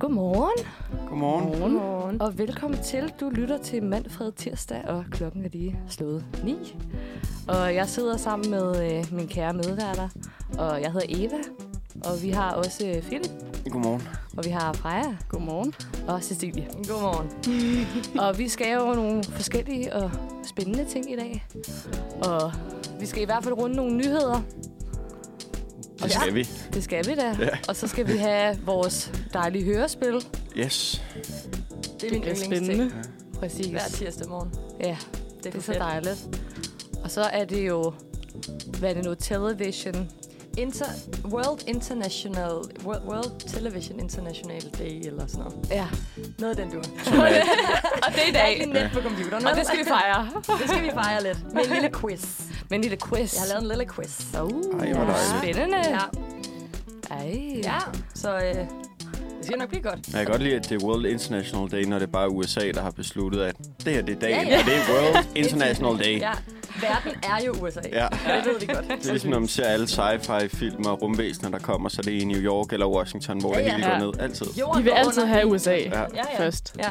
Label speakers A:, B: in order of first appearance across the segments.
A: Godmorgen,
B: Godmorgen.
C: Godmorgen.
A: og velkommen til. Du lytter til Manfred Tirsdag, og klokken er lige slået 9. Og jeg sidder sammen med øh, min kære medværter, og jeg hedder Eva. Og vi har også øh, Philip,
B: Godmorgen.
A: og vi har Freja
C: Godmorgen.
A: og Cecilie. Godmorgen. og vi skal jo nogle forskellige og spændende ting i dag. Og vi skal i hvert fald runde nogle nyheder.
B: Det
A: Ja.
B: skal vi.
A: Det skal vi da.
B: Ja.
A: Og så skal vi have vores dejlige hørespil.
B: Yes.
D: Det er min
C: Det er
D: yndlingsting.
C: spændende.
A: Præcis.
D: Hver tirsdag morgen.
A: Ja,
D: Det er,
A: det er
D: for
A: så
D: fedt.
A: dejligt. Og så er det jo, hvad er det nu, television.
D: Inter World International... World, World Television International Day eller sådan noget.
A: Ja,
D: Noget af den du har.
B: Som er,
A: og det er i
D: Der er
A: dag.
D: ikke net på computeren.
A: Og det skal vi fejre.
D: det skal vi fejre lidt. Med en lille quiz.
A: Med en lille quiz.
D: Jeg har lavet en lille quiz.
A: Uh,
B: Ej, hvor dejligt.
A: Spændende.
D: Ja.
A: Ej.
D: ja. Så øh, det skal nok blive godt.
B: jeg kan godt lide, at det er World International Day, når det er bare USA, der har besluttet, at det her det er dagen,
D: Ja, ja.
B: og det er World International Day.
D: Ja. Verden er jo USA.
B: Ja.
D: Det ved vi godt.
B: Det er ligesom, når man ser alle sci-fi-film og rumvæsener, der kommer, så det er i New York eller Washington, hvor
D: Ja,
B: ja, det
D: ja.
B: hele går
C: Ja.
B: ned. Altid.
D: Jorden
C: De vil
D: går
C: altid
D: under
C: have
D: i-
C: USA
B: Ja.
D: Ja, ja.
C: først.
D: Ja.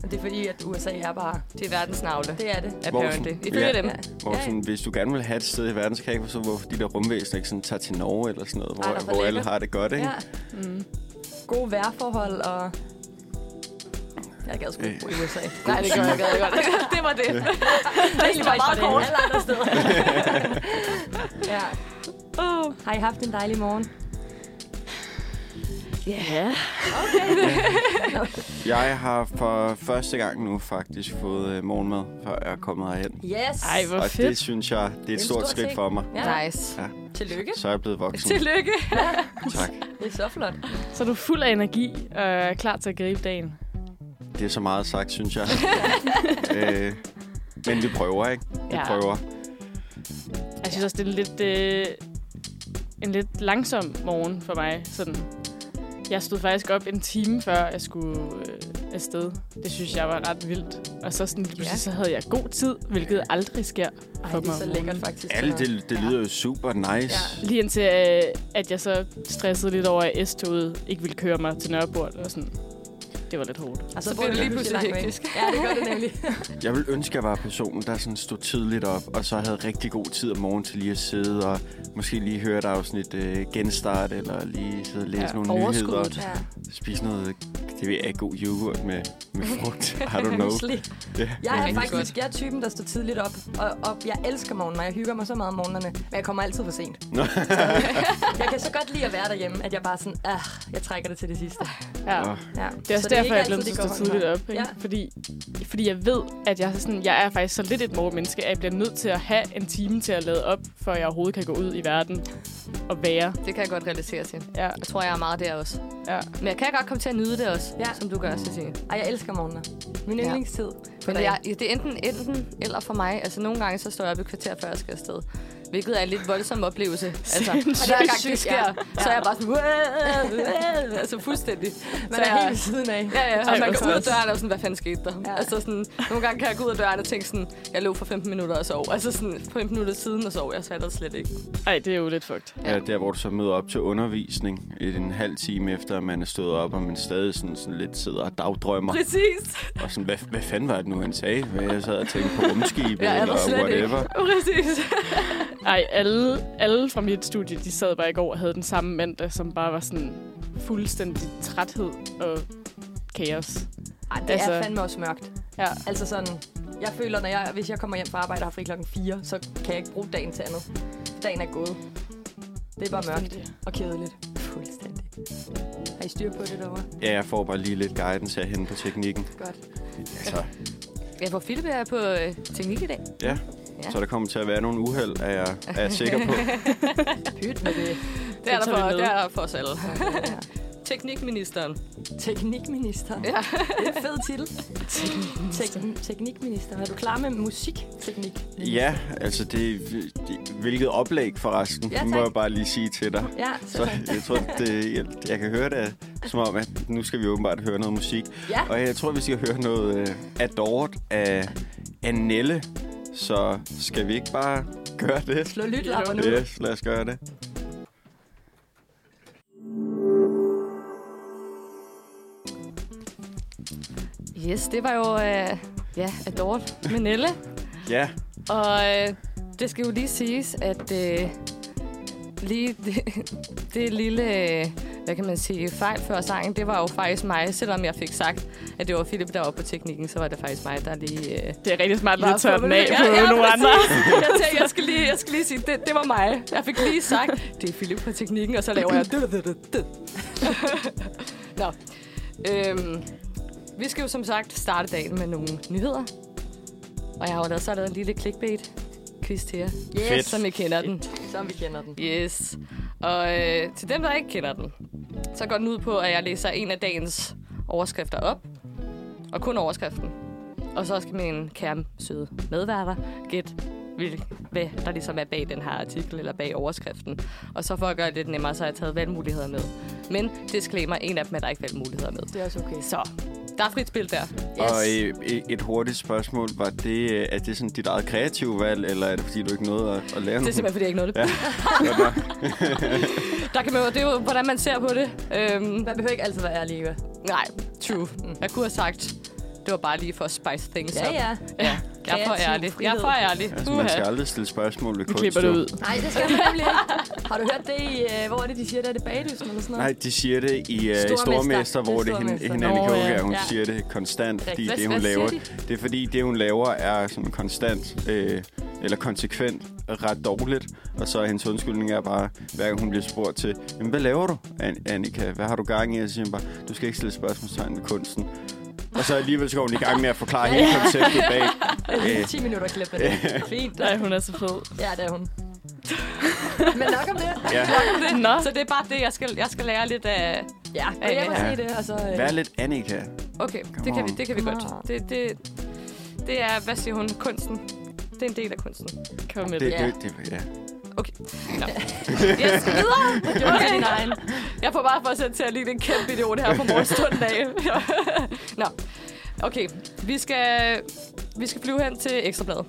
D: Men det er fordi, at USA er bare...
A: Det er verdens navle,
D: Det er det.
A: apparently.
B: Hvor-
A: Ifølge
B: Ja.
A: dem.
B: Hvor
D: Ja, ja.
B: sådan, hvis du gerne vil have et sted i verden, så kan jeg ikke forstå, hvorfor de der rumvæsener ikke sådan tager til Norge eller sådan noget, hvor,
D: Ej, der er for
B: hvor alle
D: lækkert.
B: har det godt, ikke?
D: Ja. Mm. Gode vejrforhold og... Jeg gad sgu ikke bo i USA.
A: Nej, det gør jeg ikke. Det var det.
D: det er
A: var meget kort.
D: Alle andre steder. ja. Oh. Har I haft en dejlig morgen?
C: Ja.
B: Jeg har for første gang nu faktisk fået øh, morgenmad, før jeg er kommet herhen.
D: Yes.
C: Ej, hvor
B: Og
C: fedt.
B: det synes jeg, det er
D: en
B: et stort
D: stor
B: skridt
D: ting.
B: for mig.
D: Ja.
A: Nice.
D: Tillykke.
B: Så er jeg blevet voksen.
A: Tillykke.
B: Tak.
D: Det er så flot.
C: Så er du fuld af energi og er klar til at gribe dagen.
B: Det er så meget sagt, synes jeg. øh, men vi prøver, ikke? Vi
C: Ja.
B: prøver.
C: Jeg synes også, det er lidt, øh, en lidt langsom morgen for mig. Sådan. Jeg stod faktisk op en time før, jeg skulle øh, afsted. Det synes jeg var ret vildt. Og så, sådan, lige pludselig, så havde jeg god tid, hvilket aldrig sker
D: Ej,
C: for
D: det er
C: mig.
D: så
C: om
D: lækkert
C: morgenen.
D: faktisk.
B: Alle, det, det lyder jo super nice.
D: Ja.
C: Lige indtil, øh, at jeg så stressede lidt over, at S-toget ikke ville køre mig til Nørreport. Og sådan. Det var lidt hårdt.
D: Og
A: Så bliver det lige pludselig
D: langt væk.
A: hektisk.
D: Ja, det gør det nemlig.
B: Jeg ville ønske, at jeg var personen, der sådan stod tidligt op, og så havde rigtig god tid om morgenen til lige at sidde og måske lige høre et afsnit øh, genstart, eller lige sidde og læse
C: Ja,
B: ja, nogle
A: overskuddet.
B: nyheder.
D: Ja.
B: Spise noget, det ved jeg, god yoghurt med, med frugt. I don't know.
D: Mysli.
B: Yeah,
D: Jeg er
A: det er
D: faktisk jeg er typen, der står tidligt op, og, og jeg elsker morgenen, og jeg hygger mig så meget om morgenerne, men jeg kommer altid for sent. jeg kan så godt lide at være derhjemme, at jeg bare sådan, ah, jeg trækker det til det sidste.
C: Ja.
B: Åh.
D: Ja.
C: Det er også
D: Så
C: derfor,
D: ikke
C: jeg bliver
D: altid,
C: så
D: det går hånd i
C: stå tidligt op.
D: hånd.
C: Ikke?
D: Ja.
C: Fordi, fordi jeg ved, at jeg, er sådan, jeg er faktisk så lidt et morgenmenneske, at jeg bliver nødt til at have en time til at lade op, før jeg overhovedet kan gå ud i verden og være.
A: Det kan jeg godt relatere til.
C: Ja,
A: Jeg tror, jeg er meget der også.
C: ja.
A: Men jeg kan godt komme til at nyde det også,
D: Ja.
A: som du gør, Cecilie.
D: Ej, jeg elsker morgener. Min
A: Ja.
D: yndlingstid.
A: Men det er, ja, det er enten, enten eller for mig. Altså, nogle gange så står jeg op et kvarter, før jeg skal afsted. Hvilket er en lidt voldsom oplevelse. Altså, og
C: Sindssygt.
A: hver gang det
D: Sygt,
A: sker,
D: ja.
A: ja. så er jeg bare sådan... "Wow, wow," altså, fuldstændig.
D: Man
A: så
D: er helt
A: jeg,
D: ved siden af.
A: Ja, ja, og
C: Ej,
A: man går
C: hvor
A: ud af
C: træls.
A: døren og sådan, hvad fanden skete der? Ja.
D: Ja.
A: Altså sådan, nogle gange kan jeg gå ud af døren og tænke sådan, jeg lå for 15 minutter og sov. Altså sådan, 15 minutter siden og sov, jeg så der slet ikke.
C: Ej, det er jo lidt fucked.
B: Ja, Øh, der hvor du så møder op til undervisning en halv time efter, at man er stået op, og man stadig sådan, sådan lidt sidder og dagdrømmer.
A: Præcis.
B: Og sådan, hvad, hvad fanden var det nu, han sagde? Hvad jeg sad og tænkte på rumskibet
A: Ja, jeg
B: eller
A: var slet
B: whatever. Ikke.
A: Præcis.
C: Ej, alle, alle fra mit studie, de sad bare i går og havde den samme mandag, som bare var sådan fuldstændig træthed og kaos.
D: Ej, det altså...
C: Altså-
D: er fandme også mørkt.
C: Ja.
D: Altså sådan, jeg føler, når jeg, hvis jeg kommer hjem fra arbejde og har fri klokken 4, så kan jeg ikke bruge dagen til andet. Dagen er gået. Det er bare mørkt og kedeligt. Fuldstændig. Har I styr på det derovre?
B: Ja, jeg får bare lige lidt guidance herhen på teknikken.
D: Godt.
B: Altså,
A: Ja, hvor Philip er på øh, teknik i dag.
B: ja.
A: Ja.
B: ja. Så der kommer til at være nogle uheld, er jeg, er jeg sikker på.
D: Pyt med det.
A: Det er der
C: tager vi
A: for,
C: med.
A: det er der for os alle.
D: Ja.
A: Teknikministeren.
D: Teknikminister. Ja. Det er en fed titel. Teknik, teknikminister. Er du klar med musikteknik?
B: Ja, altså det, det hvilket oplæg for resten,
D: Ja, tak.
B: må jeg bare lige sige til dig.
D: Ja, så,
B: Så jeg tror, det, jeg, jeg kan høre det som om, at nu skal vi åbenbart høre noget musik.
D: ja.
B: Og jeg tror, vi skal høre noget øh, Adored af Annelle. Så skal vi ikke bare gøre det?
D: Slå lytlapperne ud.
B: Yes, lad os gøre det.
A: Yes, det var jo øh, ja, Adort med Nelle.
B: Ja,
A: Og øh, det skal jo lige siges, at øh, lige det, det lille, øh, hvad kan man sige, fejl før sangen, det var jo faktisk mig. Selvom jeg fik sagt, at det var Philip, der var på teknikken, så var det faktisk mig, der lige... Øh,
C: Det er rigtig smart lige
D: Bare
C: at tørre
D: få
C: den
D: det
C: af
D: væk.
C: på
A: Ja, ja,
C: nogle andre.
A: jeg, tænkte, jeg, skal lige, jeg skal lige sige, det, det var mig. Jeg fik lige sagt, det er Philip på teknikken, og så laver jeg... Nå. Øhm, vi skal jo som sagt starte dagen med nogle nyheder. Og jeg har jo lavet, så lavet en lille clickbait-quiz til jer,
D: Yes,
B: Fedt.
A: som I kender den.
D: som vi kender den.
A: Yes. Og øh, til dem, der ikke kender den, så går den ud på, at jeg læser en af dagens overskrifter op. Og kun overskriften. Og så skal min kære søde medværter gætte, hvil- hvad der ligesom er bag den her artikel eller bag overskriften. Og så for at gøre det lidt nemmere, så har jeg taget valgmuligheder med. Men disclaimer, en af dem er der ikke valgmuligheder med.
D: Det er også okay.
A: Så, der er frit spil der.
B: yes. og øh, e- et hurtigt spørgsmål. Var det, øh, er det sådan dit eget kreative valg, eller er det fordi, du ikke nåede at, at lave
A: Det er simpelthen, fordi jeg ikke nåede det. Ja. der kan man jo, det er jo, hvordan man ser på det. Øhm,
D: Man behøver ikke altid være ærlig, Eva.
A: Nej, true. Mm. Jeg kunne have sagt, det var bare lige for at spice things up.
D: ja.
A: ja. Jeg er for
D: Kreativ
A: ærlig. Jeg er for
D: frihed.
A: ærlig.
B: Altså, man skal
A: Uha.
B: aldrig stille spørgsmål ved
C: Vi
B: kunst.
C: klipper det
B: jo.
C: ud.
D: Nej, det skal man nemlig ikke. Har du hørt det i, øh, hvor er det, de siger, der er det bagdysten eller sådan noget?
B: Nej, de siger det i uh,
D: Stormester.
B: Stormester, hvor
D: Det
B: det
D: er
B: er hende,
D: Stormester.
B: hende Annika
C: Nå, ja.
B: Aukjær, hun
D: Ja.
B: siger det konstant, fordi
A: Hvad-
B: det,
A: hvad
B: hun laver,
A: siger
B: det er fordi, det, hun laver, er sådan konstant, øh, eller konsekvent, ret dårligt. Og så er hendes undskyldning er bare, hver gang hun bliver spurgt til, Jamen, hvad laver du, An- Annika? Hvad har du gang i? Og så siger hun bare, du skal ikke stille spørgsmålstegn ved kunsten. Og så alligevel så går hun i gang med at forklare hele konceptet bag. Øh,
D: 10 minutter klip af det. Fint.
C: Nej, hun er så fed.
D: Ja, det er hun. Men nok om det.
B: ja.
C: Nå.
A: Så det er bare det, jeg skal, jeg skal lære lidt af...
D: Ja, og jeg må
A: Ja.
D: se det, og så... Øh,
B: Vær lidt Annika.
A: Okay, det
B: Come
A: kan vi,
B: on.
A: det kan vi
D: Come
A: godt.
D: on.
A: Det, det, det er, hvad siger hun, kunsten. Det er en del af kunsten.
C: Kom med
B: Det,
C: det.
B: det, det, ja.
A: Okay. Nå. Yes, videre. Okay. Jeg får bare for at sætte til at lide en kæmpe idiot her på morgenstunden af. Nå. Okay, vi skal, vi skal flyve hen til Ekstrabladet.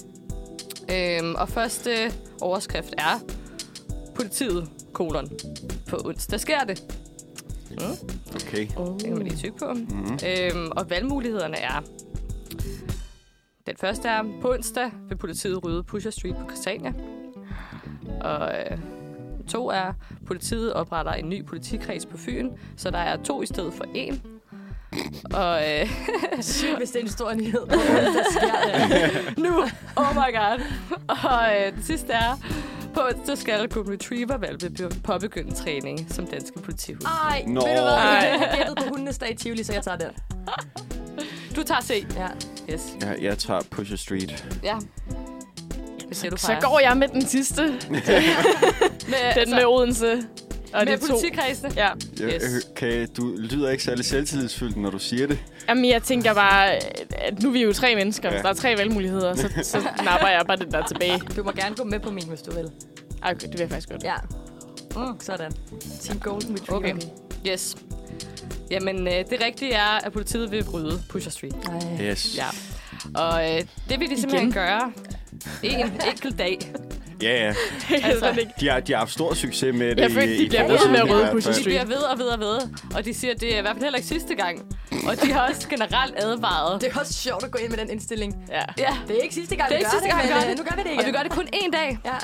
A: Øhm, og første overskrift er Politiet, kolon. På onsdag sker det.
B: Okay.
A: Det kan man lige tykke på.
C: Mhm.
A: Mm. Øhm, og valgmulighederne er... Den første er, på onsdag vil politiet rydde Pusher Street på Christiania. Og øh, to er, politiet opretter en ny politikreds på Fyn, så der er to i stedet for en. Og øh,
D: Sygt, hvis det er en stor nyhed. Der sker det.
A: nu, oh my god. Og øh, det sidste er, på onsdag skal Golden Retriever valgbe påbegynde træning som danske politihus.
D: Ej,
B: Nå.
D: ved du hvad?
C: Ej.
D: Jeg har gættet på hundenes dag i Tivoli, så jeg tager den.
A: Du tager C.
D: Ja.
A: Yes.
B: Jeg, jeg tager Pusher Street.
A: Ja. Hvad siger du,
C: Så
A: Freja?
C: går jeg med den sidste.
A: med, altså,
C: Den med Odense. Og
A: med
C: de to.
A: politikredsene.
C: Ja.
B: Jeg,
A: Yes.
B: yes. kan, du lyder ikke særlig selvtillidsfyldt, når du siger det.
C: Jamen, jeg tænker bare, at nu er vi jo tre mennesker.
B: Ja.
C: Ja. Der er tre valgmuligheder, så, så napper jeg bare den der tilbage.
D: Du må gerne gå med på min, hvis du vil.
C: Ej, okay, det vil jeg faktisk godt.
D: Ja. Mm. Sådan. Team Golden Retriever.
A: Okay. Yes. Jamen, øh, det rigtige er, at politiet vil bryde Pusher Street.
D: Ej.
B: Yes.
A: Ja. Og øh, det vil de simpelthen
C: Igen.
A: gøre en enkelt dag.
B: Ja, ja.
C: Det kan
A: Altså,
C: altså, ikke.
B: De har, de har haft stor succes med det
C: Jeg følte,
B: i,
C: de
B: i
C: bliver ved
B: fortiden
C: med at
B: i
C: rode
B: hvert
C: Pusher
B: fald.
A: De
C: Street.
A: bliver ved og ved og ved. Og de siger, at det er i hvert fald heller ikke sidste gang. Og de har også generelt advaret.
D: Det er også sjovt at gå ind med den indstilling.
C: Ja.
A: Ja.
D: Det er ikke sidste gang,
A: Det er
D: vi
A: ikke
D: gør
A: sidste gang, vi
D: det,
A: gør
D: men,
A: det.
D: øh, nu gør vi det igen.
A: Og vi gør det kun én dag.
D: Ja.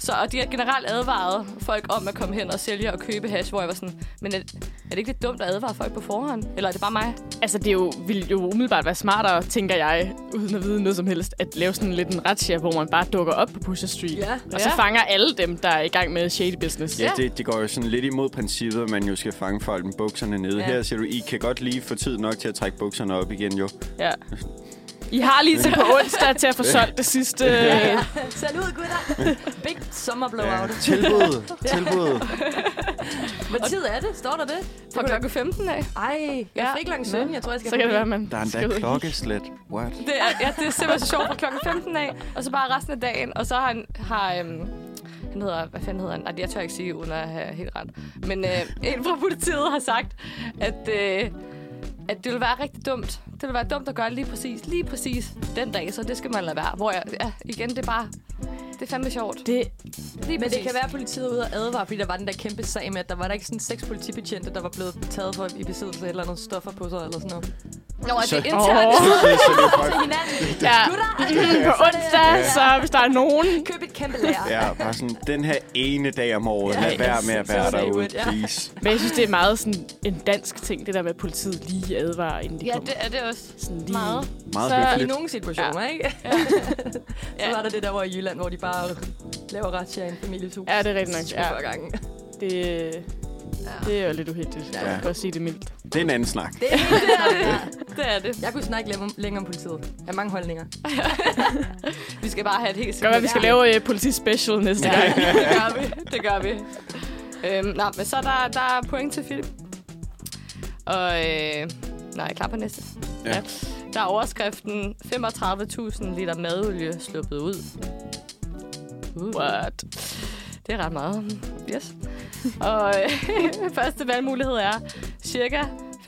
A: Så, og de har generelt advaret folk om at komme hen og sælge og købe hash, hvor jeg var sådan, men er, er det ikke lidt dumt at advare folk på forhånd? Eller er det bare mig?
C: Altså, det er jo, ville jo umiddelbart være smartere, tænker jeg, uden at vide noget som helst, at lave sådan lidt en razzia, hvor man bare dukker op på Pusher Street.
D: Ja.
C: Og så
A: Ja.
C: fanger alle dem, der er i gang med shady business.
B: Ja, det, det går jo sådan lidt imod princippet, at man jo skal fange folk med bukserne nede.
D: Ja.
B: Ja. Her siger du, I kan godt lige få tid nok til at trække bukserne op igen, jo.
C: ja. I har lige til på onsdag til at få solgt det sidste.
D: ja. Salut, gutter. Big summer blowout. Ja.
B: Tilbud, tilbud.
D: Hvad tid er det? Står der det?
A: Fra klokken 15 af.
D: Ej, jeg
A: Ja.
D: fik klokken 17. Jeg tror, jeg skal
C: Så kan det være,
D: forbi.
C: man
B: Der er
C: skal ud
B: endda
C: og
B: klokkeslet. What?
A: Det er, ja, det er simpelthen så sjovt fra klokken 15 af, og så bare resten af dagen. Og så har han, har, øhm, han hedder, hvad fanden hedder han? Ej, det- jeg tør ikke sige, uden at have helt ret. Men øh, en fra politiet har sagt, at, øh, at det ville være rigtig dumt. Det ville være dumt at gøre lige præcis, lige præcis den dag, så det skal man lade være. Hvor jeg, ja, igen, det er bare, det er fandme sjovt.
C: Det,
A: Lige
D: Men det
A: præcis.
D: kan være, at politiet er ude og advare, fordi der var den der kæmpe sag med, at der var der ikke sådan seks politibetjente, der var blevet taget for i besiddelse af et eller andet stoffer på sig eller sådan noget.
A: Nå, er det
B: Så-
A: internt?
C: Åh.
A: Oh.
B: Så, så det er folk,
D: Til hinanden.
C: Ja. Mm,
D: Gutter,
C: På onsdag,
B: Ja.
C: så hvis der er nogen...
D: køb et kæmpe lager.
B: ja, bare sådan, den her ene dag om året,
D: Ja,
B: lad være med at være
D: så- så-
B: derude,
D: ja.
B: please.
C: Men jeg synes, det er meget sådan en dansk ting, det der med, at politiet lige advarer, inden de
E: Ja,
C: kommer.
E: det er det også.
C: Sådan lige...
E: Meget.
B: Meget
C: Så-
D: I
B: hyggeligt.
D: nogle situationer, ja. ikke? Så var der det der over i Jylland, hvor de bare laver razzia i en families hus.
C: Ja, det er rigtigt nok. Ja,
D: Ja. Gange.
C: det, det er jo lidt uheldigt. Ja. Jeg kan godt sige det mildt.
B: Det er en anden snak.
D: Det er helt
E: Ja, det er det.
D: Jeg kunne snakke læ- længere om politiet. Jeg har mange holdninger.
E: Vi skal bare have et helt
C: Det kan godt være, vi skal lave uh, politispecial næste gang.
A: Ja, det gør vi. Det gør vi. Øhm, nå, men så er der, der er point til Philip. Og øh, nej, klar på næste.
B: Ja.
A: Der er overskriften 35.000 liter madolie sluppet ud. Uh,
C: What?
A: det er ret meget. Yes. Og øh, første valgmulighed er cirka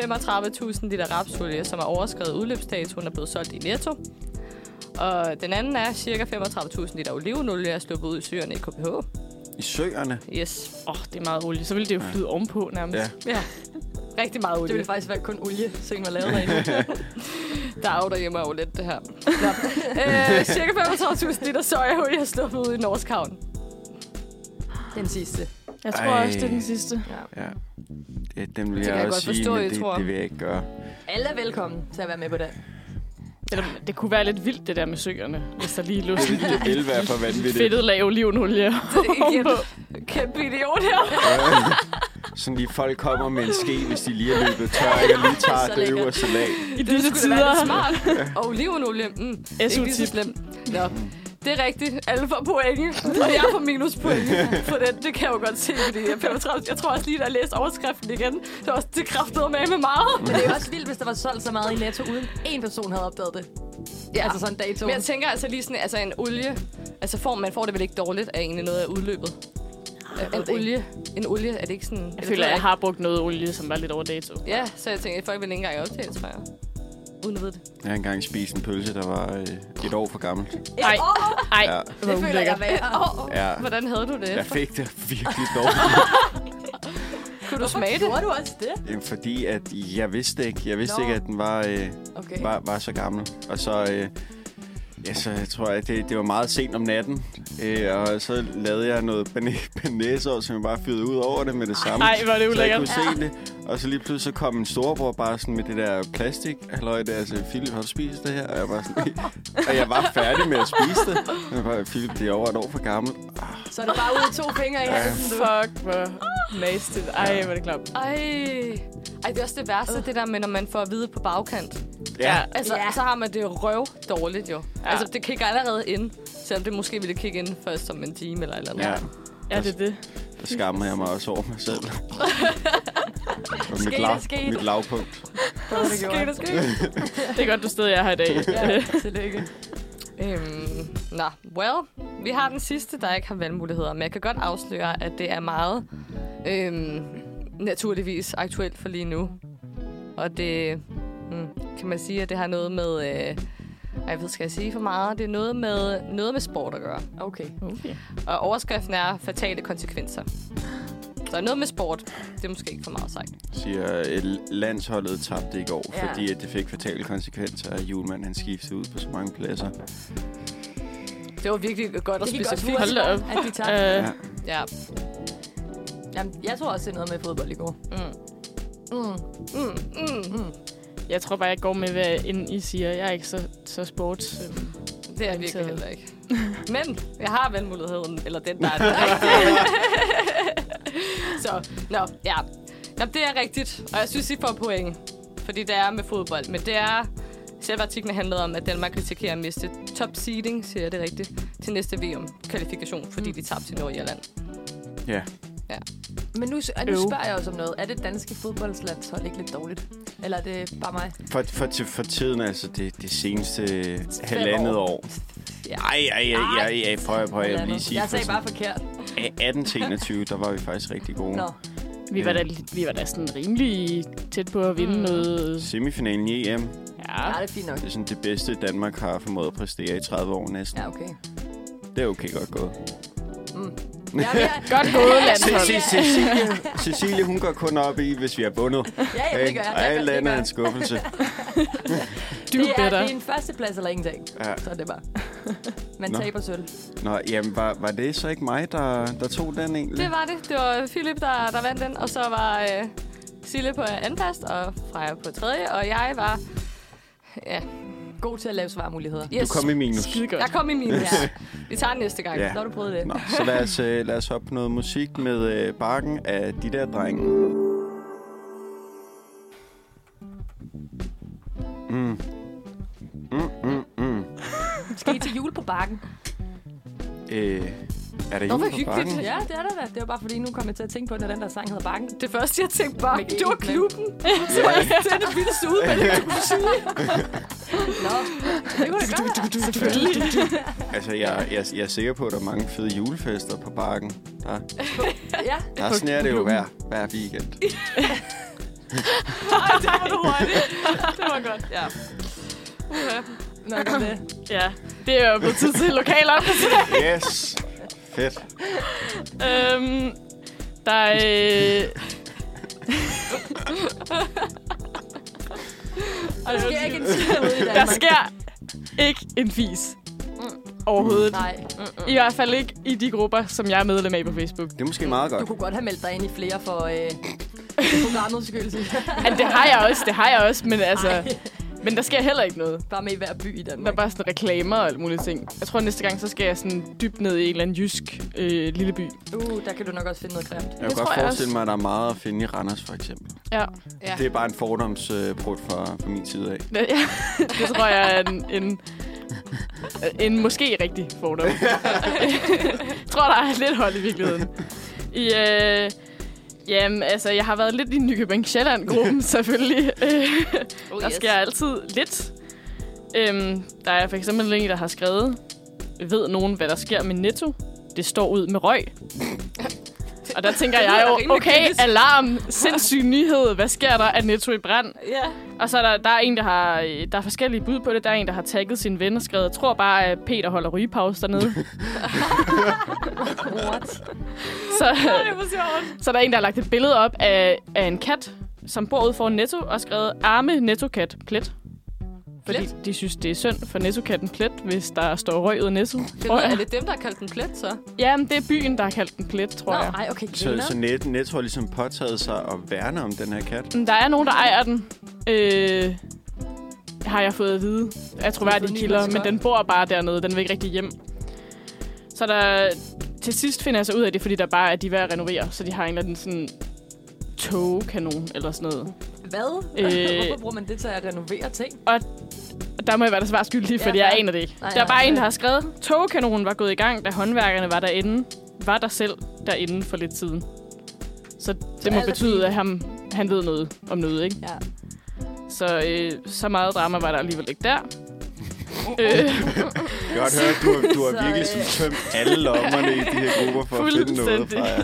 A: 35.000 liter rapsolie, som er overskrevet udløbsdatoen, er blevet solgt i Netto. Og den anden er cirka 35.000 liter olivenolie er sluppet ud i søerne i KPH.
B: I
A: Mm.
B: søerne.
A: Yes.
C: Åh, oh, det er meget olie. Så ville det jo flyde ovenpå nærmest.
B: Ja.
A: Ja, rigtig meget
D: Det
A: olie.
D: ville faktisk være kun olie, ting var lavet derinde.
A: Der er jo derhjemme er jo lidt det her. Nå. Øh, cirka 35.000 liter sojaolie har sluppet ud i Norsk Havn.
D: Den sidste.
C: Jeg tror
B: Ej.
C: også, det er den sidste.
B: Ja. Det, dem vil
A: Det
B: jeg,
A: kan jeg
B: også
A: godt
B: sige,
A: forstå, I
B: men det,
A: tror.
B: det vil jeg ikke gøre.
D: Alle er velkommen til at være med på det.
C: Eller, det kunne være lidt vildt, det der med søerne, hvis der lige lå sådan
B: Det vil være for
C: et
B: vanvittigt.
C: fedtet lag olivenolie ovenpå.
A: Kæmpe idiot her.
B: Sådan lige folk kommer med en ske, hvis de lige er løbet tør, og lige tager
D: Så
B: det
D: lækkert.
B: øverste lag.
C: I disse
A: skulle da være
C: tider.
A: lidt smart. Og olivenolie. Mm, det er ikke lige så
C: SU-tip.
A: slemt. Nå. Det er rigtigt. Alle får point. Og jeg får minus point for den. Det kan jeg jo godt se, fordi jeg, er 35. jeg tror også lige, da jeg læste overskriften igen. Det var også det kraftede med med meget.
D: Men det er jo også vildt, hvis der var solgt så meget i Netto, uden én person havde opdaget det. Ja. Altså sådan en dato.
A: Men jeg tænker altså lige sådan, altså en olie, altså får, man får det vel ikke dårligt af egentlig noget af udløbet?
D: ved
A: en
D: det ikke.
A: olie, en olie, er det ikke sådan...
C: Jeg føler, jeg har brugt noget olie, som var lidt over dato.
A: Ja, så jeg tænker, at folk vil ikke engang optage det, tror jeg. Uden at vide det.
B: Jeg har engang spist en pølse, der var øh, et år for gammelt.
C: Ej, ej.
B: Ja.
D: Det føler jeg
C: jeg
D: værre.
A: Åh, oh,
B: Ja.
A: hvordan havde du det?
B: Jeg fik det virkelig dårligt.
A: Kunne du smage det?
D: Gjorde du også det?
B: Jamen, Fordi at jeg vidste ikke, jeg vidste
D: Nå.
B: ikke, at den var, øh,
D: Okay.
B: var, var så gammel. Og så, øh, ja, så jeg tror jeg, det, det var meget sent om natten. Øh, og så lavede jeg noget banæsår, som jeg bare fyrede ud over det med det samme.
C: Ej, hvor er det
B: så jeg
C: ulækkert.
B: kunne se det. Og så lige pludselig så kom en storebror bare sådan med det der plastik. Halløj, der, altså, Philip, har du spist det her? Og jeg var, sådan, og jeg var færdig med at spise det. Og jeg bare, Philip, det er over et år for gammelt.
D: Så er det bare ud af to fingre i halsen, du.
C: Fuck, hvor nasty. Ej, hvor er det klamt.
A: Ej. Ej, det er også det værste, det der med, når man får at vide på bagkant.
C: Ja.
A: Altså,
D: Ja.
A: ja. så har man det jo røv dårligt jo. Ja. Altså, det kigger allerede ind, selvom det måske ville kigge ind først om en time eller et eller andet.
B: ja.
C: Ja, det er det.
B: Der skammer jeg mig også over mig selv. Og mit,
D: Skete,
B: lav,
D: skete.
B: mit lavpunkt.
D: Fuck, det gjorde.
A: Skete, skete.
C: Det er godt, du stadig er her i dag. Øh,
D: Tillykke.
A: Øhm, nå, well, vi har den sidste, der ikke har valgmuligheder, men jeg kan godt afsløre, at det er meget øhm, naturligvis aktuelt for lige nu. Og det, mm, kan man sige, at det har noget med, øh, ej, jeg ved, skal jeg sige for meget, det er noget med, noget med sport at gøre.
D: Okay.
C: Okay.
A: Og overskriften er fatale konsekvenser. Så noget med sport, det er måske ikke for meget sagt.
B: Siger, at landsholdet tabte i går,
D: Ja.
B: ja. fordi at det fik fatale konsekvenser, at Julemand han skiftede ud på så mange pladser.
A: Det var virkelig godt og
D: Det gik også
A: specifikt.
C: Hold da
D: hurtigt,
C: op.
D: at de tabte.
C: Øh,
B: Ja.
A: Ja.
D: Jamen, jeg tror også, det er noget med fodbold i går.
A: Mm.
D: Mm.
A: Mm, mm.
C: jeg tror bare, jeg går med, hvad end I siger. Jeg er ikke så, så sports. øh,
A: Det er jeg virkelig
C: Orienteret.
A: heller ikke. Men jeg har valgmuligheden, eller den, der er den rigtige. Så, nå, ja. Nå, det er rigtigt, og jeg synes, I får point. Fordi det er med fodbold, men det er... Selve artiklen handlede om, at Danmark risikerer at miste top seeding, siger jeg det rigtigt, til næste VM-kvalifikation, fordi de tabte til Nordirland.
B: Ja.
D: Men nu, og nu
C: Øv.
D: spørger jeg også om noget. Er det danske fodboldslandshold ikke lidt dårligt? Eller er det bare mig?
B: For, for, til, for tiden, altså det, det seneste halvandet
D: år.
B: år. Ej, ej, ej, ej, ej, prøv, prøv, jeg vil lige sige,
D: jeg
B: for
D: sagde
B: sådan
D: bare forkert.
B: 18 til 21, der var vi faktisk rigtig gode.
D: Nå.
C: Vi var, da, vi var da sådan rimelig tæt på at vinde mm. noget.
B: Semifinalen i EM,
D: Ja,
C: Ja,
D: det er fint nok.
B: det er sådan det bedste, Danmark har formået at præstere i 30 år næsten.
D: Ja,
B: Ja.
D: okay.
B: Det er okay godt gået.
D: Ja, ja,
C: Godt gået, landshold.
B: Se, se, Cecilie, Cecilie, hun går kun op i, hvis vi har bundet.
D: ja, jamen, det gør jeg.
B: Og alt
D: Det gør
B: andet er en
D: jeg.
B: skuffelse.
C: Do
D: Det er
C: better.
D: din første plads eller ingenting.
B: Ja.
D: Så er det bare. Man
B: Nå.
D: taber sølv.
B: Nå, jamen, var, var det så ikke mig, der, der tog den egentlig?
F: Det var det. Det var Philip, der, der vandt den, og så var øh, Sille på andenplads, og Freja på tredje, og jeg var... Ja,
D: God til at lave svarmuligheder.
B: Du kom i minus.
C: Skide godt.
F: Jeg kom i minus.
D: Ja.
F: Ja. Vi tager den næste gang.
B: Ja.
F: Ja.
D: Så har du prøvet det.
B: Nå, så lad os, øh, lad os hoppe på noget musik med øh, Barken af de der drenge. Mm. Mm, mm, mm.
D: Skal I til jul på bakken?
B: Øh, er det
F: Nå, hvor
B: jul på
F: hyggeligt.
B: Barken?
D: Ja, det er det da. Det var bare fordi, nu kom jeg til at tænke på, når den der sang hedder Bakken.
F: Det første, jeg tænkte bare,
D: Men det er
F: det var
D: ikke nemt.
F: klubben.
D: Så var det den vildeste udmelding, du kunne sige. Nå, det kunne det godt være.
B: Altså, jeg, jeg, jeg er sikker på, at der er mange fede julefester på Barken. Der,
D: Ja,
B: der sneer det jo hver, hver weekend.
A: det var du hurtigt. det var godt. Ja.
D: nok om det.
C: Ja, det er jo blevet tid til lokalerne.
B: Yes! Fedt.
C: øhm, der er... Øh,
D: Og der sker ikke en tid ude i
C: Der
D: Danmark. Mm.
C: sker ikke en fis. Overhovedet.
D: Nej,
C: I hvert fald ikke i de grupper, som jeg er medlem af på Facebook.
B: Det er måske meget
D: du
B: godt.
D: kunne godt have meldt dig ind i flere for øh, programmets skyld. siger jeg.
C: Altså, det har jeg også, det har jeg også, men altså... Men der sker heller ikke noget.
D: Bare med i hver by i
C: Der er
D: Danmark.
C: bare sådan reklamer og alt muligt ting. Jeg tror, næste gang, så skal jeg sådan dybt ned i en eller anden jysk øh, lille by.
D: Uh, der kan du nok også finde noget grimt.
B: Jeg kan
C: tror
B: godt
C: jeg
B: forestille
C: også.
B: mig, at der er meget at finde i Randers, for eksempel.
C: Ja,
A: Ja.
B: Det er bare en fordomsprut fra, fra min side af.
C: det, ja. det tror jeg er en, en, en måske rigtig fordom. jeg tror, der er lidt hold i virkeligheden. I, øh, jamen, altså, jeg har været lidt i Nykøbing Sjælland-gruppen, selvfølgelig. Øh,
A: Oh,
C: Der
A: yes.
C: sker altid lidt. Øhm, der er for eksempel en, der har skrevet, ved nogen, hvad der sker med Netto? Det står ud med røg. Og der tænker jeg jo, okay, alarm, sindssyg nyhed, hvad sker der af Netto i brand?
A: Ja.
C: Og så er der, der, er en, der har øh, der er forskellige bud på det. Der er en, der har tagget sin ven og skrevet, tror bare, at Peter holder rygepause dernede.
D: What?
C: så,
A: Det var sjovt.
C: så der er en, der har lagt et billede op af, af en kat, som bor ude foran Netto, og skrevet arme Netto-kat plet. Fordi
A: Plet?
C: de synes, det er synd for Netto-katten plet, hvis der står røg ud af Netto.
F: Det
C: tror
F: ved,
C: jeg.
F: er det dem, der har kaldt den plet, så?
C: Jamen, det er byen, der har kaldt den plet, tror
D: Nå,
C: jeg.
D: ej, okay,
B: Så,
D: griner.
B: så net, Netto har ligesom påtaget sig at værne om den her kat.
C: Men Der er nogen, der ejer den. Øh, har jeg fået at vide af troværdige kilder, men den bor bare dernede. Den vil ikke rigtig hjem. Så der, til sidst finder jeg så ud af det, fordi der bare er de er ved at renovere, så de har en eller anden sådan togkanon eller sådan noget.
D: Hvad?
C: Øh.
D: Hvorfor bruger man det til at renovere ting?
C: Og der må jeg være der svar skyldig,
D: Ja,
C: fordi ja, jeg
D: fair.
C: aner det ikke.
D: Nej,
C: Nej, der er
D: nej,
C: bare en,
D: nej.
C: der har skrevet, togkanonen var gået i gang, da håndværkerne var derinde. Var der selv derinde for lidt siden. Så det
D: Så
C: så
D: alt
C: må
D: er fint.
C: betyde, at ham, han ved noget om noget, ikke?
D: Ja.
C: Så, øh, så meget drama var der alligevel ikke der. øh,
B: Jeg kan godt høre, at du, har- du har
D: Så,
B: virkelig
D: øh.
B: sådan tømt alle lommerne i de her grupper for at finde noget fra jer.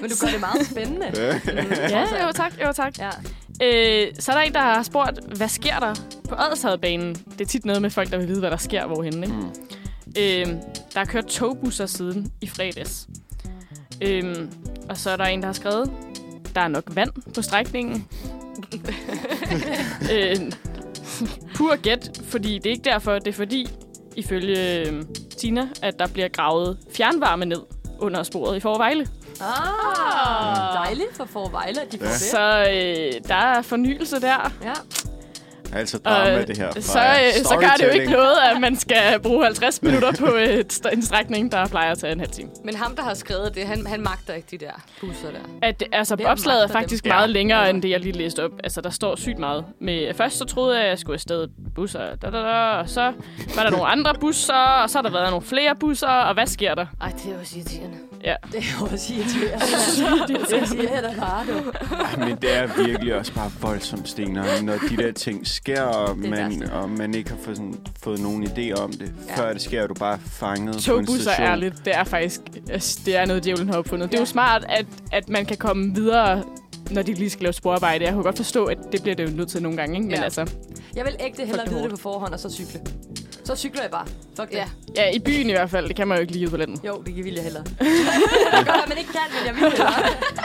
D: Men du gør det meget spændende. Mm, altså,
C: ja, jo tak, jo tak.
D: Ja.
C: Øh, så er der en, der har spurgt, hvad sker der på Adshavbanen? Det er tit noget med folk, der vil vide, hvad der sker hvorhen. Ikke?
B: Mm.
C: Øh, der har kørt togbusser siden i fredags. Øh, og så er der en, der har skrevet, der er nok vand på strækningen. øh, pur gæt, fordi det er ikke derfor, det er fordi, ifølge øh, Tina, at der bliver gravet fjernvarme ned under sporet i Forvejle.
D: Ah, dejligt for Forvejle, at de får
B: Ja.
D: det.
C: Så øh, der er fornyelse der.
D: Ja.
B: Altså drama,
C: Og
B: øh, det her. fra
C: så,
B: jer.
C: øh, så gør det jo ikke
B: Storytelling.
C: noget, at man skal bruge 50 minutter på et, st- en strækning, der plejer at tage en halv time.
F: Men ham, der har skrevet det, han, han magter ikke de der busser der.
C: At, det- altså,
D: Hvem
C: opslaget er
D: magter dem?
C: faktisk
B: Ja.
C: meget længere, end det, jeg lige læste op. Altså, der står sygt meget. Med, først så troede jeg, at jeg skulle afsted busser, da, da, da, og så var der nogle andre busser, og så har der været nogle flere busser, og hvad sker der?
F: Ej, det er også irriterende.
C: Ja.
D: Det er jo også irriterende. Det siger jeg da bare, du.
B: Ej, Men det er virkelig også bare voldsomt stener, når de der ting sker, og,
D: Det er
B: man,
D: værste.
B: og man ikke har fået, sådan, fået nogen idé om det. Ja. Før det sker, er du bare fanget på en
C: Togbusser,
B: station.
C: ærligt, det er faktisk altså, det er noget, djævlen har opfundet. Det er jo smart, at, at man kan komme videre, når de lige skal lave sporarbejde. Jeg kunne godt forstå, at det bliver det jo nødt til nogle gange, ikke? Men
F: Ja.
C: altså,
D: Jeg vil ægte hellere
C: Fuck, det er
D: vide det
C: hårdt.
D: på forhånd, og så cykle. Så cykler jeg bare. Fuck det.
F: Ja.
C: Ja, i byen i hvert fald. Det kan man jo ikke lige ude på landet.
D: Jo, det vil jeg hellere. det kan godt være, man ikke kan, men jeg vil hellere.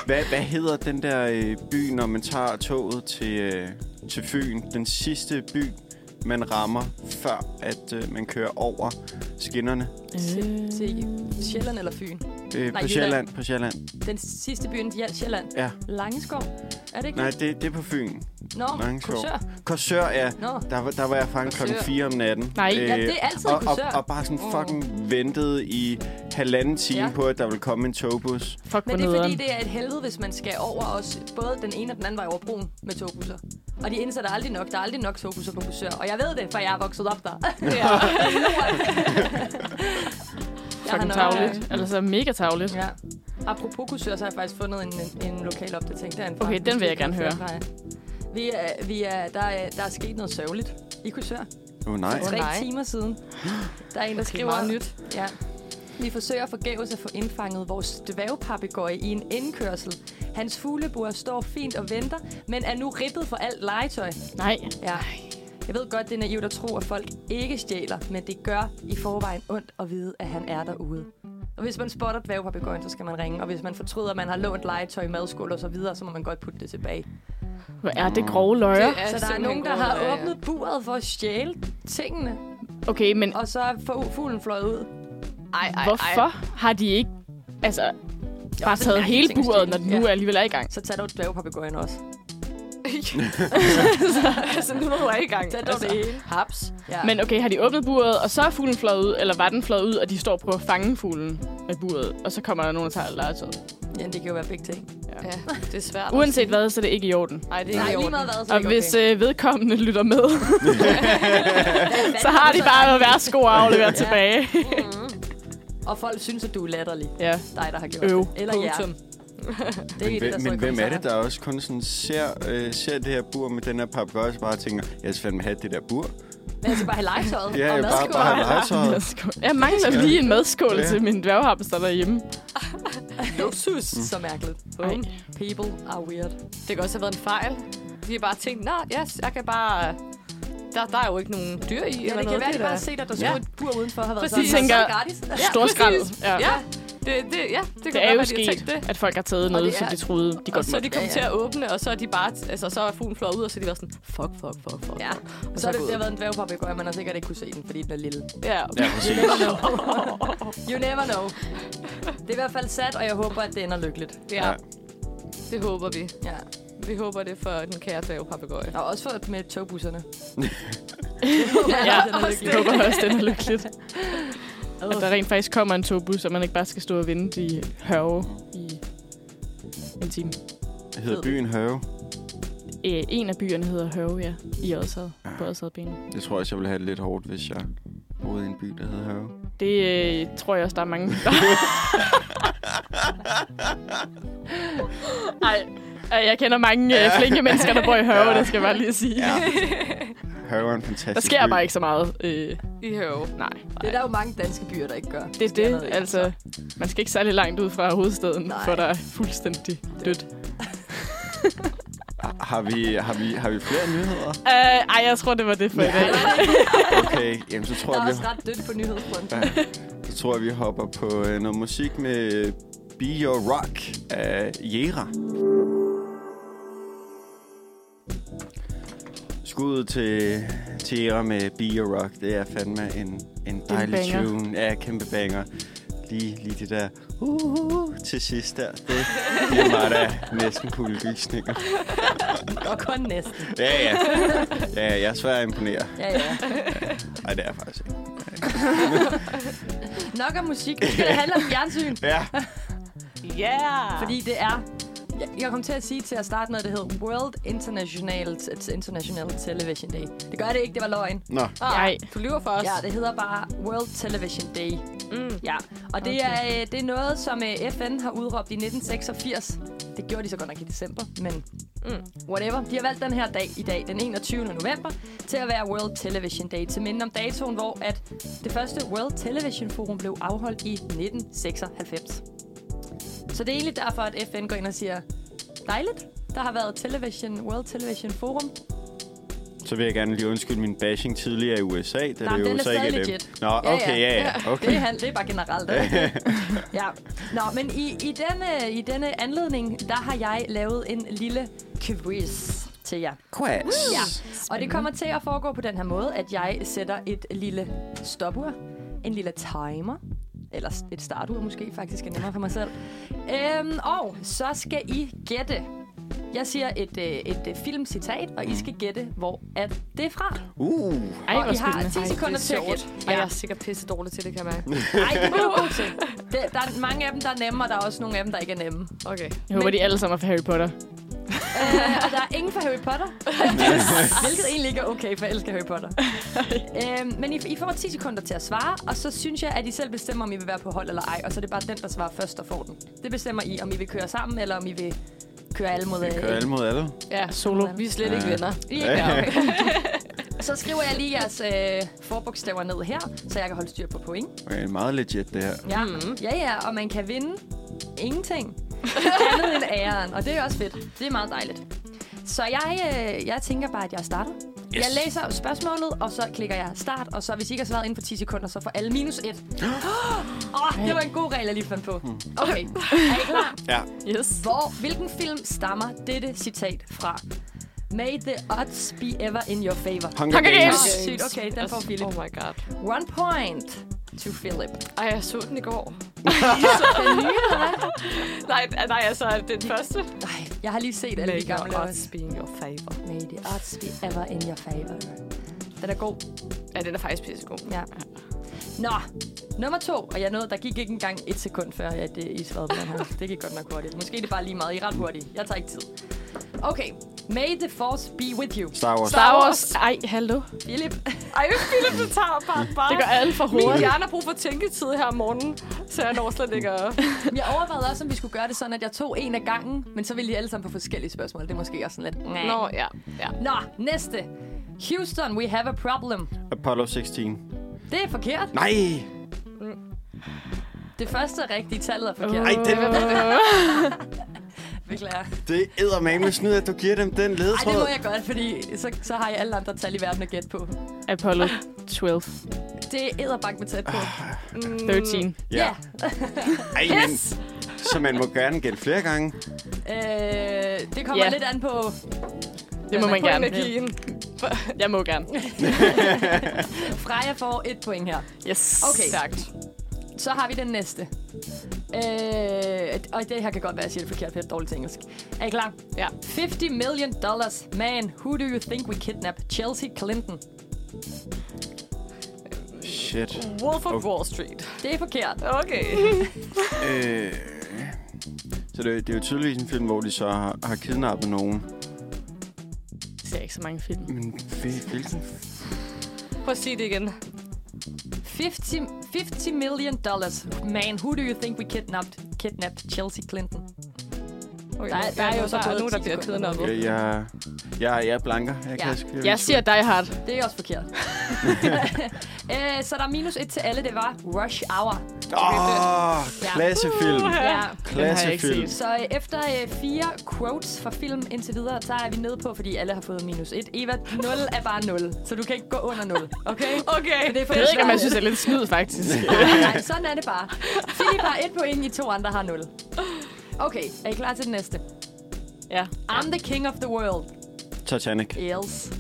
B: Hvad, hvad hedder den der øh, by, når man tager toget til, øh, til Fyn? Den sidste by, man rammer, før at øh, man kører over skinnerne
C: Øh.
D: Til- til Sjælland eller Fyn?
B: øh,
D: Nej,
B: på
D: Jylland.
B: Sjælland. På Sjælland.
D: Den sidste by, den hjalp Sjælland.
B: Ja.
D: Langeskov? Er det ikke
B: Nej,
D: det?
B: det, det er på Fyn.
D: Nå,
B: Langeskov.
D: Korsør.
B: Korsør, ja.
D: Nå.
B: Der, var- der var jeg fanget klokken
D: Korsør.
B: 4 om natten. Øh,
C: Nej. Ja,
D: det er altid
B: og, og,
D: Korsør.
B: og bare sådan
D: Åh.
B: fucking ventede i halvanden time
D: Ja.
B: ja. på, at der ville komme en togbus.
C: Fuck, hvor
D: Men det er fordi,
C: nederen.
D: det er et helvede, hvis man skal over os. Både den ene og den anden vej over broen med togbusser. Og de indsætter aldrig nok. Der er aldrig nok togbusser på Korsør. Og jeg ved det, for jeg er vokset op der. jeg
C: Fucking tavligt. Altså, mega tavligt.
D: Ja. Apropos Korsør, så har jeg faktisk fundet en, en, en lokal opdatering derinde.
C: Okay, den vil jeg gerne høre.
D: Vi er, vi er, der, er, der er sket noget sørgeligt i Korsør.
B: Åh oh, nej.
D: For tre
F: nej.
D: timer siden. Der er en, der skriver...
F: meget nyt.
D: Ja. Vi forsøger forgæves at få indfanget vores dværgpapegøje i en indkørsel. Hans fuglebur står fint og venter, men er nu rippet for alt legetøj.
C: Nej.
D: Ja. Jeg ved godt, det er naivt at tro, at folk ikke stjæler, men det gør i forvejen ondt at vide, at han er derude. Og hvis man spotter dværgpapegøjen, så skal man ringe. Og hvis man fortryder, at man har lånt legetøj, madskål og så videre, så må man godt putte det tilbage.
C: Hvor er det grove løjer?
D: Ja, så der er
A: simpelthen
D: nogen, der
A: gode
D: har
A: løjer.
D: åbnet buret for at stjæle tingene,
C: Okay, men
D: og så er fu- fuglen fløjet ud.
A: Ej, ej,
C: hvorfor har de ikke altså, bare
D: det er
C: taget
D: mærkeligt
C: hele
D: ting at
C: buret,
D: stjæle.
C: når den nu
D: Ja.
C: alligevel er i gang?
D: Så tag dog dværgpapegøjen også.
A: altså, nu er jeg i gang.
D: Tag dog
A: altså.
D: det hele.
A: Haps.
D: Ja.
C: Men okay, har de åbnet buret, og så er fuglen fløjet ud, eller var den fløjet ud, og de står på at fange fuglen med buret, og så kommer der nogen og tager legetøjet.
D: Ja, det kan jo være begge ting.
F: Ja, det er svært. at
C: Uanset
F: sige.
C: hvad, så er det ikke i orden.
F: Nej, det er
D: Nej,
F: ikke i
D: lige
F: orden.
D: meget hvad, så
C: Og hvis øh, vedkommende lytter med, så har de bare noget værtsko at aflevere tilbage.
D: Og folk synes, at du er latterlig.
C: Ja,
D: Dig, der har gjort
C: øv.
D: det. Eller jer.
F: Punktum.
D: Det
B: Men,
D: er det, der
B: hvem,
D: står i
B: men hvem er det,
D: kommentarerne.
B: der også kun sådan ser, øh, ser det her bur med den her papegøje, og bare tænker, jeg skal fandme have det der bur.
D: Men jeg skal bare have legetøjet
B: Ja,
D: og
B: jeg bare,
D: madskål.
B: bare have legetøjet.
C: Jeg mangler lige en madskål
B: Ja.
C: til min dværghamster derhjemme.
D: Luksus. Så mærkeligt.
C: Ej.
D: People are weird.
F: Det kan også have været en fejl. De har bare tænkt, nå, yes, jeg kan bare... Der, der er jo ikke nogen dyr i,
D: Ja,
F: eller
D: det
F: noget.
D: kan være, de
F: er
D: bare
F: da-
D: set, at der
F: Ja.
D: stod et bur udenfor og har været
F: Præcis.
D: sådan.
C: Tænker-
D: så er det gratis.
C: Stor skrald.
F: Ja.
C: Ja.
F: ja. Det, det, ja, det,
C: Det
F: kan godt
C: er
F: være, de
C: jo
F: har tænkt
C: sket,
F: det.
C: at folk har taget noget,
F: det
C: som
F: er-
C: de troede, de
F: Og
C: godt
F: så er de
C: måtte.
F: kommet
D: Ja,
F: til
D: ja.
F: at åbne, og så er de bare, altså, så er fuglen flået ud, og så er de bare sådan, fuck, fuck, fuck, fuck.
D: Ja.
F: Og
D: Så
F: så
D: har det,
F: gået.
D: det har været en dværgpapegøje, man har sikkert ikke kunne se den, fordi den er lille.
F: Ja,
B: Ja, præcis.
D: You never know. Det er i hvert fald sat, og jeg håber, at det ender lykkeligt.
F: ja.
B: Ja.
F: Det håber vi.
D: Ja.
F: Vi håber det for den kære dværgpapegøje.
D: Og også for, med togbusserne.
C: Ja,
D: den er lykkelig.
C: jeg håber også, den er lykkeligt. At der rent faktisk kommer en togbus, så man ikke bare skal stå og vente i hørve i en time.
B: Det hedder byen Høve.
C: Øh, en af byerne hedder Hørve, ja. I Odsad. På Odsadbanen.
B: Jeg tror også, jeg ville have det lidt hårdt, hvis jeg boede i en by, der hedder Høve.
C: Det øh, tror jeg også, der er mange. Nej, jeg kender mange øh, flinke mennesker, der bor i Hørve, det skal jeg bare lige sige.
B: Ja. Høve er en fantastisk
D: Altså,
C: Der sker
B: by.
C: bare ikke så meget. Øh,
F: I hører
C: nej,
D: Det er der jo mange danske byer, der ikke gør.
C: det er
D: Sker noget,
C: det.
D: ikke?
C: Altså, man skal ikke særlig langt ud fra hovedstaden,
D: Nej.
C: nej. for der er fuldstændig dødt.
B: Har vi, har, vi, har vi flere nyheder?
C: Øh, ej, jeg tror, det var det for i dag.
B: Okay, jamen så tror
D: Der
B: jeg,
D: er
B: vi,
D: også ret dødt på nyhedsfronten.
B: ja, så tror jeg, vi hopper på øh, noget musik med øh, Be Your Rock af Jera. Skud til, til Jera med Be Your Rock. Det er fandme en, en dejlig
C: banger.
B: tune. Ja, kæmpe banger. Lige, lige det der uh, uh, uh, til sidst der. Det giver mig da næsten kuldegysninger.
D: Og kun næsten.
B: Ja, ja. Ja, jeg er svær at imponere.
D: Ja, ja.
B: Nej, det er jeg faktisk ikke.
D: Nok om musik. Nu skal det handle om fjernsyn.
B: Ja.
A: Yeah.
D: Fordi det er... Jeg- Jeg kom til at sige til at starte noget, der hedder World International, International Television Day. Det gør det ikke, det var løgn.
B: Nå.
C: Nej.
F: Du lyver for os.
D: Ja, det hedder bare World Television Day.
F: Mm.
D: Ja, og det, okay. er, øh, det er noget, som øh, FN har udråbt i 1986. Det gjorde de så godt nok i december, men mm. whatever. De har valgt den her dag i dag, den 21. november, til at være World Television Day. Til minde om datoen, hvor at det første World Television Forum blev afholdt i 1996. Så det er egentlig derfor, at FN går ind og siger, dejligt, der har været Television, World Television Forum.
B: Så vil jeg gerne lige undskylde min bashing tidligere i USA. Da
D: Nej,
B: det
D: den er
B: USA ikke
D: stadig
B: dem.
D: legit.
B: Nå, okay, ja, ja.
D: Det, er,
B: Okay.
D: han- det er bare generelt. er det ikke? ja. Nå, men i, i, denne, i denne anledning, der har jeg lavet en lille quiz til jer.
B: Quiz.
D: Ja, og det kommer til at foregå på den her måde, at jeg sætter et lille stopur, en lille timer, eller et startur måske faktisk er nemmere for mig selv. Øhm, og så skal I gætte. Jeg siger et, øh, et øh, filmcitat, og I skal gætte, hvor at det er fra.
B: Uh,
C: Ej,
D: og
C: hvor
D: I har
C: spændende.
D: 10 sekunder til at gætte.
F: Og jeg er sikkert pisse dårlig til det, kan jeg mærke.
B: Mm.
D: Ej, det er du god til. Det, der er mange af dem, der er nemme, og der er også nogle af dem, der ikke er nemme.
F: Okay.
C: Jeg håber, de alle sammen er fra Harry Potter.
D: Øh, og der er ingen for Harry Potter. Hvilket egentlig ikke er okay, for jeg elsker Harry Potter. øh, men I, I får 10 sekunder til at svare, og så synes jeg, at I selv bestemmer, om I vil være på hold eller ej. Og så er det bare den, der svarer først, der får den. Det bestemmer I, om I vil køre sammen, eller om I vil køre alle mod øh,
B: kører alle mod alle.
F: Ja,
C: Solo.
F: vi er slet ikke
B: Ja.
F: venner.
D: I er ikke okay. Så skriver jeg lige jeres øh, forbogstaver ned her, så jeg kan holde styr på point.
B: Okay, meget legit det her.
D: Ja. Mm. ja, ja, og man kan vinde ingenting andet end æren, og det er også fedt. Det er meget dejligt. Så jeg, øh, jeg tænker bare, at jeg starter. Yes. Jeg læser spørgsmålet, og så klikker jeg start, og så hvis I ikke har svaret inden for 10 sekunder, så får alle minus 1. Åh, oh, det var en god regel, jeg lige fandt på. Okay, er I klar?
B: Ja.
C: Yes.
D: Hvor, hvilken film stammer dette citat fra? May the odds be ever in your favor.
B: Hunger,
C: Hunger
B: Games.
C: Games.
D: Åh, sygt, okay, den får Philip.
F: Oh my god.
D: One point to Philip.
F: Ej, jeg så den i går.
A: nej, nej, altså den første.
D: Nej, jeg har lige set alle de gamle
F: Make your
D: også.
F: odds be in your favor.
D: May the odds be ever in your favor. Den er god.
A: Ja, den er faktisk pissegod.
D: Ja. Nå, nummer to. Og jeg nåede, der gik ikke engang et sekund før, at øh, I svarede på den her. Det gik godt nok hurtigt. Måske er det bare lige meget. I er ret hurtige. Jeg tager ikke tid. Okay. May the force be with you.
B: Star Wars.
C: Star Wars. Ej, hallo.
D: Philip.
A: Ej, Philip, du tager bare bare.
C: Det går alt for
A: Min
C: hurtigt.
A: hjerne har brug for tænketid her om morgenen, så jeg når slet ikke at...
D: Jeg overvejede også, om vi skulle gøre det sådan, at jeg tog en af gangen. Men så ville I alle sammen på forskellige spørgsmål. Det er måske også sådan lidt...
A: Nå,
D: Nå.
A: ja. ja.
D: Nå, næste. Houston, we have a problem.
B: Apollo 16.
D: Det er forkert.
B: Nej!
D: Det første rigtige tallet er forkert.
B: Nej, den,
D: Beklager.
B: det er eddermame snyd, at du giver dem den
D: Ej, det må
B: ledetråd.
D: jeg godt, fordi så, så har jeg alle andre tal i verden at gætte på.
C: Apollo 12.
D: Det er æderbank med tæt på.
C: Ah, 13.
B: Ja. Ej, men,
D: Yes!
B: så man må gerne gætte flere gange.
D: Øh, det kommer
C: Ja.
D: yeah. lidt an på...
C: Det må
D: Ja,
C: man
D: på
C: gerne.
D: energien.
C: Jeg må gerne.
D: Freja får et point her.
C: Yes.
D: Okay.
C: Tak.
D: Så har vi den næste. Øh, og det her kan godt være, at jeg siger det forkert, for det er dårligt til engelsk. Er I klar?
C: Ja.
D: 50 million dollars. Man, who do you think we kidnapped? Chelsea Clinton.
B: Shit.
A: Wolf of Wall Street.
D: Det er forkert.
A: Okay.
B: Øh, så det, det er jo tydeligvis en film, hvor de så har, har kidnappet nogen.
C: Jeg ser ikke så mange film.
B: Men hvil- hvilken?
F: Prøv at sige det igen.
D: 50, 50 million dollars. Man, who do you think we kidnapped? Kidnapped Chelsea Clinton.
F: Okay,
D: Der- der er jo så
F: der
D: både
F: er nogen, der
D: ti
F: bliver
D: sekunder.
F: kidnappet.
B: Jeg, jeg, jeg, jeg er blanker. Jeg kan sgu-
C: Jeg siger Die Hard.
D: Det er også forkert. øh, så der er minus et til alle, det var Rush Hour.
B: Åh,
D: Ja.
B: klassefilm.
D: Ja.
B: Klassefilm.
C: set.
D: Så øh, efter øh, fire quotes fra film indtil videre, så er vi nede på, fordi alle har fået minus et. Eva, 0 er bare 0, så du kan ikke gå under 0, okay?
A: Okay.
D: Men det er for
C: Jeg ved ikke, om
D: svært.
C: jeg synes, det er lidt snyd, faktisk.
D: Nej, nej, sådan er det bare. Philip har et point, I to andre har 0. Okay, er I klar til den næste?
C: Ja.
D: I'm the king of the world.
B: Titanic.
D: Else.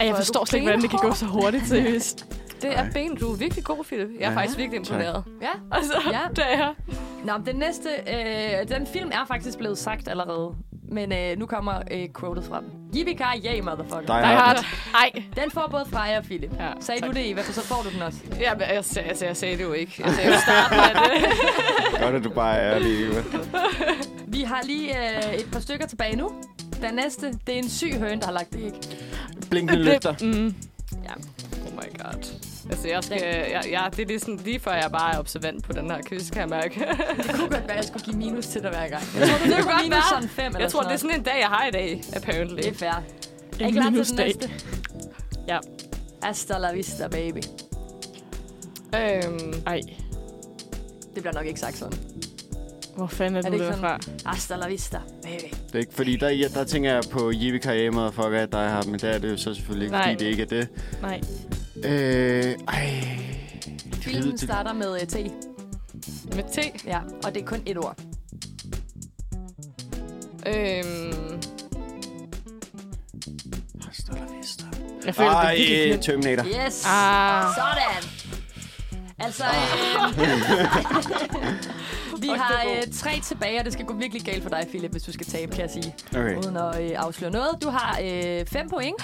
C: Ej, jeg forstår slet ikke, hvordan det kan gå så hurtigt, seriøst.
F: Det er ben. Du er virkelig god, Philip. Jeg er
B: Ja.
F: faktisk virkelig
B: Tak.
F: imponeret.
D: Ja,
C: Altså,
D: ja.
C: det er
D: Nå, men den næste, øh, den film er faktisk blevet sagt allerede, men øh, nu kommer øh, quotet fra den. Yippee yay, motherfucker.
B: Die
C: Die Hard.
B: Hard.
C: Ej.
D: Den får både Freja og Philip.
C: Ja,
D: Sagde
C: tak.
D: du det, Eva, for så får du den også.
F: Ja, men jeg, sag, altså, jeg sagde det jo ikke. Jeg sagde jo start.
B: Godt, at du bare er ærlig, Eva.
D: Vi har lige øh, et par stykker tilbage nu. Den næste, det er en syg høne, der har lagt det ikke.
B: Blinkende lygter.
C: Mm.
F: Oh my god. Altså, jeg skal, jeg, jeg, det er lige, sådan, lige før, jeg bare er observant på den her quiz, kan jeg mærke.
D: Det kunne godt være, at jeg skulle give minus til dig hver gang. Jeg tror, du det
F: kunne godt
D: minus
F: være.
D: sådan fem eller
B: altså-
F: jeg tror, det
D: sådan
F: er sådan en dag, jeg har i dag, apparently.
D: noget. Det er fair. Er I
C: En
D: klar til den
C: minusdag.
D: næste?
C: Ja.
D: Hasta la vista, baby.
F: Øhm,
C: Ej.
D: Det bliver nok ikke sagt sådan.
C: Hvor fanden er,
D: det
C: du
D: ikke
C: derfra?
D: Hasta la vista, baby.
B: Det er ikke, fordi der, ja, der tænker jeg på Jeppe Karriere Motherfucker, der har men der er det jo så selvfølgelig ikke,
C: Nej.
B: fordi det ikke er det.
C: Nej.
B: Øh, ej.
D: Filmen starter med uh, T.
F: Med T.
D: Ja, og det er kun et ord.
F: Øhm,
B: Hasta la vista.
C: Jeg føler, Ej. det er
B: Ej,
C: virkelig
B: Terminator.
D: Yes!
C: Ah.
D: Sådan! Altså,
A: Ah.
D: øh, vi har øh, tre tilbage, og det skal gå virkelig galt for dig, Philip, hvis du skal tabe, kan jeg sige.
B: Okay.
D: Uden at øh, afsløre noget. Du har øh, fem point.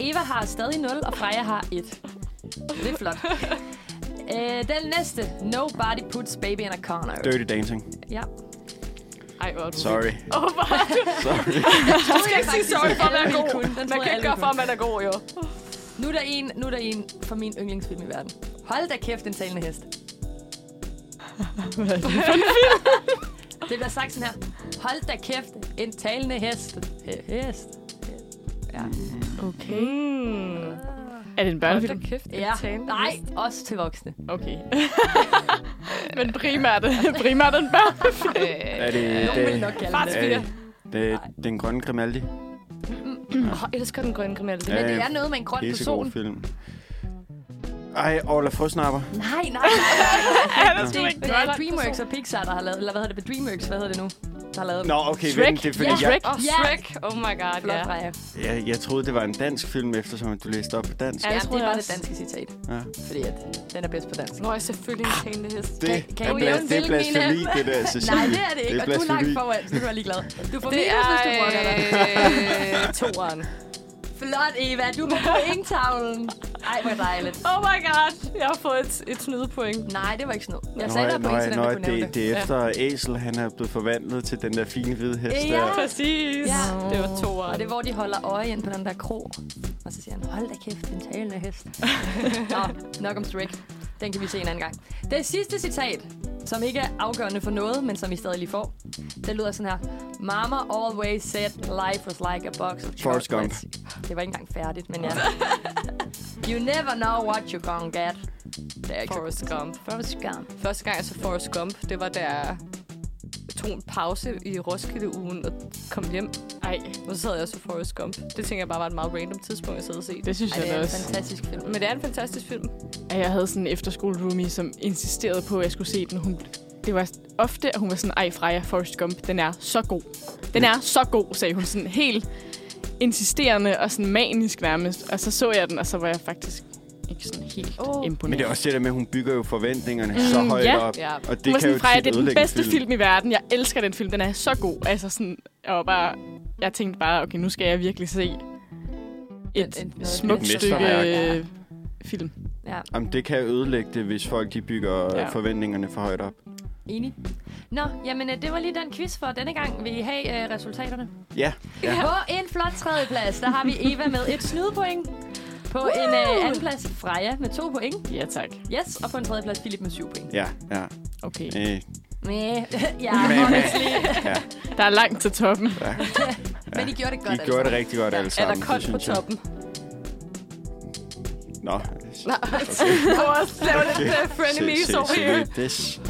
D: Eva har stadig 0, og Freja har 1. Det er flot. øh, den næste. Nobody puts baby in a corner.
B: Dirty Dancing.
D: Ja.
C: Ej, hvor er du
B: Sorry.
C: Åh, hvor er du
B: Sorry.
D: Du skal ikke sige sorry
A: for at være god.
D: Den
A: Man
D: troede
A: kan
D: jeg
A: ikke
D: alle
A: gøre
D: kunne.
A: for, at man er god, jo.
F: Mm.
D: Nu er der en, nu er der en fra min yndlingsfilm i verden. Hold da kæft, den talende hest. det bliver sagt sådan her. Hold da kæft, en talende hest. He- Hest.
C: Okay.
F: mm,
C: Er det Ah. en
F: hold da
C: børnefilm?
F: kæft, en
D: Ja.
F: talende
D: Nej,
F: hest.
D: også til voksne.
C: Okay. Men primært, primært en børnefilm.
B: Er det...
D: Nogen vil nok kalde
B: det,
D: det.
B: er det, det, det er den grønne Grimaldi.
F: Åh, jeg elsker den grønne kriminelle.
D: Men det er noget med en grøn person.
B: Pissegod øh, film. Ej, Orla Frøsnapper.
D: Nej, nej, nej.
C: Er der sgu
D: Det
C: ikke
D: er
C: godt?
D: DreamWorks og Pixar, der har lavet... Eller hvad hedder det? DreamWorks, hvad hedder det nu? Der har lavet...
B: Nå, okay,
C: Shrek.
B: vent, det er fordi,
D: Ja,
B: jeg,
C: Shrek.
F: Åh, oh,
D: Ja.
F: Shrek. Oh my god,
D: Flot,
F: ja.
D: Freja.
B: jeg, jeg troede, det var en dansk film, eftersom at du læste op på dansk.
C: Ja,
D: Ja,
C: det
D: det
C: troede
D: er
C: jeg
D: bare det
C: også.
D: danske citat.
B: Ja.
D: Fordi at den er bedst på dansk.
F: Nå, jeg er selvfølgelig en talende hest.
B: Det,
D: kan
B: er,
D: du
B: blas,
D: nævne,
B: det er
D: hvilken en af
B: blasfemi, det
D: dem?
B: der, Cecilie.
D: Nej, det er det ikke, og du er
B: blasfemi.
D: langt foran, så du er ligeglad. Du får
F: Det er
D: minus, hvis du brokker dig.
F: øh, toeren.
D: Flot, Eva. Du er på pointtavlen. Ej, hvor dejligt.
F: Oh my god, jeg har fået et, et snydepoint.
D: Nej, det var ikke snyd. Jeg
B: Nå,
D: sagde, der var point, så den
B: nå,
D: der kunne nævne
B: det,
D: det.
B: det er efter Æsel, han er blevet forvandlet til den der fine hvide hest
D: Ja.
B: der.
C: Præcis.
D: Ja.
C: Det var to år.
D: Og det er, hvor de holder øje ind på den der krog. Og så siger han, hold da kæft, den talende hest. Nå, nok om Shrek. Den kan vi se en anden gang. Det sidste citat, som ikke er afgørende for noget, men som I stadig lige får. Det lyder sådan her. Mama always said life was like a box of
B: Forrest Gump.
D: chocolates. Det var ikke engang færdigt, men ja. You never know what you're gonna get. Det er ikke så
F: Forrest Gump.
D: Forrest Gump.
F: Første gang jeg så Forrest Gump, det var da jeg tog en pause i Roskilde-ugen og kom hjem.
C: Ej,
F: Og så sad jeg og så Forrest Gump. Det tænker jeg bare var et meget random tidspunkt, jeg sad og se det.
C: det synes
D: Ej,
C: jeg
D: det
C: da
D: er altså en
C: også.
D: fantastisk film.
F: Men det er en fantastisk film.
C: at jeg havde sådan en efterskole-roomie, som insisterede på, at jeg skulle se den. Hun, det var ofte, at hun var sådan, ej Freja, Forrest Gump, den er så god. Den er så god, sagde hun sådan helt insisterende og sådan manisk nærmest. Og så så jeg den, og så var jeg faktisk ikke sådan helt
F: Åh.
C: oh. imponeret.
B: Men det er også det der med, at hun bygger jo forventningerne
D: Mm,
B: så højt
C: ja.
B: op.
F: Ja.
B: Og
C: hun
B: det
C: var
B: kan jo
C: sådan, Freja,
B: tit
C: det er den
B: ødelægge en
C: bedste film. film i verden. Jeg elsker den film, den er så god. Altså sådan, jeg var bare, jeg tænkte bare, okay, nu skal jeg virkelig se et
D: Et- et- noget
C: smukt
B: et
C: stykke
B: mesterværk.
C: øh, film.
D: Ja.
B: Jamen, det kan ødelægge det, hvis folk de bygger
C: Ja.
B: ja. forventningerne for højt op.
D: Enig. Nå, jamen øh, det var lige den quiz for denne gang. Vil I have øh, resultaterne?
B: Ja,
D: Ja. På en flot tredjeplads, der har vi Eva med et snydepoint. På Woo! en øh, anden plads Freja med to point.
C: Ja, tak.
D: Yes, og på en tredje plads Philip med syv point.
B: ja, ja.
C: Okay.
B: Øh,
D: Næh, ja,
B: mæh,
D: honestly.
C: Der er langt til toppen.
D: Men I gjorde det godt.
B: I gjorde det rigtig godt altså. alle
F: Er
B: sammen.
F: der koldt på
B: synes jeg.
F: toppen?
B: Nå,
F: Vores laveste frenemies over here.
B: This.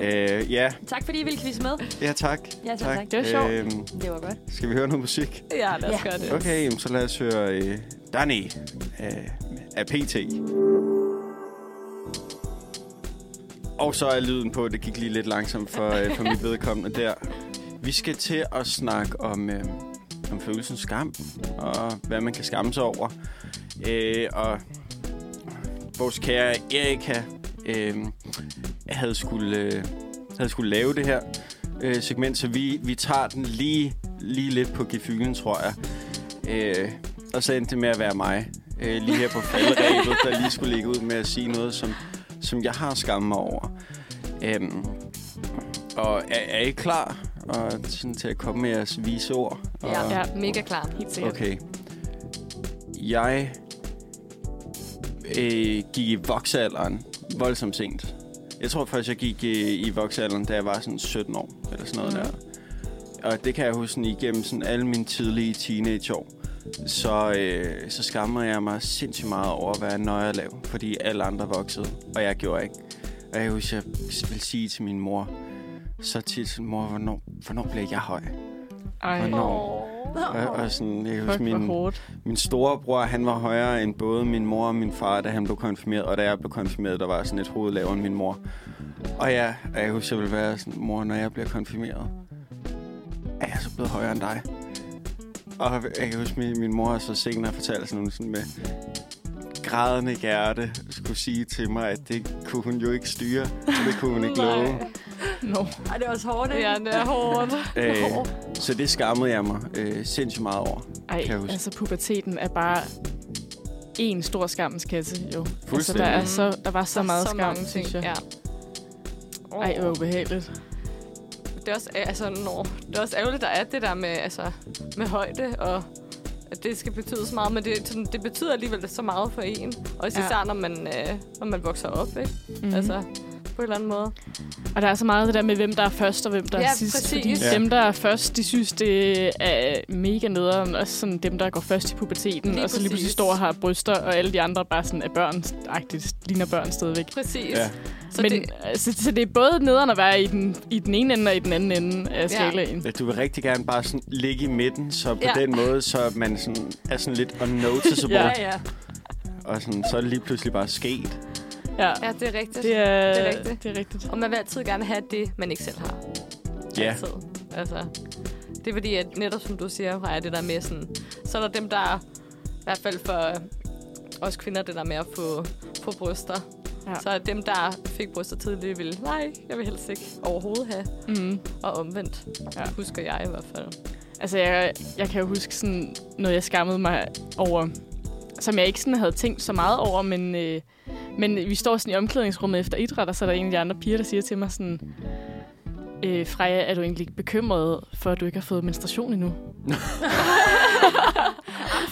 B: Øh, ja,
D: Tak fordi I ville quiz med.
B: ja tak.
D: Ja, selv tak.
C: Det var sjovt.
B: Øhm,
D: Det var godt.
B: skal vi høre noget musik?
F: Ja, lad os gøre det.
B: Okay, jamen, så lad os høre øh, Danny øh, af PT. Og så er lyden på, det gik lige lidt langsomt for, øh, for mit vedkommende der. Vi skal til at snakke om, øh, om følelsen skam, og hvad man kan skamme sig over. Øh, og vores kære Erika øh, havde, skulle, øh, havde skulle lave det her øh, segment, så vi, vi tager den lige, lige lidt på gefylen, tror jeg. Øh, og så endte det med at være mig. Øh, lige her på falderæbet, der lige skulle ligge ud med at sige noget, som, som jeg har skammet mig over. Øhm, og er, er I klar og, sådan, til at komme med jeres vise ord? Og,
D: Ja.
C: Ja,
F: Mega klar.
C: helt sikkert.
B: Okay. Jeg øh, gik i voksalderen voldsomt sent. Jeg tror faktisk, jeg gik øh, i voksalderen, da jeg var sådan 17 år, eller sådan noget mm. der. Og det kan jeg huske sådan, igennem sådan alle mine tidlige teenageår. Så, øh, så skammer jeg mig sindssygt meget over, hvad jeg nøjer lav, fordi alle andre voksede, og jeg gjorde ikke. Og jeg husker, jeg ville sige til min mor, så tit sådan, mor, hvornår, hvornår bliver jeg høj?
C: Ej,
B: Hvornår? Og, og sådan, jeg kan
C: fuck
B: huske,
C: hvor
B: min,
C: hårdt.
B: min storebror, han var højere end både min mor og min far, da han blev konfirmeret. Og da jeg blev konfirmeret, der var jeg sådan et hoved lavere end min mor. Og ja, og jeg husker, jeg ville være sådan, mor, når jeg bliver konfirmeret, er jeg så blevet højere end dig? Og jeg kan huske, min, min mor så senere fortalte sådan, hun sådan med grædende hjerte skulle sige til mig, at det kunne hun jo ikke styre, så det kunne hun ikke love.
C: No.
D: Ej, det er også hårdt, ikke?
C: Ja, det er hårdt.
B: Øh, så det skammede jeg mig øh, sindssygt meget over.
C: Ej,
B: Kan jeg huske.
C: altså puberteten er bare en stor skammens kasse, jo. Altså, der,
B: Fuldstændig.
C: er så, der var så meget skam, synes jeg.
A: Ja.
C: Ej, hvor ubehageligt.
A: det er også, altså, no. det er også ærgerligt, der er det der med, altså, med højde, og at det skal betyde så meget, men det, sådan, det betyder alligevel så meget for en. Og
C: Ja. Mhm.
A: især ja. når, man, øh, når man vokser op, ikke? Mm. Altså, på en eller anden måde.
C: Og der er så meget det der med, hvem der er først og hvem der
A: Ja,
C: er sidst.
A: præcis.
C: Fordi
B: Ja.
C: dem, der er først, de synes, det er mega nederen. Også sådan dem, der går først i puberteten,
A: Lige
C: og så lige pludselig
A: præcis.
C: står og har bryster, og alle de andre bare sådan er børn-agtigt, ligner børn stadigvæk.
A: Præcis.
B: Ja.
A: Så
C: Så, Men,
A: det,
C: det... Så, så det er både nederen at være i den, i den ene ende og i den anden ende af skalaen.
B: Ja, Du vil rigtig gerne bare sådan ligge i midten, så på ja.
A: Ja.
B: den måde, så man sådan, er sådan lidt unnoticeable,
C: Ja.
B: ja.
D: Ja, ja.
B: og sådan, så er det lige pludselig bare sket.
C: Ja.
A: ja, det er rigtigt.
C: Det er,
A: Det er rigtigt.
C: Det er rigtigt.
A: Og man vil altid gerne have det, man ikke selv har.
B: Ja,
A: Altid. Altså, det er fordi, at netop som du siger, Freja, det der med sådan, så er der dem, der i hvert fald for øh, os kvinder, det der med at få, få bryster.
C: Ja.
A: Ja. Så er dem, der fik bryster tidligt, ville, nej, jeg vil helst ikke overhovedet have.
C: Mm.
A: Og omvendt,
C: Ja.
A: ja. husker jeg i hvert fald.
C: Altså, jeg, jeg kan jo huske sådan noget, jeg skammede mig over, som jeg ikke sådan havde tænkt så meget over, men, øh, men vi står sådan i omklædningsrummet efter idræt, og så er der en af de andre piger, der siger til mig sådan, øh, Freja, er du egentlig ikke bekymret for, at du ikke har fået menstruation endnu?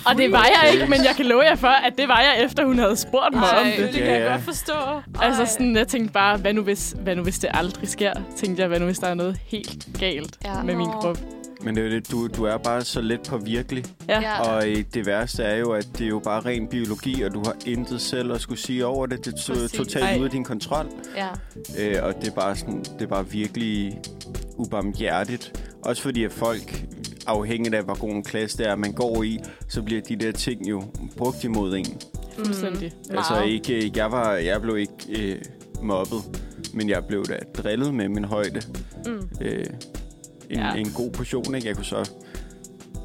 C: og det var jeg ikke, men jeg kan love jer for, at det var jeg, efter hun havde spurgt mig om det.
A: det kan jeg
B: Ja, ja.
A: godt forstå.
C: Altså sådan, jeg tænkte bare, hvad nu, hvis, hvad nu hvis det aldrig sker? Tænkte jeg, hvad nu hvis der er noget helt galt ja.
A: Ja.
C: med min
A: Nå.
C: krop?
B: men det, er jo det, du, du er bare så let på virkelig.
C: Ja.
A: Ja.
B: Og øh, det værste er jo, at det er jo bare ren biologi, og du har intet selv at skulle sige over det. Det er to-
A: Præcis.
B: totalt
C: Ej.
B: ude af din kontrol.
A: Ja.
B: Øh, og det er bare sådan, det er bare virkelig ubarmhjertigt. Også fordi at folk, afhængigt af hvor god en klasse det er, man går i, så bliver de der ting jo brugt imod en.
C: Fuldstændig.
A: Meget.
B: Altså ikke, jeg, var, jeg blev ikke øh, mobbet, men jeg blev da drillet med min højde.
A: Mm.
B: Øh, en, ja.
C: Ja.
B: en god portion, ikke? Jeg kunne så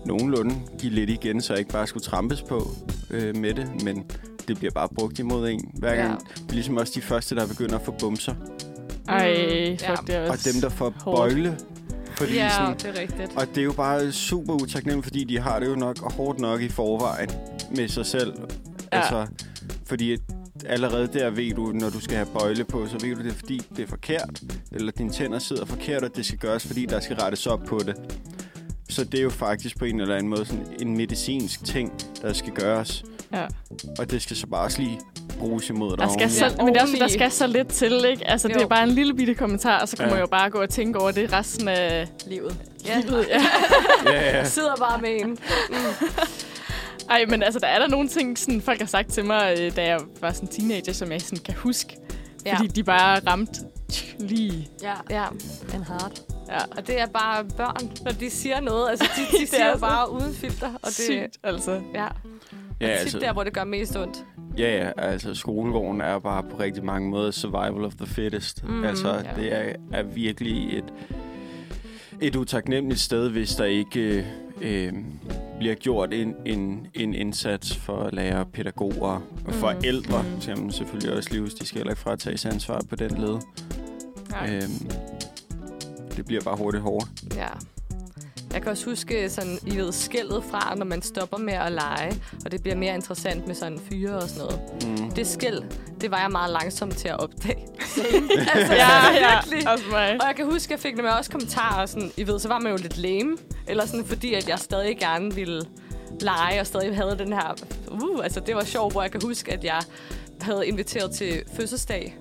B: nogenlunde give lidt igen, så jeg ikke bare skulle trampes på øh, med det, men det bliver bare brugt imod en hver
A: Ja.
B: gang. Det er ligesom også de første, der begynder at få bumser,
C: Ej,
A: Mm,
C: fuck, det er
B: og
C: også...
B: dem, der får
C: hårdt.
B: bøjle. Fordi
A: ja,
B: sådan,
A: det er rigtigt.
B: og det er jo bare super utaknemmeligt, fordi de har det jo nok og hårdt nok i forvejen med sig selv. Ja.
C: Ja.
B: Altså, fordi at allerede der ved du, når du skal have bøjle på, så ved du det, er, fordi det er forkert. Eller dine tænder sidder forkert, og det skal gøres, fordi der skal rettes op på det. Så det er jo faktisk på en eller anden måde sådan en medicinsk ting, der skal gøres.
C: Ja.
B: Og det skal så bare også lige bruges imod dig.
C: Der skal
B: oveni.
C: så,
A: Ja,
C: men det er også,
A: ordentligt.
C: der skal så lidt til, ikke? Altså, det
A: Jo.
C: er bare en lille bitte kommentar, og så kan
B: Ja.
C: man jo bare gå og tænke over det resten af
D: Livet.
A: Ja.
C: livet. Ja.
B: ja, ja.
A: Sidder bare med en.
C: Ej, men altså, der er der nogle ting, sådan, folk har sagt til mig, øh, da jeg var sådan teenager, som jeg sådan kan huske. Ja.
A: Ja.
C: Fordi de bare ramte lige.
D: Ja.
A: Ja.
D: En hard.
C: Ja.
A: Og det er bare børn, når de siger noget. Altså, de, de
C: er
A: siger
C: så
A: jo bare uden filter. Og
C: Og
A: det,
C: det... Sygt, altså.
A: Ja.
B: ja,
A: Ja, tit
B: altså,
A: der, hvor det gør mest ondt.
B: Ja, ja, altså skolegården er bare på rigtig mange måder survival of the fittest. Mm,
A: Mhm,
B: altså, ja.
C: ja.
B: det er, er virkelig et, et utaknemmeligt sted, hvis der ikke øh, øh, bliver gjort en, en, en indsats for lærere, pædagoger og mm, forældre.
C: mhm.
B: Mm. Som selvfølgelig også livs, de skal heller ikke fratages ansvar på den led.
C: Nej.
B: Øhm, det bliver bare hurtigt hårdere.
A: Ja. Jeg kan også huske sådan, I ved, skældet fra, når man stopper med at lege, og det bliver mere interessant med sådan fyre og sådan noget.
B: Mm.
A: Det skæld, det var jeg meget langsom til at opdage.
C: Altså, ja, ja, også mig.
A: Og jeg kan huske, jeg fik nemlig også kommentarer, sådan, I ved, så var man jo lidt lame, eller sådan, fordi at jeg stadig gerne ville lege, og stadig havde den her, uh, altså det var sjovt, hvor jeg kan huske, at jeg havde inviteret til fødselsdag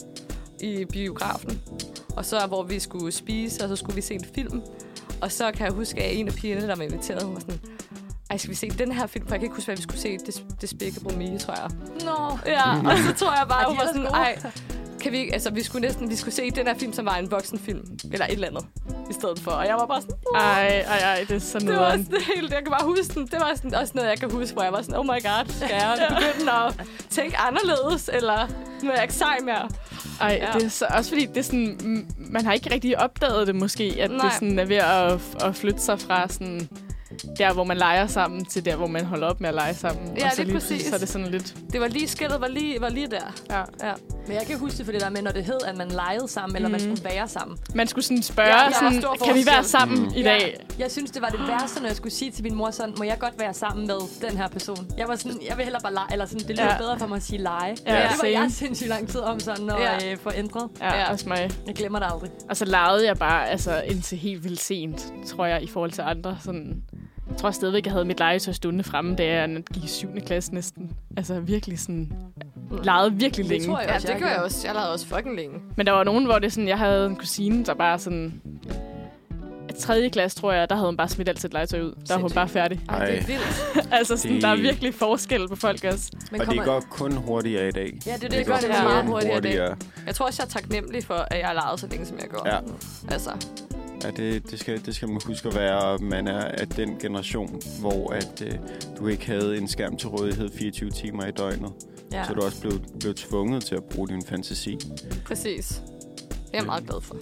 A: i biografen, og så hvor vi skulle spise, og så skulle vi se en film, og så kan jeg huske, at en af pigerne, der var inviteret, hun var sådan, ej, skal vi se den her film? For jeg kan ikke huske, hvad vi skulle se. Det, det spækker på mig, tror jeg.
D: Nå.
A: Ja, og så tror jeg bare,
D: Ej,
A: hun
D: de er
A: var
D: ellers
A: sådan,
D: gode.
A: ej, kan vi ikke, altså vi skulle næsten, vi skulle se den her film, som var en voksenfilm, eller et eller andet, i stedet for. Og jeg var bare sådan, "Åh."
C: Ej, ej, ej, det er sådan
A: det var
C: noget.
A: også det hele, jeg kan bare huske den. Det var sådan, også noget, jeg kan huske, hvor jeg var sådan, oh my god, skal jeg begynde at tænke anderledes, eller nu er jeg ikke sej mere.
C: Ej,
A: Ja.
C: ja. det er så, også fordi, det er sådan, m- man har ikke rigtig opdaget det måske, at Nej.
A: Nej.
C: det sådan er ved at, f- at flytte sig fra sådan der, hvor man leger sammen, til der, hvor man holder op med at lege sammen.
A: Ja,
C: og så
A: lige
C: pludselig,
A: præcis.
C: Så er det sådan lidt...
A: Det var lige, skillet var lige, var lige der.
C: Ja.
D: Men jeg kan huske det for det der med, når det hed, at man legede sammen, mm. eller man skulle være sammen.
C: Man skulle sådan spørge,
A: Ja,
C: ja,
A: der var
C: sådan,
A: stor
C: kan vi være
A: forskel."
C: sammen mm. i dag?
D: Jeg synes, det var det værste, når jeg skulle sige til min mor sådan, må jeg godt være sammen med den her person? Jeg var sådan, jeg vil hellere bare lege, eller sådan, det lyder ja.
C: Ja.
D: bedre for mig at sige lege.
C: Ja,
D: det var
C: same.
D: jeg sindssygt lang tid om sådan, og
A: Ja.
D: ja. øh, forændret.
C: Ja,
A: Ja.
C: ja, også mig.
D: Jeg glemmer det aldrig.
C: Og så legede jeg bare altså, indtil helt vildt sent, tror jeg, i forhold til andre. Sådan, jeg tror stadigvæk, jeg havde mit legetøj stående fremme, da jeg gik i 7. klasse næsten. Altså virkelig sådan...
A: Mm.
C: Legede virkelig længe.
D: Det tror jeg også, har gjort.
A: også. Jeg lavede også fucking længe.
C: Men der var nogen, hvor det sådan, jeg havde en kusine, der bare sådan... i 3. klasse, tror jeg, der havde hun bare smidt alt sit legetøj ud. Der var hun
D: Sindssygt.
C: bare færdig.
A: Ej, det er
B: Ej.
A: vildt.
C: altså, sådan,
B: Det-
C: der er virkelig forskel på folk også.
D: Men
B: Og det
D: kommer-
B: går kun hurtigere i dag.
D: Ja, det er
A: det
D: det,
A: gør
D: jeg
A: det
D: godt
A: meget
D: meget
B: kun
A: hurtigere i dag. Jeg tror også, jeg er taknemmelig for, at jeg har leget så længe, som jeg gjorde.
B: Ja.
A: Altså,
B: Ja, det, det, skal, det skal man huske at være, og man er af den generation, hvor at, øh, du ikke havde en skærm til rådighed 24 timer i døgnet.
D: Ja.
B: Ja. Så du også blev, blev tvunget til at bruge din fantasi.
A: præcis. Det er jeg meget glad for.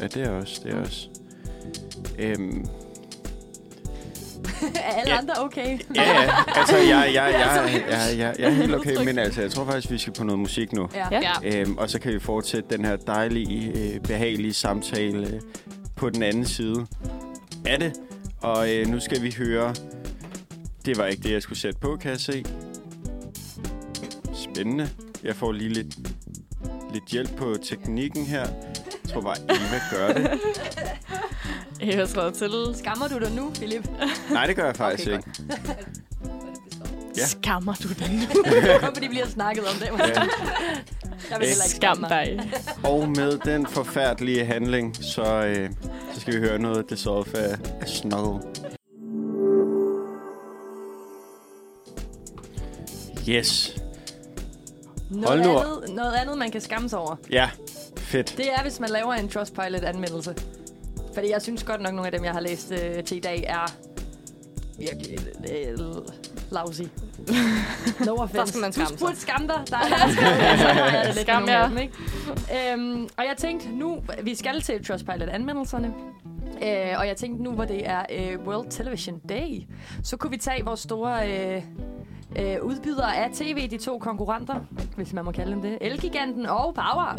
B: Ja, det er også, det er også. Øhm,
D: er alle andre okay?
B: ja, ja, altså, jeg, jeg, jeg,
D: så
B: jeg, jeg, jeg, jeg er helt okay, men altså, jeg tror faktisk, vi skal på noget musik nu.
D: Ja.
C: Ja.
A: Ja.
B: Øhm, og så kan vi fortsætte den her dejlige, øh, behagelige samtale øh, på den anden side af det. Og øh, nu skal vi høre... Det var ikke det, jeg skulle sætte på, kan jeg se. Spændende. Jeg får lige lidt, lidt hjælp på teknikken her. Jeg tror bare, Eva gør det.
C: Jeg har trådt til.
D: Skammer du dig nu, Philip?
B: Nej, det gør jeg faktisk
D: Okay,
B: okay, ikke.
C: Ja.
B: Ja.
C: Skammer du dig nu?
D: Kun fordi vi lige har snakket om det.
B: Ja.
D: Jeg vil heller ikke
C: Skam
D: skamme mig.
C: dig.
B: Og med den forfærdelige handling, så, øh, så skal vi høre noget af det så af Snuggle. Yes.
D: Noget,
B: nu op.
D: andet, noget andet, man kan skamme sig over,
B: Ja, fedt.
D: det er, hvis man laver en Trustpilot-anmeldelse. Fordi jeg synes godt nok, nogle af dem, jeg har læst øh, til i dag, er virkelig øh, lousy. No offense.
A: Der skal man skamme
D: du
A: sig.
D: burde skamme dig. Der er jeg lidt
C: Skam
D: med nogle af
C: jer.
D: dem, ikke? Øhm, og jeg tænkte nu, vi skal til Trustpilot-anmeldelserne. Øh, og jeg tænkte nu, hvor det er øh, World Television Day, så kunne vi tage vores store øh, øh, udbydere af tv, de to konkurrenter, hvis man må kalde dem det. Elgiganten og Power.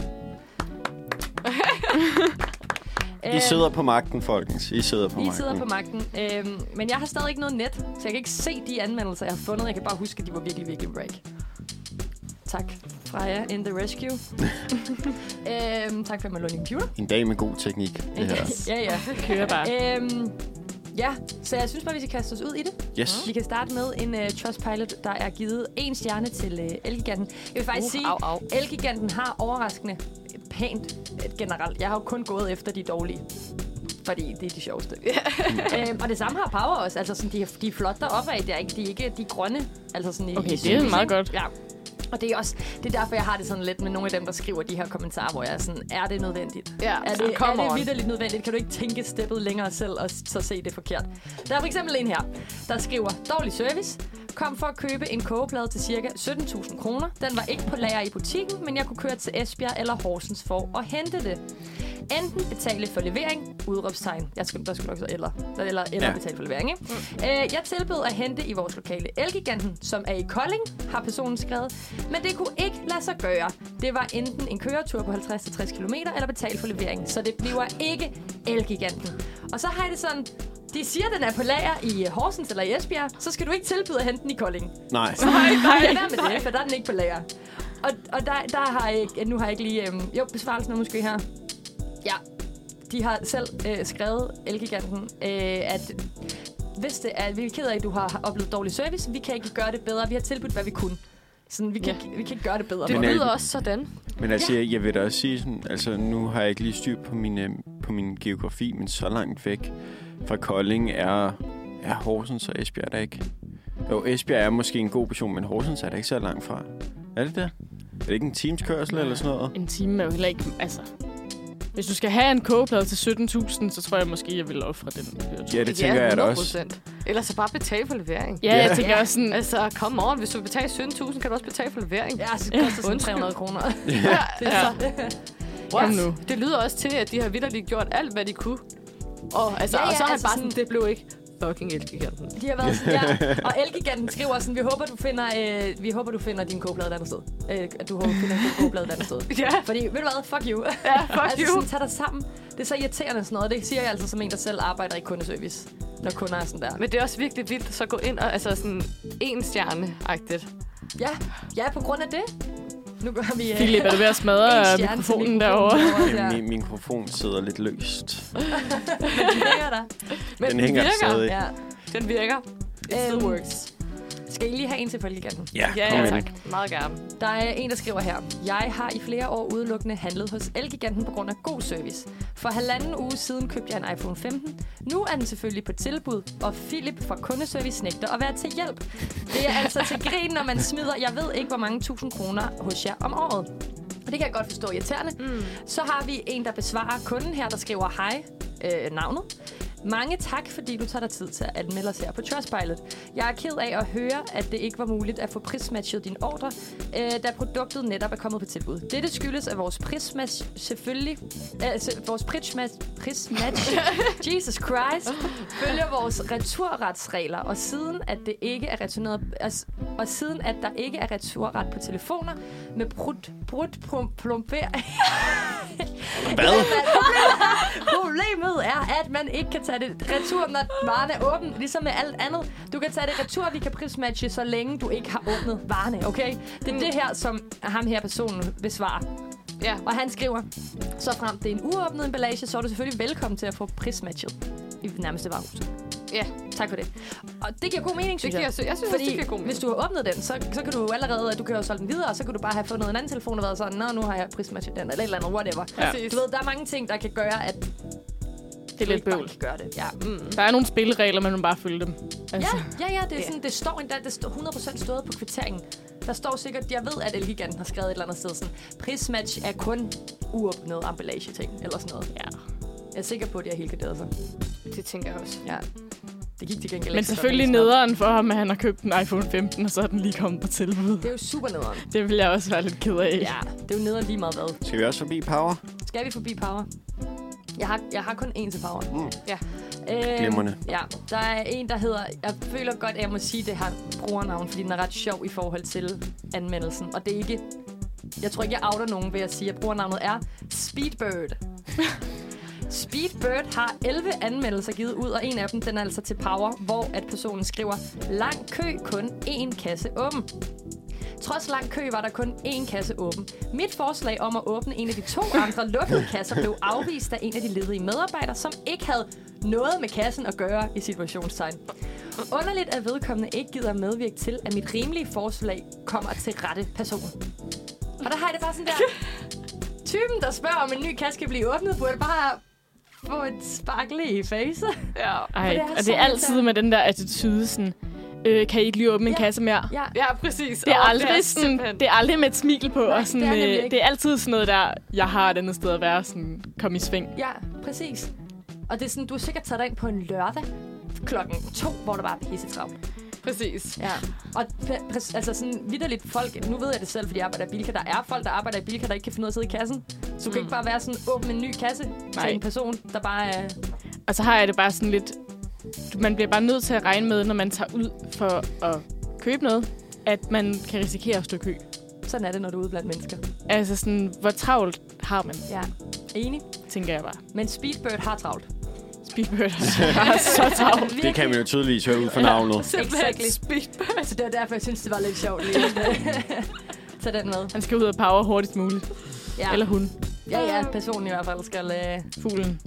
B: I sidder på magten, folkens. I sidder på
D: I
B: magten.
D: Øhm, sidder på magten. Øhm, men jeg har stadig ikke noget net, så jeg kan ikke se de anmeldelser, jeg har fundet. Jeg kan bare huske, at de var virkelig, virkelig break. Tak, Freja in the rescue. øhm, tak for, at man lånte en computer.
B: En dag med god teknik, det her.
D: ja, ja.
C: Kører bare.
D: Øhm, ja, så jeg synes bare, vi skal kaste os ud i det.
B: Yes.
D: Vi kan starte med en uh, Trustpilot, der er givet en stjerne til uh, Elgiganten. Jeg vil faktisk uh, sige,
A: au, au.
D: Elgiganten har overraskende pænt øh, generelt. Jeg har jo kun gået efter de dårlige. Fordi det er de sjoveste. øhm, og det samme har Power også. Altså, sådan, de, er- de er flot deroppe af. Det er ikke, de er ikke de er grønne. Altså, sådan, i-
C: Okay,
D: i,
C: det er
D: synes,
C: meget
D: ikke?
C: godt.
D: Ja. Og det er også det er derfor, jeg har det sådan lidt med nogle af dem, der skriver de her kommentarer, hvor jeg er sådan, er det nødvendigt?
A: Ja,
D: er
A: så
D: det,
A: come
D: er det
A: on.
D: vidderligt nødvendigt? Kan du ikke tænke steppet længere selv og s- så se det forkert? Der er for eksempel en her, der skriver, dårlig service. Kom for at købe en kogeplade til ca. 17.000 kroner. Den var ikke på lager i butikken, men jeg kunne køre til Esbjerg eller Horsens for at hente det. Enten betale for levering, udråbstegn. Jeg skal, der skulle nok så eller. Der, eller, eller ja.
B: Ja.
D: betale for levering, ikke? Mm. Øh, jeg tilbød at hente i vores lokale Elgiganten, som er i Kolding, har personen skrevet. Men det kunne ikke lade sig gøre. Det var enten en køretur på 50-60 km eller betale for levering. Så det bliver ikke Elgiganten. Og så har jeg det sådan... De siger, den er på lager i Horsens eller i Esbjerg, så skal du ikke tilbyde at hente den i Kolding.
B: Nej.
D: Nej, nej, nej. med det, for der er den ikke på lager. Og, og der, der har jeg ikke, nu har jeg ikke lige, øhm, jo, besvarelsen er måske her. Ja, de har selv øh, skrevet, Elgiganten, øh, at hvis det er, vi er ked af, at du har oplevet dårlig service, vi kan ikke gøre det bedre, vi har tilbudt, hvad vi kunne. Sådan, vi kan, ja. vi kan ikke gøre det bedre.
A: Det
B: Men er-
A: lyder også sådan.
B: Men altså, jeg, jeg vil da også sige sådan, altså nu har jeg ikke lige styr på min, øh, på min geografi, men så langt væk fra Kolding er, er Horsens og Esbjerg der ikke. Jo, Esbjerg er måske en god person, men Horsens er der ikke så langt fra. Er det det? Er det ikke en times kørsel eller sådan noget?
C: En time er jo heller ikke... Altså, hvis du skal have en kogeplade til 17.000, så tror jeg måske, jeg vil ofre den.
B: Ja, det tænker jeg da også.
A: Ellers så bare betale for levering.
C: Ja, jeg
B: Ja.
C: tænker også sådan...
A: Altså, kom on. Hvis du betaler 17.000, kan du også betale for levering.
D: Ja, så koster sådan 300 kroner. øh,
A: Ja,
C: altså,
A: What?
C: Kom nu.
A: Det lyder også til, at de har vidderligt gjort alt, hvad de kunne. Og, altså,
D: Ja,
A: ja, ja,
D: ja,
A: og så har
D: altså
A: altså bare sådan,
D: sådan-
A: det blev ikke fucking elgiganten.
D: De har været sådan der. Og Elgiganten skriver sådan, vi håber, du finder, øh, vi håber, du finder din kogeplade et andet sted. Øh, at du håber, du finder en god kogeplade et andet sted.
A: Ja,
D: Fordi, ved du hvad, fuck you.
A: ja, fuck
D: altså, sådan, tag dig sammen. Det er så irriterende sådan noget. Det siger jeg altså som en, der selv arbejder i kundeservice. Når kunder er sådan der.
A: Men det er også virkelig vildt så at gå ind og altså sådan en stjerne-agtigt.
D: Ja, ja på grund af det. Nu går vi... øh,
C: Philip, er du ved at smadre
D: en stjerne til
C: mikrofonen derovre?
D: derovre,
B: Min mikrofon sidder lidt løst.
D: Ja, der.
A: Men
B: Den hænger
A: virker.
B: stadig.
D: Ja.
A: Den virker. It still
D: Øhm,
A: works.
D: Skal I lige have en til Folkegiganten?
B: Ja,
A: Ja,
B: kom
A: ja,
B: ind.
A: tak. Meget gerne.
D: Der er en, der skriver her. Jeg har i flere år udelukkende handlet hos Elgiganten på grund af god service. For halvanden uge siden købte jeg en iPhone 15. Nu er den selvfølgelig på tilbud, og Philip fra kundeservice nægter at være til hjælp. Det er altså til grin, når man smider, jeg ved ikke, hvor mange tusind kroner hos jer om året. Og det kan jeg godt forstå er irriterende. Mm. Så har vi en, der besvarer kunden her, der skriver hej, øh, navnet. Mange tak, fordi du tager dig tid til at anmelde os her på Trustpilot. Jeg er ked af at høre, at det ikke var muligt at få prismatchet din ordre, øh, da produktet netop er kommet på tilbud. Dette skyldes, at vores prismatch selvfølgelig... Øh, se- vores prismatch... prismatch Jesus Christ! Følger vores returretsregler, og siden at det ikke er returneret... altså, Og siden at der ikke er returret på telefoner med brudt, brudt plom- plombering...
B: Hvad?
D: Problemet er, at man ikke kan tage det retur, når varen er åben, ligesom med alt andet. Du kan tage det retur, vi kan prismatche, så længe du ikke har åbnet varerne, okay? Det er mm. det her, som ham her personen besvarer.
A: Ja.
D: Og han skriver, så frem det er en uåbnet emballage, så er du selvfølgelig velkommen til at få prismatchet i den nærmeste varehus.
A: Ja,
D: Tak for det. Og det giver god mening, synes
A: giver-
D: jeg.
A: jeg synes også,
D: Fordi
A: det giver god mening.
D: hvis du har åbnet den, så, så kan du jo allerede, du kan jo solgt den videre, og så kan du bare have fundet en anden telefon og været sådan, nå, nu har jeg prismatchet den, eller et eller andet, whatever.
C: Ja.
D: Du ved, der er mange ting, der kan gøre, at
C: Det er lidt bøvl.
D: gøre det. Ja, mm.
C: Der er nogle spilleregler, men man må bare følge dem.
D: ja,
C: Altså,
D: ja, ja, det, er sådan, det står endda, det står 100% stået på kvitteringen. Der står sikkert, jeg ved, at Elgiganten har skrevet et eller andet sted sådan, prismatch er kun uopnået emballage ting, eller sådan noget.
C: ja.
D: Jeg er sikker på, at de har helt garderet sig.
A: det tænker jeg også.
D: Ja. Det gik til gengæld
C: Men
D: ikke så godt,
C: selvfølgelig
D: at det er sådan noget.
C: nederen for ham, at han har købt en iPhone 15, og så er den lige kommet på tilbud.
D: Det er jo super nederen.
C: Det vil jeg også være lidt ked af.
D: Ja, det er jo nederen lige meget hvad.
B: Skal vi også forbi Power?
D: Skal vi forbi Power? Jeg har, jeg har kun én til Power.
B: Mm.
A: Ja.
D: Øhm,
B: Glimrende.
D: Ja, der er en, der hedder... Jeg føler godt, at jeg må sige det her brugernavn, fordi den er ret sjov i forhold til anmeldelsen. Og det er ikke... Jeg tror ikke, jeg outer nogen ved at sige, at brugernavnet er Speedbird. Speedbird har 11 anmeldelser givet ud, og en af dem den er altså til Power, hvor at personen skriver, lang kø, kun én kasse åben. Trods lang kø var der kun én kasse åben. Mit forslag om at åbne en af de to andre lukkede kasser blev afvist af en af de ledige medarbejdere, som ikke havde noget med kassen at gøre i situationstegn. Underligt at vedkommende ikke gider medvirke til, at mit rimelige forslag kommer til rette person. Og der har jeg det bare sådan der. Typen, der spørger, om en ny kasse kan blive åbnet, burde bare få et sparkle i face.
A: Ja,
C: Ej,
D: det er
C: og det
D: så
C: er altid
D: irriterende.
C: med den der attitude, sådan, øh, kan I ikke lige åbne en
D: Ja.
C: kasse mere?
D: Ja,
A: ja præcis.
C: Det er,
A: Åh,
C: aldrig sådan,
A: simpelthen-
C: det er aldrig med et smil på, Nej, og sådan,
D: det er
C: det,
D: nemlig
C: er øh,
D: ikke.
C: det er altid sådan noget der, jeg har et andet sted at være, sådan, kom i sving.
D: ja, præcis. Og det er sådan, du er sikkert taget dig ind på en lørdag klokken to, hvor der var pissetravlt.
A: Præcis.
D: Ja, og pr- præ- altså sådan vidderligt folk, nu ved jeg det selv, fordi jeg arbejder i Bilka, der er folk, der arbejder i Bilka, der ikke kan finde ud af at sidde i kassen. Så du mm. kan ikke bare være sådan, åbn en ny kasse Nej.
C: Nej.
D: til en person, der bare er...
C: Og så har jeg det bare sådan lidt... du- Man bliver bare nødt til at regne med, når man tager ud for at købe noget, at man kan risikere at stå i kø.
D: Sådan er det, når du er ude blandt mennesker.
C: Altså sådan, hvor travlt har man,
D: Ja. Enig.
C: tænker jeg bare.
D: Men Speedbird har travlt.
C: Speedbird er bare så travlt.
B: Det kan man jo tydeligvis høre ud fra navnet.
D: Exactly. Speedbird. Så det var derfor, jeg synes, det var lidt sjovt lige. Tag den med.
C: Han skal ud og power hurtigst muligt.
D: Ja,
C: Eller hun.
D: ja, ja personen i hvert fald skal... Øh,
C: Fuglen.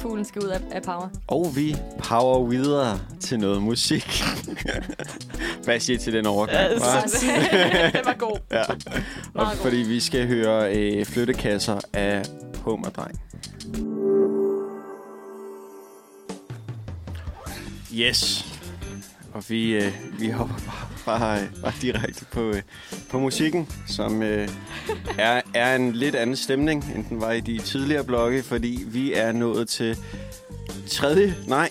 D: fuglen skal ud af, af power.
B: Og vi power videre til noget musik. Hvad siger I til den overgang? hva'?
A: det var god.
B: Ja. Og fordi vi skal høre øh, flyttekasser af Hummerdreng. Yes. Og vi, øh, vi hopper bare bare, bare direkte på, øh, på musikken, som øh, er, er en lidt anden stemning, end den var i de tidligere blokke, fordi vi er nået til tredje, nej,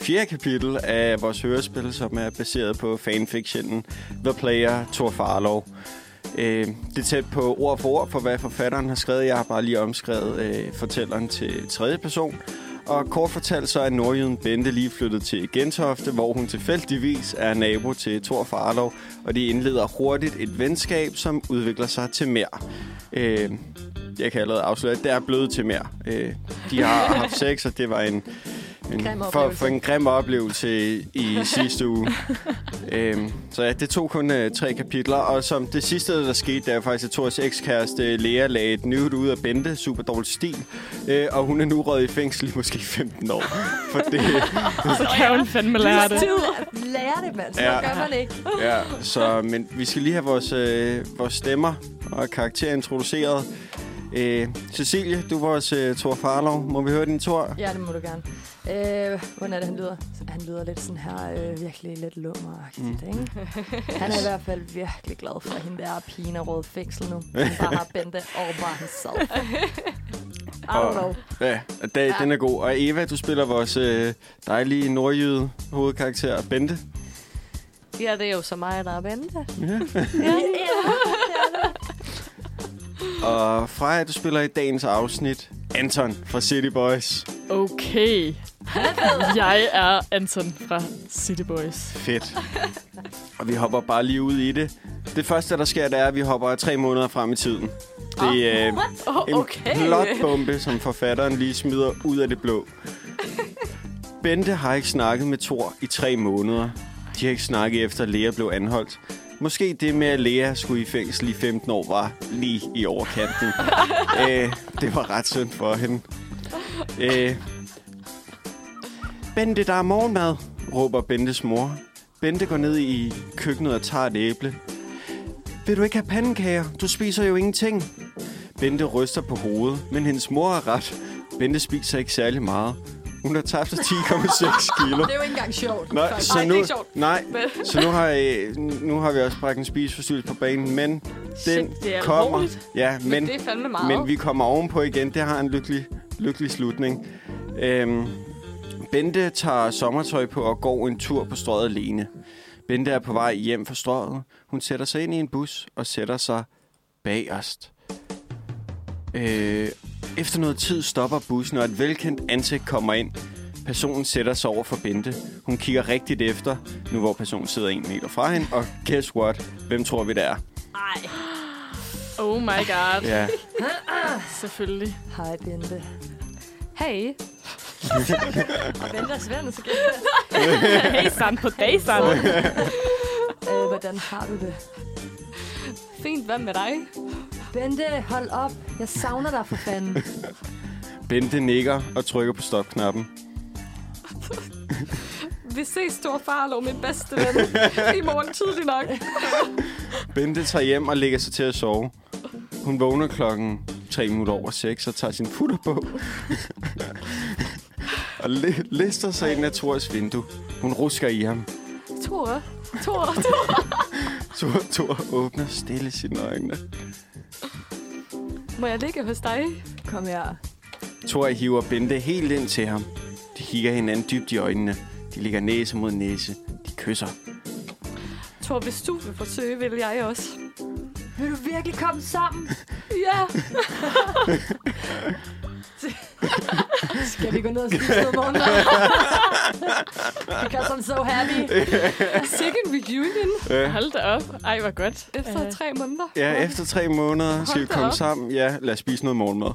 B: fjerde kapitel af vores hørespil, som er baseret på fanfictionen The Player Thor Farlov. Øh, det er tæt på ord for ord for, hvad forfatteren har skrevet. Jeg har bare lige omskrevet øh, fortælleren til tredje person. Og kort fortalt så er nordjyden Bente lige flyttet til Gentofte, hvor hun tilfældigvis er nabo til Thor Farlov, og de indleder hurtigt et venskab, som udvikler sig til mere. Øh, jeg kan allerede afsløre, at det er blevet til mere. Øh, de har haft sex, og det var en, en
D: Grim
B: for,
D: oplevelse.
B: for en grim oplevelse i sidste uge. Øhm, så ja, det tog kun øh, tre kapitler, og som det sidste, der skete, der er faktisk, at Thors ekskæreste Lea lagde et nyt ud af Bente, super dårlig stil, øh, og hun er nu røget i fængsel i måske 15 år. For det,
C: Så kan hun fandme lære det.
D: Lære det, mand. Så
B: Ja.
D: ja. gør man ikke.
B: ja, så, men vi skal lige have vores, øh, vores stemmer og karakterer introduceret. Øh, Cecilie, du er vores øh, Thor Farlov. Må vi høre din Thor?
D: Ja, det må du gerne. Øh, hvordan er det, han lyder? Han lyder lidt sådan her, øh, virkelig lidt lummeragtigt,
B: Mm.
D: mm. ikke? Han er i hvert fald virkelig glad for, at hende der er pigen og råd fængsel nu. Han bare har Bente over bare himself. I don't know.
B: Ja, og dag, ja.
D: Ja.
B: den er god. Og Eva, du spiller vores øh, dejlige nordjyde hovedkarakter, Bente.
A: Ja, det er jo så mig, der er vente.
B: Ja. Og Freja, du spiller i dagens afsnit Anton fra City Boys.
C: Okay. Jeg er Anton fra City Boys.
B: Fedt. Og vi hopper bare lige ud i det. Det første, der sker, det er, at vi hopper tre måneder frem i tiden. Det er øh,
A: Oh,
B: en plotbombe, som forfatteren lige smider ud af det blå. Bente har ikke snakket med Thor i tre måneder. De har ikke snakket efter, at Lea blev anholdt. Måske det med, at Lea skulle i fængsel i 15 år, var lige i overkanten. Æh, det var ret synd for hende. Æh, Bente, der er morgenmad, råber Bentes mor. Bente går ned i køkkenet og tager et æble. Vil du ikke have pandekager? Du spiser jo ingenting. Bente ryster på hovedet, men hendes mor har ret. Bente spiser ikke særlig meget. Hun har tabt sig 10,6 kilo.
D: Det er jo ikke engang sjovt.
B: Nej, så
A: det er
B: nu,
A: ikke sjovt.
B: nej, så nu har, øh, nu har vi også bragt en spiseforstyrrelse på banen, men den
C: det er
B: kommer.
C: alvorligt.
B: Ja, men,
A: Det er fandme meget.
B: men vi kommer ovenpå igen. Det har en lykkelig, lykkelig slutning. Øhm, Bente tager sommertøj på og går en tur på strøget alene. Bente er på vej hjem fra strøget. Hun sætter sig ind i en bus og sætter sig bagerst. Øh, efter noget tid stopper bussen, og et velkendt ansigt kommer ind. Personen sætter sig over for Bente. Hun kigger rigtigt efter, nu hvor personen sidder en meter fra hende. Og guess what? Hvem tror vi, det er?
C: Oh my god.
B: Ja.
C: Selvfølgelig.
D: Hej, Bente.
A: Hey.
D: Og Bente er svært, så gæt.
C: Hey, San på dag, San.
D: Øh, hvordan har du det?
A: Fint, hvad med dig?
D: Bente, hold op. Jeg savner dig for fanden.
B: Bente nikker og trykker på stopknappen.
A: Vi ses, stor farlov, min bedste ven. I morgen tidlig nok.
B: Bente tager hjem og lægger sig til at sove. Hun vågner klokken 3 minutter over 6 og tager sin futter på. og li- lister sig ind af Thors vindue. Hun rusker i ham.
A: Tor. Tor. Tor.
B: Thor, Thor åbner stille sine øjne.
A: Må jeg ligge hos dig?
D: Kom her.
B: Thor hiver Bente helt ind til ham. De kigger hinanden dybt i øjnene. De ligger næse mod næse. De kysser.
A: Tor, hvis du vil forsøge, vil jeg også.
D: Vil du virkelig komme sammen?
A: Ja.
D: Skal vi gå ned og spise noget morgenmad? Because I'm so happy.
A: Second reunion
C: Hold da op. Ej, hvor godt.
A: efter
C: Øh,
A: tre måneder.
B: Ja, efter tre måneder skal vi
A: da
B: komme
A: op.
B: sammen. Ja, lad os spise noget morgenmad.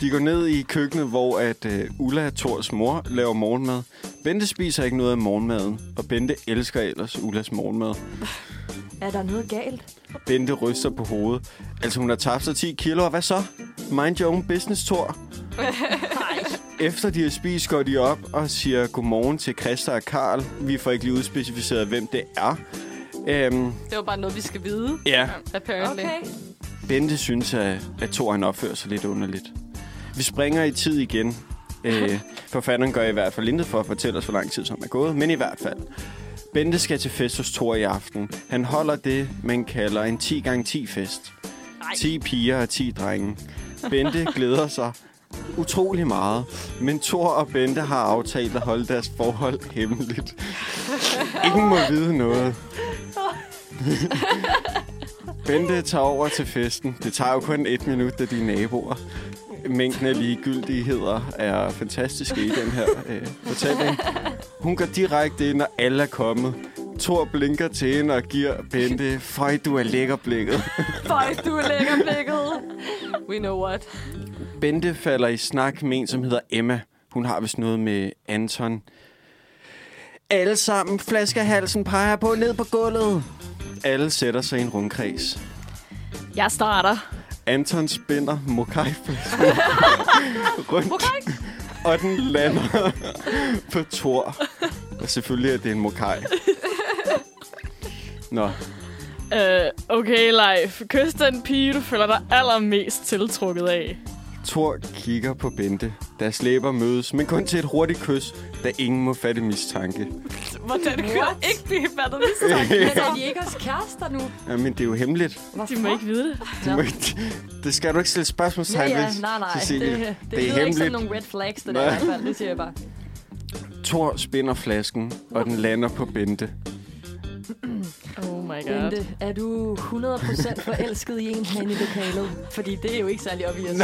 B: De går ned i køkkenet, hvor at øh, Ulla, Tors mor, laver morgenmad. Bente spiser ikke noget af morgenmaden, og Bente elsker ellers Ullas morgenmad.
D: Er der noget galt?
B: Bente ryster på hovedet. Altså, hun har tabt sig 10 kilo, og hvad så? Mind your own business, Tor. Efter de har spist, går de op og siger godmorgen til Christa og Karl. Vi får ikke lige udspecificeret, hvem det er. Øhm,
A: Det var bare noget, vi skal vide,
B: ja,
A: apparently.
D: Okay.
B: Bente synes, at, at Thor han opfører sig lidt underligt. Vi springer i tid igen. Øh, forfatteren gør i hvert fald intet for at fortælle os, hvor lang tid som er gået, men i hvert fald. Bente skal til fest hos Thor i aften. Han holder det, man kalder en 10x10-fest. 10 piger og 10 drenge. Bente glæder sig utrolig meget, men Thor og Bente har aftalt at holde deres forhold hemmeligt. Ingen må vide noget. Bente tager over til festen. Det tager jo kun et minut, da de er naboer. Mængden af ligegyldigheder er fantastiske i den her øh, fortælling. Hun går direkte ind, og alle er kommet. Thor blinker til hende og giver Bente, føj, du er lækker blikket.
A: Fuck, du er lækker blikket. We know what.
B: Bente falder i snak med en, som hedder Emma. Hun har vist noget med Anton. Alle sammen flasker halsen peger på ned på gulvet. Alle sætter sig i en rundkreds.
C: Jeg starter.
B: Anton spænder mokajflasken rundt, og den lander på Thor. Og selvfølgelig er det en mokaj. Nå,
C: Øh, okay, Leif. Kys den pige, du føler dig allermest tiltrukket af.
B: Thor kigger på Bente. Deres læber mødes, men kun til et hurtigt kys, da ingen må fatte mistanke.
A: Hvordan kan jeg ikke blive fattet med
D: Men er de ikke også kærester nu?
B: Jamen, det er jo hemmeligt.
D: Hvorfor?
C: De må ikke vide det.
B: Du må ikke, det skal du ikke stille spørgsmålstegn
D: Ja,
B: ved,
D: ja, nej, nej. Det,
B: Cecilie.
D: det, det, lyder ikke som nogle red flags, det der i
B: Nej.
D: hvert fald. Det siger jeg bare.
B: Thor spinder flasken, og den lander på Bente.
C: Oh my god.
D: Bente, er du 100% forelsket i en herinde i lokalet? Fordi det er jo ikke særlig obvious.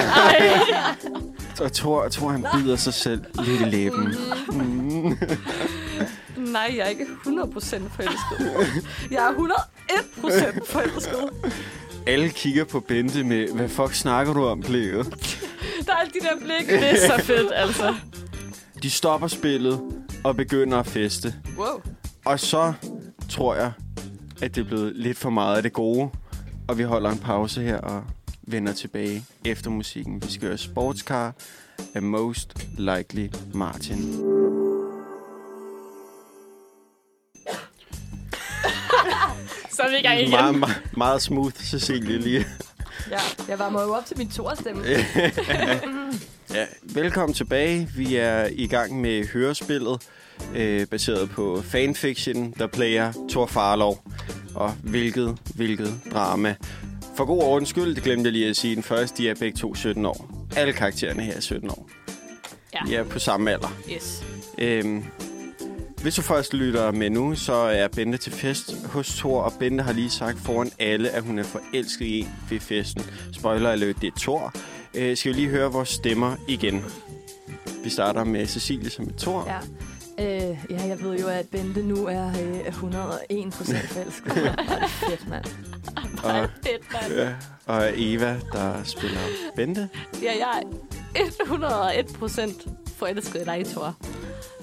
B: Og Thor, Thor han bider sig selv lidt i læben.
A: Nej, jeg er ikke 100% forelsket. Jeg er 101% forelsket.
B: Alle kigger på Bente med, hvad fuck snakker du om, blikket?
A: Der er alle de der blikke.
C: Det er så fedt, altså.
B: De stopper spillet og begynder at feste.
A: Wow.
B: Og så tror jeg, at det er blevet lidt for meget af det gode. Og vi holder en pause her og vender tilbage efter musikken. Vi skal høre Sportscar af Most Likely Martin.
C: Så er vi i gang igen.
B: Meget, meget, meget smooth, Cecilie, lige.
D: Ja, jeg var jo op til min torstemme.
B: Ja, velkommen tilbage. Vi er i gang med hørespillet, øh, baseret på fanfiction, der plager Thor Farlov. Og hvilket, hvilket drama. For god ordens skyld, det glemte jeg lige at sige den første, de er begge to 17 år. Alle karaktererne her er 17 år.
A: Ja.
B: De er på samme alder.
A: Yes.
B: Øhm, hvis du først lytter med nu, så er Bente til fest hos Thor, og Bente har lige sagt foran alle, at hun er forelsket i en ved festen. Spoiler alert, det er Thor. Øh, skal vi lige høre vores stemmer igen. Vi starter med Cecilie som er Thor.
D: Ja. Øh, ja, jeg ved jo, at Bente nu er øh, 101 procent forelsket. Hvor er det fedt, mand.
B: Og,
A: Fedt, mand.
B: øh, og Eva, der spiller Bente.
A: Ja, jeg er 101% forelsket i dig, Thor.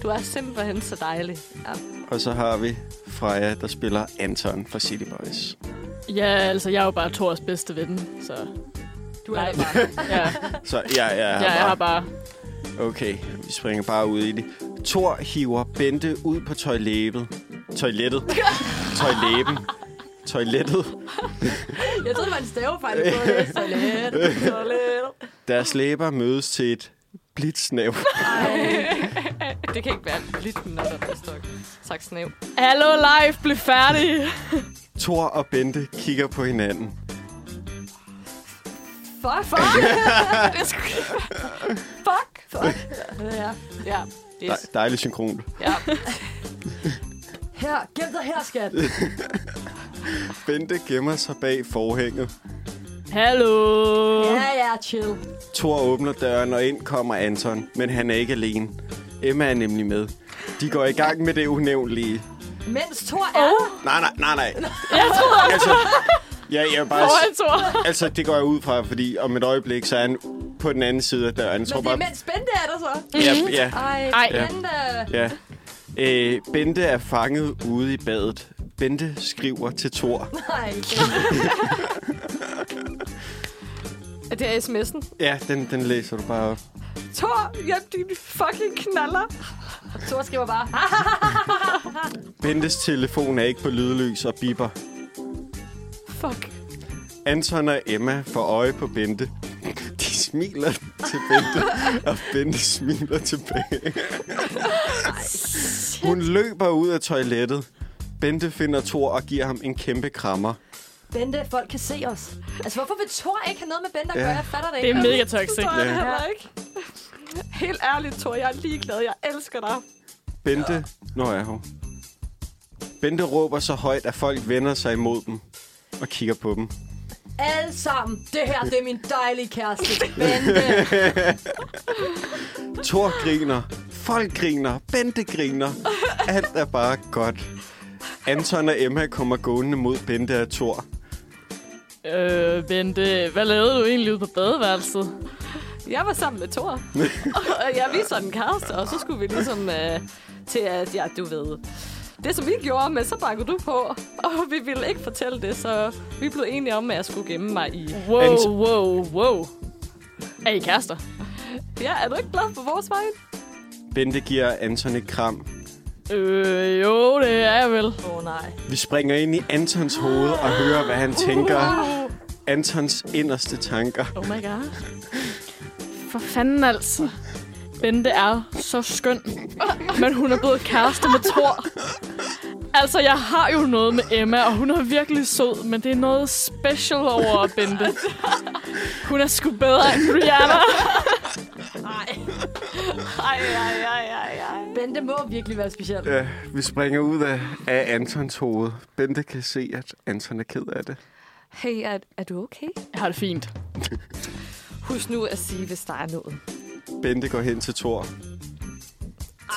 A: Du er simpelthen så dejlig. Ja.
B: Og så har vi Freja, der spiller Anton fra City Boys.
C: Ja, altså, jeg er jo bare Thors bedste ven, så...
D: Du er
C: Nej.
D: der bare.
C: Ja,
B: Så ja, ja,
C: jeg er bare...
B: Okay, vi springer bare ud i det. Thor hiver Bente ud på toilettet. Toilettet. Toiletten. Toilettet.
D: Jeg troede, man staver faktisk på det. Så lidt. Så lidt.
B: Deres læber mødes til et blitsnæv.
A: Det kan ikke være lidt min stok. Tak snæv.
C: Hallo, Leif, bliv færdig!
B: Thor og Bente kigger på hinanden.
D: Fuck. Fuck.
A: Det er sgu-
D: Fuck. Fuck. Ja.
A: Ja, yes.
B: Dej, dejligt synkron.
A: Ja.
D: Her. Gem dig her, skat.
B: Bente gemmer sig bag forhænget.
C: Hallo!
D: Ja, ja, chill.
B: Thor åbner døren, og ind kommer Anton. Men han er ikke alene. Emma er nemlig med. De går i gang med det unævnlige.
D: Mens Thor er der.
B: Nej, nej, nej, nej. Jeg tror altså, ja, jeg vil bare...
C: Foran Thor.
B: Altså, det går jeg ud fra, fordi om et øjeblik, så er han på den anden side af døren. Jeg tror
D: Men det
B: bare...
D: er mens Bente er der så.
B: Ja, ja,
D: Ej,
C: Ej.
D: Bente.
B: ja. Øh, Bente er fanget ude i badet. Bente skriver til Thor.
D: Nej, Bente.
A: Er det sms'en?
B: Ja, den, den læser du bare op.
A: Thor, jeg din fucking knaller.
D: Thor skriver bare.
B: Bentes telefon er ikke på lydløs og biber.
A: Fuck.
B: Anton og Emma får øje på Bente. De smiler til Bente, og Bente smiler tilbage. Hun løber ud af toilettet. Bente finder Thor og giver ham en kæmpe krammer.
D: Bente, folk kan se os. Altså, hvorfor vil Thor ikke have noget med Bente at
B: Ja.
D: gøre? Jeg fatter det
C: Det
D: ikke.
C: er mega toxic.
A: Tror jeg det
B: Ja.
A: heller ikke. Helt ærligt, Thor, jeg er ligeglad. Jeg elsker dig.
B: Bente... Nå er hun. Bente råber så højt, at folk vender sig imod dem og kigger på dem.
D: Alle sammen. Det her, det er min dejlige kæreste. Bente.
B: Thor griner, folk griner, Bente griner. Alt er bare godt. Anton og Emma kommer gående mod Bente og Thor.
C: Øh, Bente, hvad lavede du egentlig ude på badeværelset?
A: Jeg var sammen med Thor. og jeg viser den kæreste, og så skulle vi ligesom øh, til at, ja, du ved... Det, som vi gjorde, men så bakkede du på, og vi ville ikke fortælle det, så vi blev enige om, at jeg skulle gemme mig i.
C: Wow,
B: Ant-
C: wow, wow. Er I kærester?
A: Ja, er du ikke glad for vores vej?
B: Bente giver Anton et kram.
C: Øh, jo, det er jeg vel.
D: Åh, oh, nej.
B: Vi springer ind i Antons hoved og hører, hvad han tænker. Antons inderste tanker.
C: Oh my god. For fanden altså. Bente er så skøn. Men hun er blevet kæreste med Thor. Altså, jeg har jo noget med Emma, og hun er virkelig sød, men det er noget special over Bente. Hun er sgu bedre end Rihanna.
A: Ej, ej, ej, ej, ej.
D: Bente må virkelig være speciel.
B: Ja, vi springer ud af, af Antons hoved. Bente kan se, at Anton er ked af det.
F: Hey, er, er du okay?
C: Jeg har det fint.
F: Husk nu at sige, hvis der er noget.
B: Bente går hen til Thor.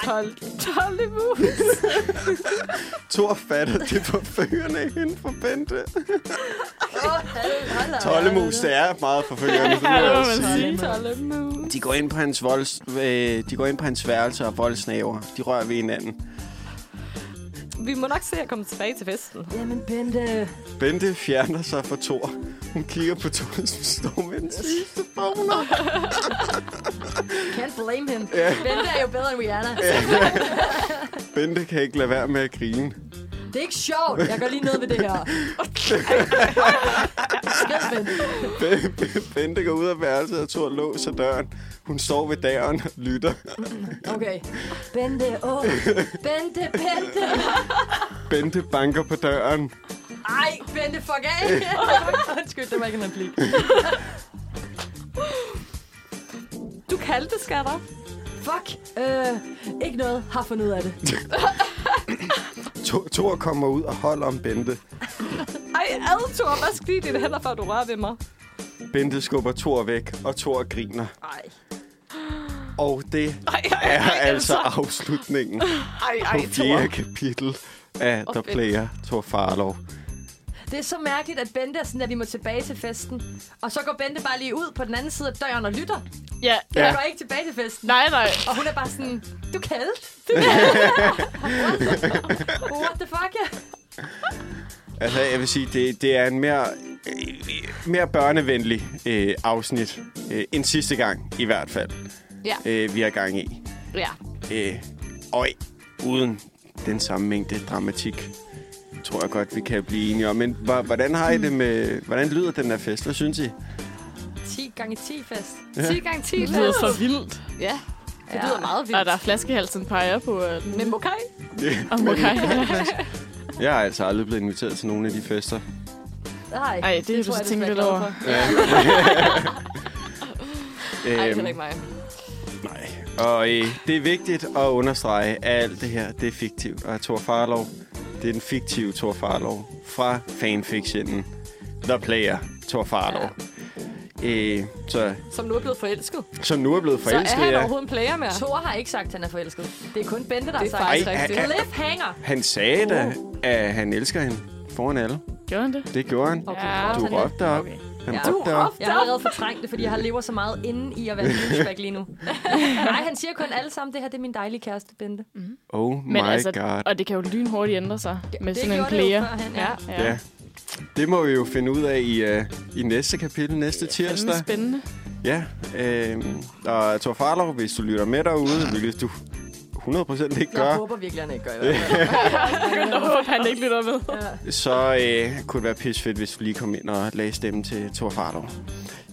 A: 12, 12 niveau.
B: Thor fatter det forførende hende for Bente.
D: Åh, hold- hold da.
B: Tollemus, det er meget forførende.
C: Ja, det må
B: også
C: man sige.
B: De går ind på hans, volds, øh, de går ind på hans værelse og voldsnaver. De rører ved hinanden.
A: Vi må nok se at komme tilbage til festen.
D: Jamen, Bente.
B: Bente fjerner sig fra Thor. Hun kigger på Thor, som står med en sidste boner.
D: Can't blame him. Bente er jo bedre end Rihanna.
B: Bente kan ikke lade være med at grine.
D: Det er ikke sjovt. Jeg gør lige noget ved det her. Skriv, Bente.
B: B- B- Bente går ud af værelset, og Thor låser døren. Hun står ved døren og lytter.
D: Okay. Bente, åh. Bente, Bente.
B: Bente banker på døren.
D: Ej, Bente, fuck af. Undskyld, det var ikke en replik.
A: Du kaldte, skatter.
D: Fuck. Øh, ikke noget. Har fundet ud af det.
B: Thor- Thor kommer ud og holder om Bente.
A: Ej, ad, Thor, hvad skal dine hænder, før du rører ved mig?
B: Bente skubber Thor væk, og Thor griner.
D: Ej.
B: Og det er altså afslutningen
A: Ej,
B: på
A: ej,
B: fjerde kapitel af The Player Thor Farlov.
D: Det er så mærkeligt, at Bente er sådan, at vi må tilbage til festen. Og så går Bente bare lige ud på den anden side af døren og lytter.
C: Ja.
D: Ja.
B: Ja.
D: Hun går ikke tilbage til festen.
C: Nej, nej.
D: Og hun er bare sådan, du kaldt. What the fuck? ja?
B: Altså, jeg vil sige, det, det er en mere, øh, mere børnevenlig øh, afsnit øh, end sidste gang, i hvert fald,
A: Ja.
B: øh, vi har gang i.
A: Ja.
B: Øh, og uden den samme mængde dramatik, tror jeg godt, vi kan blive enige om. Men hva- hvordan har I det med... Hvordan lyder den her fest? Hvad synes I?
D: 10 gange 10 fest.
A: 10 gange 10
C: Det lyder for vildt.
A: Ja, det
D: Ja.
A: lyder meget
C: Og
A: vildt.
C: der er flaskehalsen peger på, at...
A: Men okay.
C: Om okay.
B: Jeg er altså aldrig blevet inviteret til nogen af de fester.
D: Nej,
C: Ej, det, det er du
D: tror
C: så
D: jeg
C: tænkt
D: desværre
C: lidt
D: ikke
C: over.
D: noget
A: Ej, det
B: Øhm,
A: er ikke mig.
B: Nej. Og øh, det er vigtigt at understrege, at alt det her, det er fiktivt. Og Thor Farlov, det er den fiktive Thor Farlov fra fanfictionen The Player Thor Farlov. Ja. Øh, så,
A: Som nu er blevet forelsket.
B: som nu er blevet
A: Så er
B: forelsket,
A: han
B: ja.
A: overhovedet en player mere?
D: for. Thor har ikke sagt, at han er forelsket. Det er kun Bente, der har
A: Det er
D: sagt
A: faktisk
B: Ej,
A: rigtigt.
B: han-
D: Cliffhanger!
B: Han sagde da, at han elsker hende foran alle.
C: Gjorde han det?
B: Det gjorde han.
D: Okay,
C: Ja.
D: Thor,
B: Du
D: han er-
B: råbte op.
C: Okay.
B: Han
D: Ja.
B: råbte op.
D: Jeg har allerede fortrængt det, fordi jeg har lever så meget inde i at være douchebag lige nu. Nej, han siger kun alle sammen, det her det er min dejlige kæreste, Bente.
B: Oh my
C: Men altså,
B: god.
C: og det kan jo lynhurtigt ændre sig med
D: det
C: sådan en
D: gjorde det jo
C: player.
D: førhen, ja.
C: ja. ja.
B: Ja. Det må vi jo finde ud af i, uh, i næste kapitel, næste
C: Fanden
B: tirsdag.
C: spændende.
B: Ja, øh, og Thor Farlov, hvis du lytter med derude, hvilket du 100% ikke
D: Jeg
B: gør,
D: håber virkelig, han ikke gør i hvert fald.
C: Jeg håber, han ikke lytter med.
B: så øh, kunne det være pissefedt, hvis du lige kom ind og lagde stemme til Thor Farlov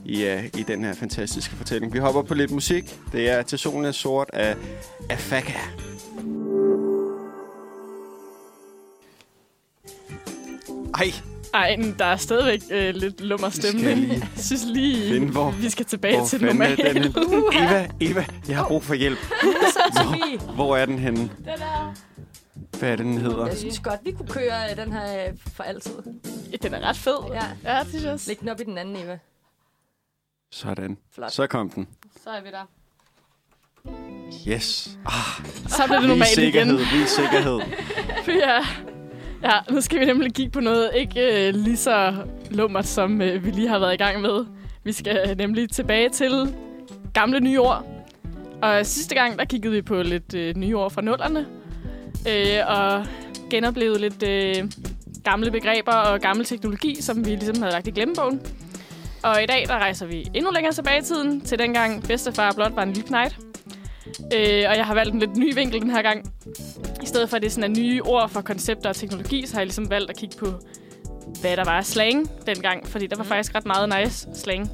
B: i, øh, i den her fantastiske fortælling. Vi hopper på lidt musik. Det er Til solen er sort af Afaka. Ej,
C: Ej, men der er stadigvæk øh, lidt lummer stemme.
B: skal
C: Jeg
B: lige
C: synes lige,
B: finde, hvor-
C: vi skal tilbage
B: hvor
C: til det
B: fanden er
C: normale.
B: den henne? Eva, Eva, jeg har brug for hjælp. Hvor, hvor er den henne? Hvad er det, den hedder?
D: Jeg synes godt, vi kunne køre øh, den her øh, for altid.
C: Den er ret fed.
D: Ja.
C: ja det synes jeg også.
D: Læg den op i den anden, Eva.
B: Sådan.
D: Flot.
B: Så kom den.
A: Så er vi der.
B: Yes.
C: Så bliver det
B: Vi
C: normalt igen.
B: sikkerhed, vi sikkerhed.
C: Fy, ja. ja, nu skal vi nemlig kigge på noget ikke øh, lige så lummert, som øh, vi lige har været i gang med. Vi skal øh, nemlig tilbage til gamle nye ord. Og sidste gang, der kiggede vi på lidt øh, nye ord fra nullerne. Øh, og genoplevede lidt øh, gamle begreber og gammel teknologi, som vi ligesom havde lagt i glemmebogen. Og i dag, der rejser vi endnu længere tilbage i tiden, til dengang bedstefar blot var en lille knejt. Øh, og jeg har valgt en lidt ny vinkel den her gang. I stedet for, at det er sådan er nye ord for koncepter og teknologi, så har jeg ligesom valgt at kigge på, hvad der var af slang dengang. Fordi der var faktisk ret meget nice slang.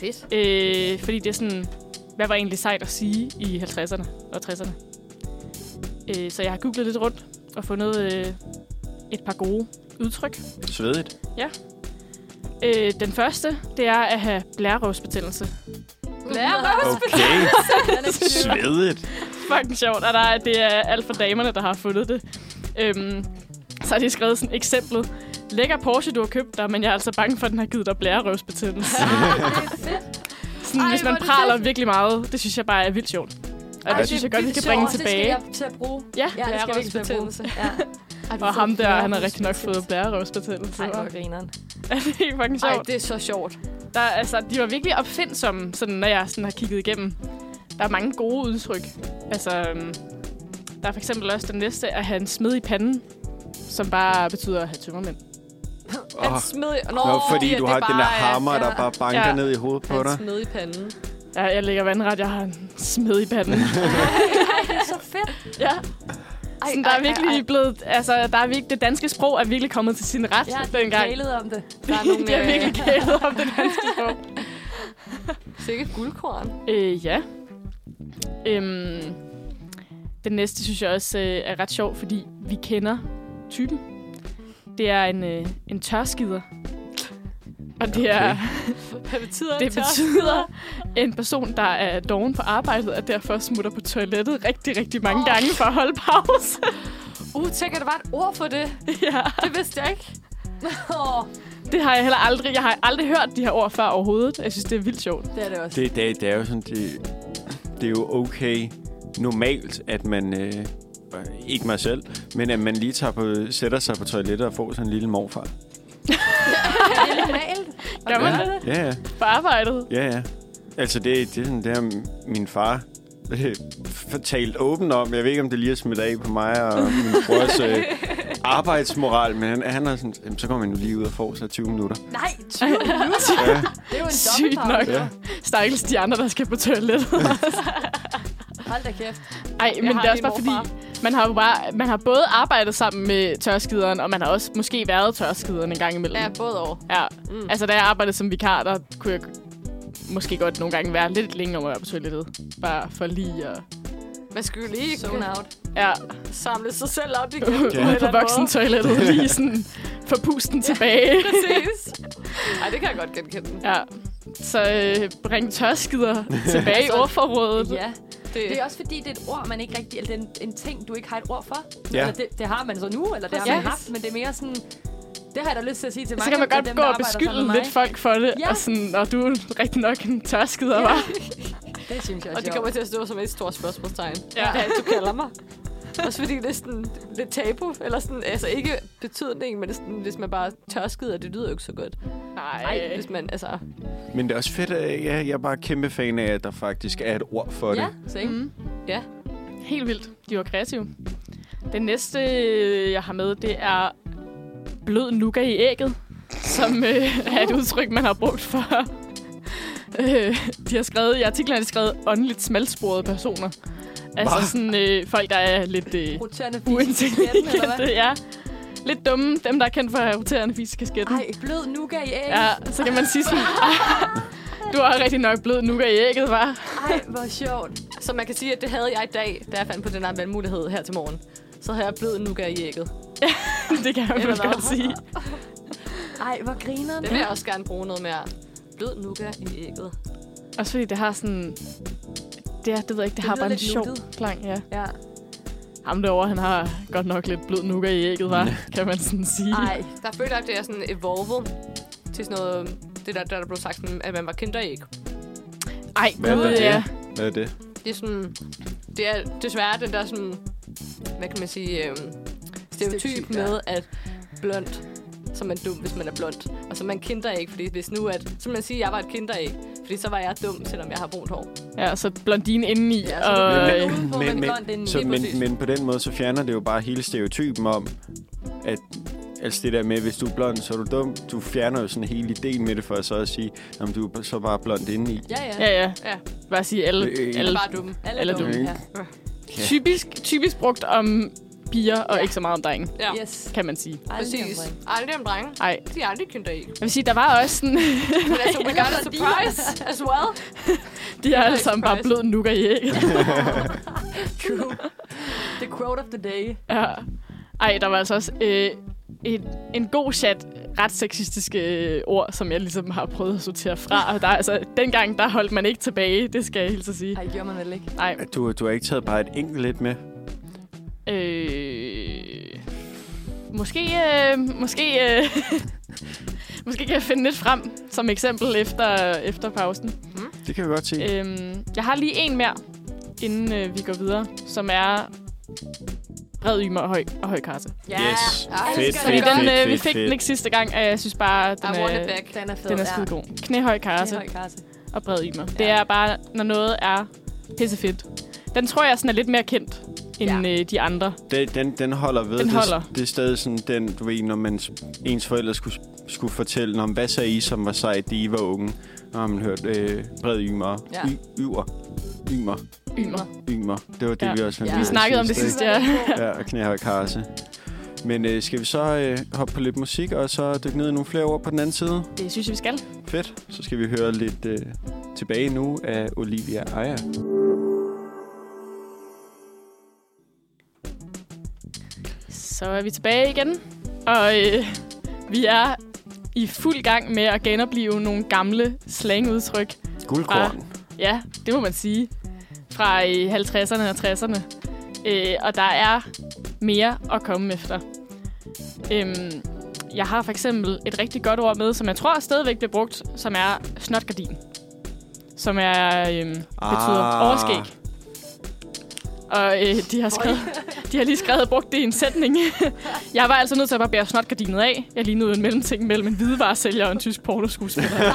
A: Fedt.
C: Øh, fordi det er sådan, hvad var egentlig sejt at sige i 50'erne og 60'erne. Øh, så jeg har googlet lidt rundt og fundet øh, et par gode udtryk.
B: Svedigt.
C: Øh, den første, det er at have blærerøvsbetændelse.
B: Okay. Svedigt.
C: fucking sjovt, og der er, det er alt for damerne, der har fundet det. Øhm, så har de skrevet sådan eksemplet. Lækker Porsche, du har købt dig, men jeg er altså bange for, at den har givet dig blærerøvsbetændelse. sådan, Ej, hvis man praler virkelig meget, det synes jeg bare er vildt sjovt. Og Ej, det synes jeg godt, vi kan bringe tilbage.
D: Det skal jeg til at bruge.
C: Ja,
D: Ja, det skal vi ikke til at bruge.
A: blærerøvsbetændelse.
D: Ja.
C: og ham der, han har rigtig nok fået blærerøvsbetændelse.
D: Ej, hvor
C: Og-
D: grineren.
C: Ja, det er fucking
A: Ej,
C: sjovt.
A: det er så sjovt.
C: Der, er- altså, de var virkelig opfindsomme, sådan, når jeg sådan har kigget igennem. Der er mange gode udtryk. Altså, øhm, der er for eksempel også den næste, at have en smed i panden, som bare betyder at have tømmermænd.
A: Han
B: Oh.
A: smed... Nå,
B: Nå, fordi
A: at
B: du
A: det
B: har den der
A: bare er-
B: hammer, der bare banker
C: Ja.
B: ned i hovedet på
A: Han
B: dig.
A: smed i panden.
C: Ja, jeg ligger vandret, jeg har en smed i panden.
D: Det er så fedt.
C: ja. Sådan, der er virkelig blevet, altså, der er virkelig, det danske sprog er virkelig kommet til sin ret
D: Ja, de
C: dengang.
D: kalede om det.
C: Der er nogle, de har
D: øh,
C: virkelig kælet om det danske sprog.
D: Sikkert guldkorn.
C: Øh, ja. Øhm, den næste synes jeg også øh, er ret sjov, fordi vi kender typen. Det er en, øh, en tørskider. Og det, er,
A: Hvad betyder
C: det betyder en person, der er doven på arbejdet, og derfor smutter på toilettet rigtig, rigtig mange gange for at holde pause.
A: Uh, tænk, at der var et ord for det.
C: ja.
A: Det vidste jeg ikke.
D: Åh,
C: Det har jeg heller aldrig. Jeg har aldrig hørt de her ord før overhovedet. Jeg synes, det er vildt sjovt.
D: det er det også.
B: Det, det, det er jo sådan, det, det er jo okay normalt, at man, øh, øh, ikke mig selv, men at man lige tager på, sætter sig på toilettet og får sådan en lille morfar.
D: Det er normalt.
C: Gør man det
B: Ja, ja,
C: på arbejdet?
B: ja, ja. Altså, det, det er sådan, det har min far øh, fortalt åbent om. Jeg ved ikke, om det lige er smidt af på mig og min brors øh, arbejdsmoral, men han, han er sådan, "Jamen, så kommer man jo lige ud og får sig 20 minutter.
D: Nej, 20 minutter.
B: Ja,
D: Det er jo en
C: Sygt nok.
D: dobbeltpause.
B: ja.
C: Stakkels de andre, der skal på toilettet.
D: Hold da kæft.
C: Ej, men
A: har
C: det er også
A: lige
C: bare
A: morfar.
C: fordi, man har, jo bare, man har både arbejdet sammen med tørskideren, og man har også måske været tørskideren en gang imellem.
A: Ja, både år.
C: ja. Mm. Altså, da jeg arbejdede som vikar, der kunne jeg måske godt nogle gange være lidt længe om at være på toilettet. Bare for lige at...
A: Man skulle jo lige
D: Zone out.
C: Ja,
A: samle sig selv op igen.
B: Ja.
C: ude på voksentoilettet. Lige sådan få pusten tilbage.
A: Præcis. Ej, det kan jeg godt genkende.
C: Ja. Så øh, bring tørskider tilbage i ordforrådet.
D: Ja.
A: Det,
D: Det er også fordi, det er et ord, man ikke rigtig... Eller det er en, en ting, du ikke har et ord for.
B: Ja.
D: Eller det, det har man så nu, eller det har
A: Ja.
D: man haft, men det er mere sådan... Det har jeg da lyst til at sige til mange.
C: Så kan man
D: af
C: godt
D: dem,
C: gå
D: der
C: og
D: arbejder sammen
C: beskylde
D: med
C: lidt
D: mig.
C: folk for det.
D: Ja.
C: Og sådan, når du er rigtig nok en tørskider, ja. var.
D: Det synes jeg
A: og
D: også.
A: det kommer til at stå som et stort spørgsmålstegn.
C: Ja.
A: Hvad er det, du kalder mig? Også fordi det er sådan lidt tabu, eller sådan, altså ikke betydning, men sådan, hvis man bare tørskede, det lyder jo ikke så godt. Ej, hvis man, altså...
B: Men det er også fedt, at jeg, jeg er bare kæmpe fan af, at der faktisk er et ord for det.
D: Ja, same. Mm.
C: Helt vildt. De var kreative. Den næste, øh, jeg har med, det er blød nuka i ægget, som øh, er et udtryk, man har brugt for... Øh, de har skrevet, I artiklen har de skrevet åndeligt smalsporede personer. Altså
B: Hva?
C: sådan øh, folk, der er lidt øh,
D: Roterende fisk i katten, eller hvad?
C: uintelligente. Ja. Lidt dumme. Dem, der er kendt for at have roterende fiskeskætten.
D: Ej, blød nougat i æg. Ja.
C: Ja, så kan man sige sådan... "Ah, Du har rigtig nok blød nuka i ægget, var.
D: Ej, hvor sjovt.
A: Så man kan sige, at det havde jeg i dag, da jeg fandt på den her valgmulighed her til morgen. Så havde jeg blevet nuka i ægget.
C: Det kan man vel
A: Eller hvad?
C: godt sige.
D: Ej, hvor griner
A: Det vil jeg også gerne bruge noget mere blød nougat i ægget.
C: Også fordi det har sådan... Det, er, det ved jeg ikke, det, det har
D: lyder
C: bare en
D: lidt
C: sjov
D: nuttet.
C: klang, ja.
D: Ja.
C: Ham derovre, han har godt nok lidt blød nukker i ægget, var, kan man sådan sige.
D: Ej,
A: Der føler jeg, at det er sådan evolved til sådan noget... Det der, der blev sagt, sådan, at man var kinderæg.
C: Ej,
B: Hvad er
C: gud,
B: det?
C: ja.
B: Hvad er det?
A: Det er sådan... Det er desværre den der sådan... Hvad kan man sige? Øhm, stereotyp
D: Stereotyp, ja.
A: med, at blond så er man dum, hvis man er blond. Og så er man kinderæg, fordi hvis nu at... Så vil man sige, at jeg var et kinderæg, fordi så var jeg dum, selvom jeg har brunt hår.
C: Ja, så blondine indeni.
A: Ja,
C: Ja,
A: så
C: og,
B: det-
C: øh,
D: men,
B: Men-
D: men,
B: men-
D: men,
B: Så,
A: Lige præcis.
B: men, men på den måde, så fjerner det jo bare hele stereotypen om, at altså det der med, hvis du er blond, så er du dum. Du fjerner jo sådan hele ideen med det, for så at sige, om du er så bare blond indeni.
D: Ja, ja.
C: ja, ja.
A: Ja.
C: Bare sige alle.
B: Øh,
A: Eller
C: alle.
A: bare dum.
D: Alle
C: Eller
D: er dumme,
B: dumme.
D: ja.
B: Ja.
C: Typisk, typisk brugt om piger, og ikke så meget om drenge,
A: Ja,
D: Yes.
C: kan man sige.
D: Ej,
A: præcis. Aldrig om drenge.
C: Ej,
A: De er aldrig kinderæg.
C: jeg vil sige, der var også sådan...
A: Men altså, we got a
D: Eller
A: surprise as well.
C: De er alle sammen bare
A: surprise.
C: blød nukker i ægget.
D: True. The quote of the day.
C: Ja. Ej, der var altså også øh, et, en god chat ret sexistiske øh, ord, som jeg ligesom har prøvet at sortere fra. Og der, er altså, dengang, der holdt man ikke tilbage, det skal jeg helt så sige.
D: Ej, gjorde man vel ikke?
C: Nej.
B: Du, du har ikke taget bare et enkelt lidt med.
C: Øh, måske, øh, måske, øh, måske kan jeg finde lidt frem som eksempel efter, efter pausen.
B: Det kan jeg godt se.
C: Øhm, jeg har lige en mere, inden øh, vi går videre, som er bred ymer og høj, og høj kasse.
B: Yes.
A: Ej,
B: Fedt,
A: skal
C: Fordi
B: fedt,
A: det
C: den,
B: fedt,
C: øh, vi
B: fedt,
C: fik den
B: fedt.
C: ikke sidste gang, og jeg synes bare,
A: I
C: den
A: want it
C: er,
A: back.
D: Den er fed.
C: den er skide god. Knæhøj karse
D: høj kasse.
C: og bred ymer. Det er bare, når noget er pissefedt. Den tror jeg sådan er lidt mere kendt end øh, de andre.
B: Den, den, den holder ved.
C: Den
B: Det-
C: holder.
B: Det, er stadig sådan den, du ved, når man, ens forældre skulle, skulle fortælle, om hvad sagde I, som var sejt, da I var unge? Når man hørte øh, bred ymer.
D: Ja.
B: Y, yver. Ymer.
C: Ymer.
B: Ymer. Det var det,
C: Ja.
B: vi også fandt
D: Ja.
B: ud
C: Vi
B: af
C: snakkede om det
B: ikke?
C: sidste, ja.
B: Ja, og knæhøj karse. Men øh, skal vi så øh, hoppe på lidt musik, og så dykke ned i nogle flere ord på den anden side?
C: Det synes jeg, vi skal.
B: Fedt. Så skal vi høre lidt øh, tilbage nu af Olivia Ejer.
C: Så er vi tilbage igen, og øh, vi er i fuld gang med at genopleve nogle gamle slangudtryk.
B: Guldkorn.
C: Ja, Ah, det må man sige. Fra øh, 50'erne og 60'erne. Øh, og der er mere at komme efter. Øhm, jeg har for eksempel et rigtig godt ord med, som jeg tror stadigvæk bliver brugt, som er snotgardin. Som er, øhm, betyder
B: Ah.
C: overskæg. Og øh, de, har skrevet, de har lige skrevet og brugt det i en sætning. jeg var altså nødt til at bare bære snotgardinet af. Jeg lignede en mellemting mellem en hvidevaresælger og en tysk pornoskuespiller.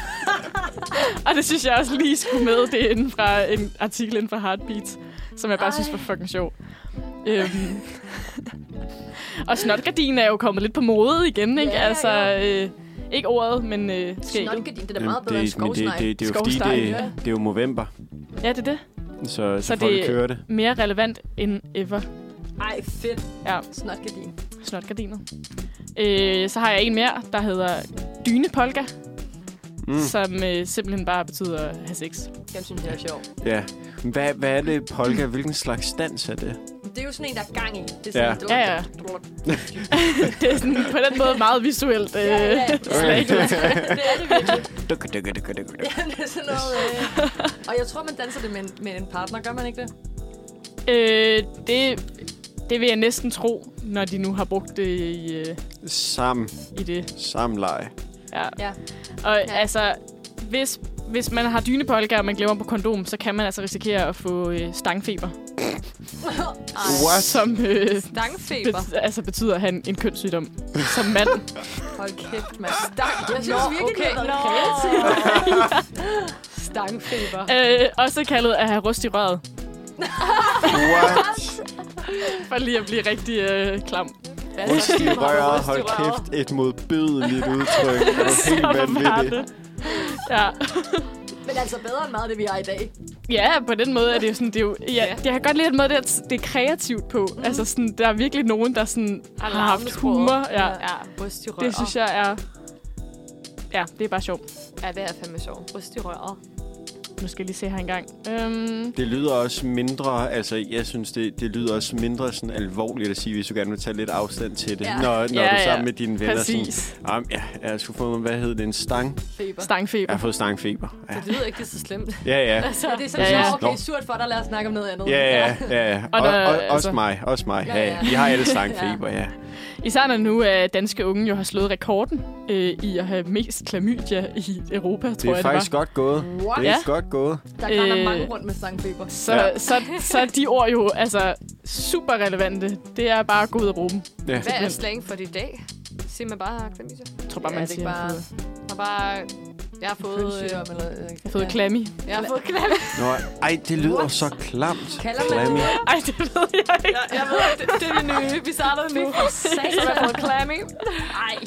C: Og det synes jeg også lige skulle med. Det er inden fra en artikel inden fra Heartbeat, som jeg bare Ej. synes var fucking sjov. Øhm. og snotgardinen er jo kommet lidt på mode igen, ikke?
D: Ja,
C: Ja, altså, øh, ikke ordet, men øh, skægget.
D: Snotgardin, det er da meget bedre end
B: men det,
D: skovsnegl.
B: det, det, er jo fordi,
C: Skovsnegl,
B: det,
C: ja.
B: det er jo november,
C: Ja, det er det.
B: så, så,
C: Så
B: så folk
C: det-
B: det... kører det.
C: Mere relevant end ever,
D: Ej, fedt.
C: Ja.
D: Snotgardin.
C: snotgardinet. Øh, så har jeg en mere, der hedder dynepolka, mm.
B: Mm.
C: som øh, simpelthen bare betyder at have sex.
D: Den synes jeg er sjov.
B: Ja. Men Hvad, hvad er det, polka? Hvilken slags dans er det?
D: Det er jo sådan en, der er gang i. Det er
B: Ja.
D: sådan en-
C: Ja, ja. Det er sådan, på den måde meget visuelt. Øh,
D: Ja, ja, ja.
C: slagudtryk.
D: Det er det virkelig.
B: Duk, duk, duk, duk, duk.
D: Ja, det er sådan noget... Øh... Og jeg tror, man danser det med en, med en partner. Gør man ikke det?
C: Øh, det, det vil jeg næsten tro, når de nu har brugt det i, øh,
B: Sam,
C: i det.
B: samleje.
C: Ja.
D: Ja.
C: Og ja. altså, hvis, hvis man har dynepolka, og man glemmer på kondom, så kan man altså risikere at få øh, stangfeber.
B: What?
C: Som øh,
A: Stangfeber.
C: bet, altså betyder han en kønssygdom som mand.
D: Hold kæft, mand. Stank. Jeg synes virkelig, okay. det har
A: Nå.
D: været kreativt.
A: Stangfeber.
C: øh, også kaldet at have rust i røret,
B: What?
C: for lige at blive rigtig øh, klam.
A: Hvad så?
B: Rust i røret,
A: Rust i
B: hold
A: røret.
B: kæft, et modbydeligt udtryk. Det er helt
C: var
B: vanvittigt.
C: det. Ja.
D: Men altså bedre end meget af det, vi har i dag.
C: Ja, på den måde er det jo sådan, det er jo, ja,
A: Ja.
C: jeg kan godt lide den måde, det er, det er kreativt på. Mm. Altså sådan, der er virkelig nogen, der sådan har haft
A: larmesporet.
C: humor. Ja.
D: Ja.
C: ja.
A: Ja, bryst i røret.
C: Det synes jeg er... Ja, det er bare sjovt.
A: Ja, det er fandme sjovt. Bryst i røret.
C: Nu skal jeg lige se her engang. Øhm,
B: Det lyder også mindre, altså jeg synes, det, det lyder også mindre sådan alvorligt at sige, hvis du gerne vil tage lidt afstand til det, ja. når,
D: Ja.
B: når
C: Ja,
B: du er
C: ja.
B: sammen med dine venner.
C: præcis.
B: Sådan, "Jamen, ja, jeg har sgu fået, hvad hed det, en stang?
D: Feber.
C: Stangfeber.
B: Jeg har fået stangfeber. Ja,
A: Det lyder ikke det er så slemt.
B: ja. ja.
D: Ja, det er
C: Ja,
D: sådan,
C: ja.
D: ja, okay, surt for dig, lad os snakke om noget andet.
B: Ja, ja, ja. ja. Og,
C: Og
B: og,
C: der-
B: og, også
C: altså-
B: mig, også mig. Ja,
D: Ja,
B: ja.
D: ja.
B: Vi har alle sangfeber, ja.
C: Især når nu øh, danske unge jo har slået rekorden øh, i at have mest klamydia i Europa, tror
B: Det er
C: jeg
B: faktisk
C: det var.
B: godt gået. Det er
C: Ja.
B: godt gået.
D: Der går
C: Øh.
D: øh... mange rundt med sangfeber.
C: Så,
B: Ja.
C: ja. så, så er de ord jo altså super relevante. Det er bare at gå ud og bruge dem.
B: Ja.
A: Hvad er slang for det i dag? Sig mig bare klamydia.
C: Jeg tror bare,
D: Ja,
C: man
D: det er
C: siger,
D: bare-
C: bare...
A: Og bare... Jeg har fået... Øh,
D: Kønssygdom eller... øh,
C: fået
D: ja.
C: klammy.
A: jeg har fået klam.
B: Nå, ej, det lyder What? så klamt.
D: Kalder man
B: Klammy.
D: det?
C: Ej, det ved jeg ikke.
A: Jeg ved, det, det er det nye. Vi startede nu. Så har jeg fået klamming.
D: Ej.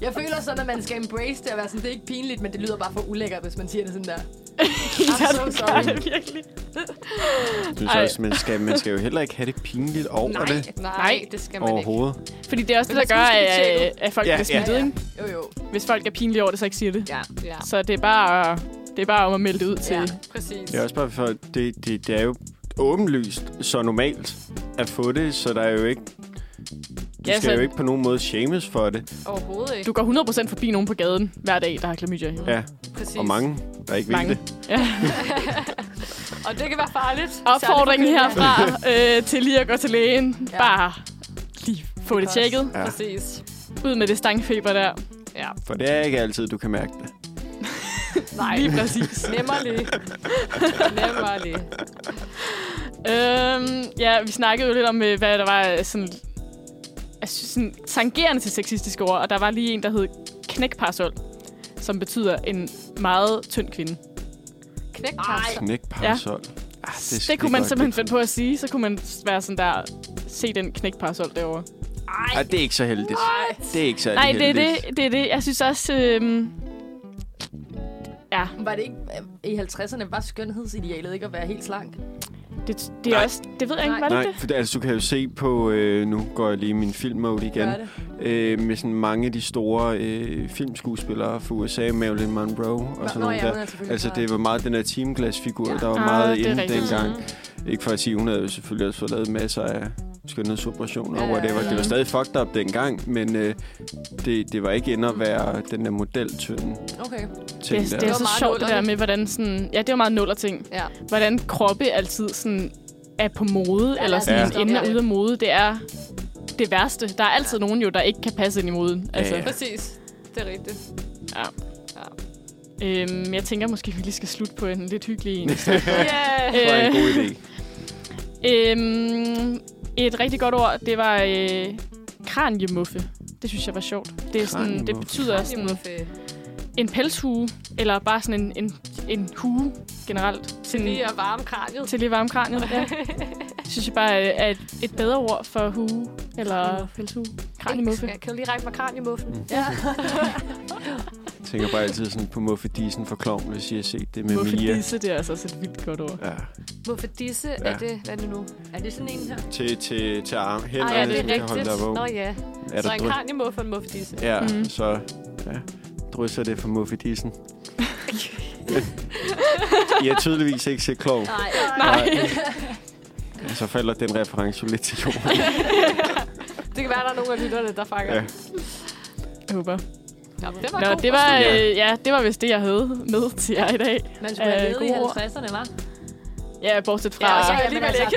D: Jeg føler sådan, at man skal embrace det og være sådan, det er ikke pinligt, men det lyder bare for ulækkert, hvis man siger det sådan der. I'm so
C: Ej,
D: sorry.
C: virkelig.
B: Jeg synes
C: Ej.
B: også, man skal, man skal jo heller ikke have det pinligt over
A: Nej,
B: det
A: nej, det skal man ikke.
B: overhovedet.
C: Fordi det er også
A: Men
C: det, der gør,
A: måske skal de
C: at,
A: tjekke
C: at folk
B: Ja,
C: bliver
B: ja.
C: smidt ud. ikke?
D: Jo, jo.
C: Hvis folk er pinlige over det, så ikke siger det.
D: Ja.
A: Ja,
C: Så det er bare, det er bare om at melde det ud til...
D: Ja.
A: præcis.
B: Det er også bare for, det, det, det er jo åbenlyst så normalt at få det, så der er jo ikke... Du
C: Ja,
B: skal
C: så-
B: jo ikke på nogen måde shames for det.
A: Overhovedet ikke.
C: Du går 100% forbi nogen på gaden hver dag, der har klamydia. jo.
B: Ja,
A: Præcis.
B: og mange, der ikke
C: Mange.
B: ved det.
A: Og det kan være farligt.
C: Opfordringen
A: Særligt for
C: herfra øh, til lige at gå til lægen.
D: Ja.
C: Bare lige få det, tjekket.
A: kvinder.
B: Ja.
A: Præcis.
C: Ud med det stangfeber der.
A: Ja.
B: For det er ikke altid, du kan mærke det.
A: Nej.
C: Lige præcis.
A: Nemmerlig. Nemmerlig.
C: øhm, ja, vi snakkede jo lidt om, øh, hvad der var øh, sådan, altså, sådan tangerende til sexistiske ord, og der var lige en, der hed knækparasol, som betyder en meget tynd kvinde.
A: Knæk Ej.
B: Knæk parasol. Ja. Ah, det, Ah, er
C: Det kunne man
B: skidegodt.
C: simpelthen finde på at sige. Så kunne man være sådan der, se den knækparasol derovre.
B: Ah, det er ikke så heldigt. Det er ikke så
C: Nej, det er
B: heldigt.
C: det, det er det. Jeg synes også... Øhm, ja,
D: Var det ikke øh, i 50'erne var skønhedsidealet ikke at være helt slank?
C: det, det er
B: Nej.
C: også... Det ved jeg ikke,
D: Nej.
C: var det
B: Nej,
C: det?
B: for det, altså, du kan jo se på, øh, nu går jeg lige i min filmmode igen,
D: Gør det.
B: øh, med sådan mange af de store øh, filmskuespillere fra USA, Marilyn Monroe og sådan noget der.
D: men selvfølgelig
B: Altså,
D: bare-
B: det var meget den her timeglasfigur,
D: Ja.
B: der var
C: Ah,
B: meget
C: det er
B: inde
C: rigtigt.
B: dengang. Ikke for at sige, hun havde jo selvfølgelig også fået lavet masser af skønhedsoperationer
D: Ja,
B: og
D: ja,
B: whatever.
D: ja.
B: Det var stadig fucked up dengang, men øh, det, det var ikke inde at være den der modeltynde
A: Mm.
D: Okay.
B: ting
C: det,
B: der.
C: det er
A: var
C: så
A: meget
C: sjovt det der
A: nullerligt.
C: med, hvordan sådan... Ja, det er jo meget nuller ting.
A: Ja.
C: Hvordan kroppe altid sådan er på mode,
D: Ja,
C: eller
D: ja.
C: sådan
D: Stop
C: ja. inde
D: det.
C: og ude af mode. Det er det værste. Der er altid nogen jo, der ikke kan passe ind i moden. Altså,
B: Ja.
A: Præcis. Det er rigtigt.
C: øhm, jeg tænker måske, vi lige skal slutte på en lidt hyggelig en.
A: Yeah.
B: Det var en god idé.
C: Øhm, et rigtig godt ord, det var øh, kranjemuffe. Det synes jeg var sjovt. Det, er sådan, det
B: Kraniemuffe.
C: betyder sådan en pelshue, eller bare sådan en, en, en hue generelt. Sådan,
A: Lige at varme kraniet.
C: til lige at varme kraniet. Ja. synes jeg bare øh, er et, et bedre ord for hue, eller pelshue. Kranjemuffe.
A: Jeg kan du lige række mig kraniemuffen.
B: Mm.
D: Ja.
B: Jeg tænker bare altid sådan på Muffe Diesen fra Klovn, hvis I har set det med
C: Muffe
B: Mia.
C: disse, det er altså også et vildt godt ord.
B: Ja.
A: Hvorfor disse ja.
B: Ja.
A: er det? Hvad er det nu?
D: Er det sådan en her?
B: Til, til, til arm. Hænder,
A: Ej, ja, det
B: hvis
A: er
B: man kan holde
A: rigtigt.
B: dig vågen.
A: Nå ja.
B: Er
A: Så
B: der
A: en
B: dryp-
A: kraniemuffe og en muffedisse.
B: Ja,
C: Mhm.
B: mm. så ja, drysser det for Muffy Dissen. I har tydeligvis ikke set klog.
D: Nej.
B: Nej. Så falder den reference jo lidt til jorden.
A: Det kan være, der er nogle af lytterne, der fanger.
B: Ja.
A: Ja.
C: Jeg håber.
A: det var
C: Nå,
A: god.
C: det var,
B: Ja.
C: øh, ja, det var vist det, jeg havde med til jer i dag.
D: Man skulle
C: Øh,
D: have levet i
C: gode ord.
D: 50'erne, hva'?
C: Ja, bortset fra...
A: Ja, og så-
D: men
A: alligevel
D: altså,
A: ikke.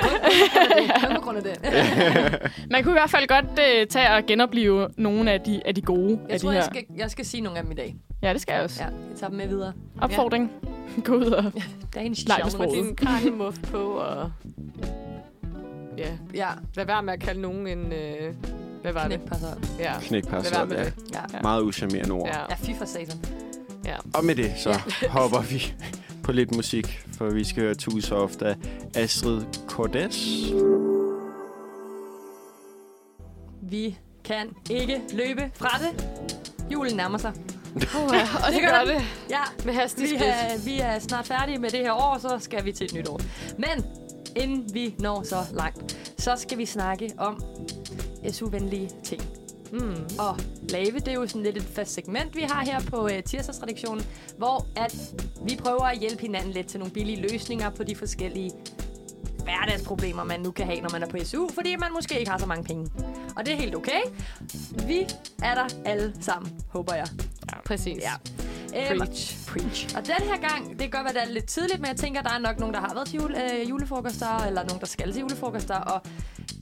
D: kun på grund af det. Kun på grund af det.
C: Man kunne i hvert fald godt øh, tage og genopleve nogle af de, af de gode
D: Jeg
C: af
D: tror,
C: de her.
D: jeg skal, jeg skal sige nogle af dem i dag.
C: Ja, det skal jeg også.
D: Ja,
C: Ja.
D: jeg tager dem med videre.
C: Opfordring. Gå ud og...
D: Dagens
C: Nej,
D: genre.
C: hvis man-
A: Din kraniemuff på og... Ja,
D: Ja,
A: lad være med at kalde nogen en... Øh... Hvad var
D: knæk
A: det?
D: par så.
A: Ja.
B: Knæk
A: Lad være
B: parasol,
A: med
B: ja.
A: det.
D: Ja.
B: Meget uschammerende ord.
A: Ja.
D: Ja, fy for satan.
B: Og med det, så hopper vi på lidt musik, for vi skal høre Too Soft af Astrid Cordes.
D: Vi kan ikke løbe fra det. Julen nærmer sig.
A: Og det
D: Det gør
A: gør det
D: Ja,
A: med hastig
D: vi
A: skridt.
D: er, vi er snart færdige med det her år, så skal vi til et nyt år. Men inden vi når så langt, så skal vi snakke om SU-venlige ting. mm. og lave. Det er jo sådan lidt et fast segment, vi har her på øh, tirsdagsredaktionen, hvor at vi prøver at hjælpe hinanden lidt til nogle billige løsninger på de forskellige hverdagsproblemer, man nu kan have, når man er på SU, fordi man måske ikke har så mange penge. Og det er helt okay. Vi er der alle sammen, håber jeg.
A: Præcis.
D: Ja. Øhm, Preach. Preach. Og den her gang, det kan godt være, det er lidt tidligt, men jeg tænker, der er nok nogen, der har været til jule, øh, julefrokoster, eller nogen, der skal til julefrokoster, og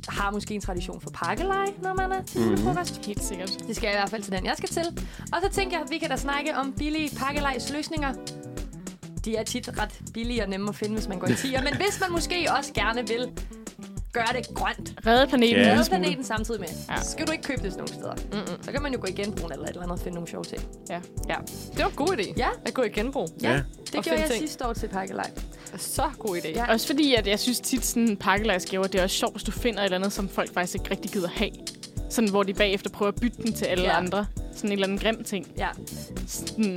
D: har måske en tradition for pakkeleje, når man er til mm. julefrokost.
C: Helt sikkert.
D: Det skal jeg i hvert fald til den, jeg skal til. Og så tænker jeg, at vi kan da snakke om billige pakkelejsløsninger. De er tit ret billige og nemme at finde, hvis man går i tier. Men hvis man måske også gerne vil gøre det grønt,
C: Redde planeten.
B: Ja.
C: en
D: redde
C: lille smule.
D: planeten samtidig med,
C: Ja.
D: så skal du ikke købe det sådan nogle steder. Mm-mm. Så kan man jo gå i genbrug eller et eller andet og finde nogle sjove ting.
C: Ja.
D: Ja,
A: Det var en god idé.
D: ja
A: At gå i genbrug.
B: Ja.
D: det
A: Og
D: gjorde
A: finde
D: jeg
A: ting.
D: sidste år til pakkelej.
A: Så god idé.
D: Ja.
C: Også fordi, at jeg synes tit, sådan pakkelejsgaver, det er også sjovt, hvis du finder et eller andet, som folk faktisk ikke rigtig gider have. Sådan, hvor de bagefter prøver at bytte den til alle
D: Ja.
C: ja. andre. Sådan en eller anden grim ting.
D: Ja.
C: Sådan,
D: Jeg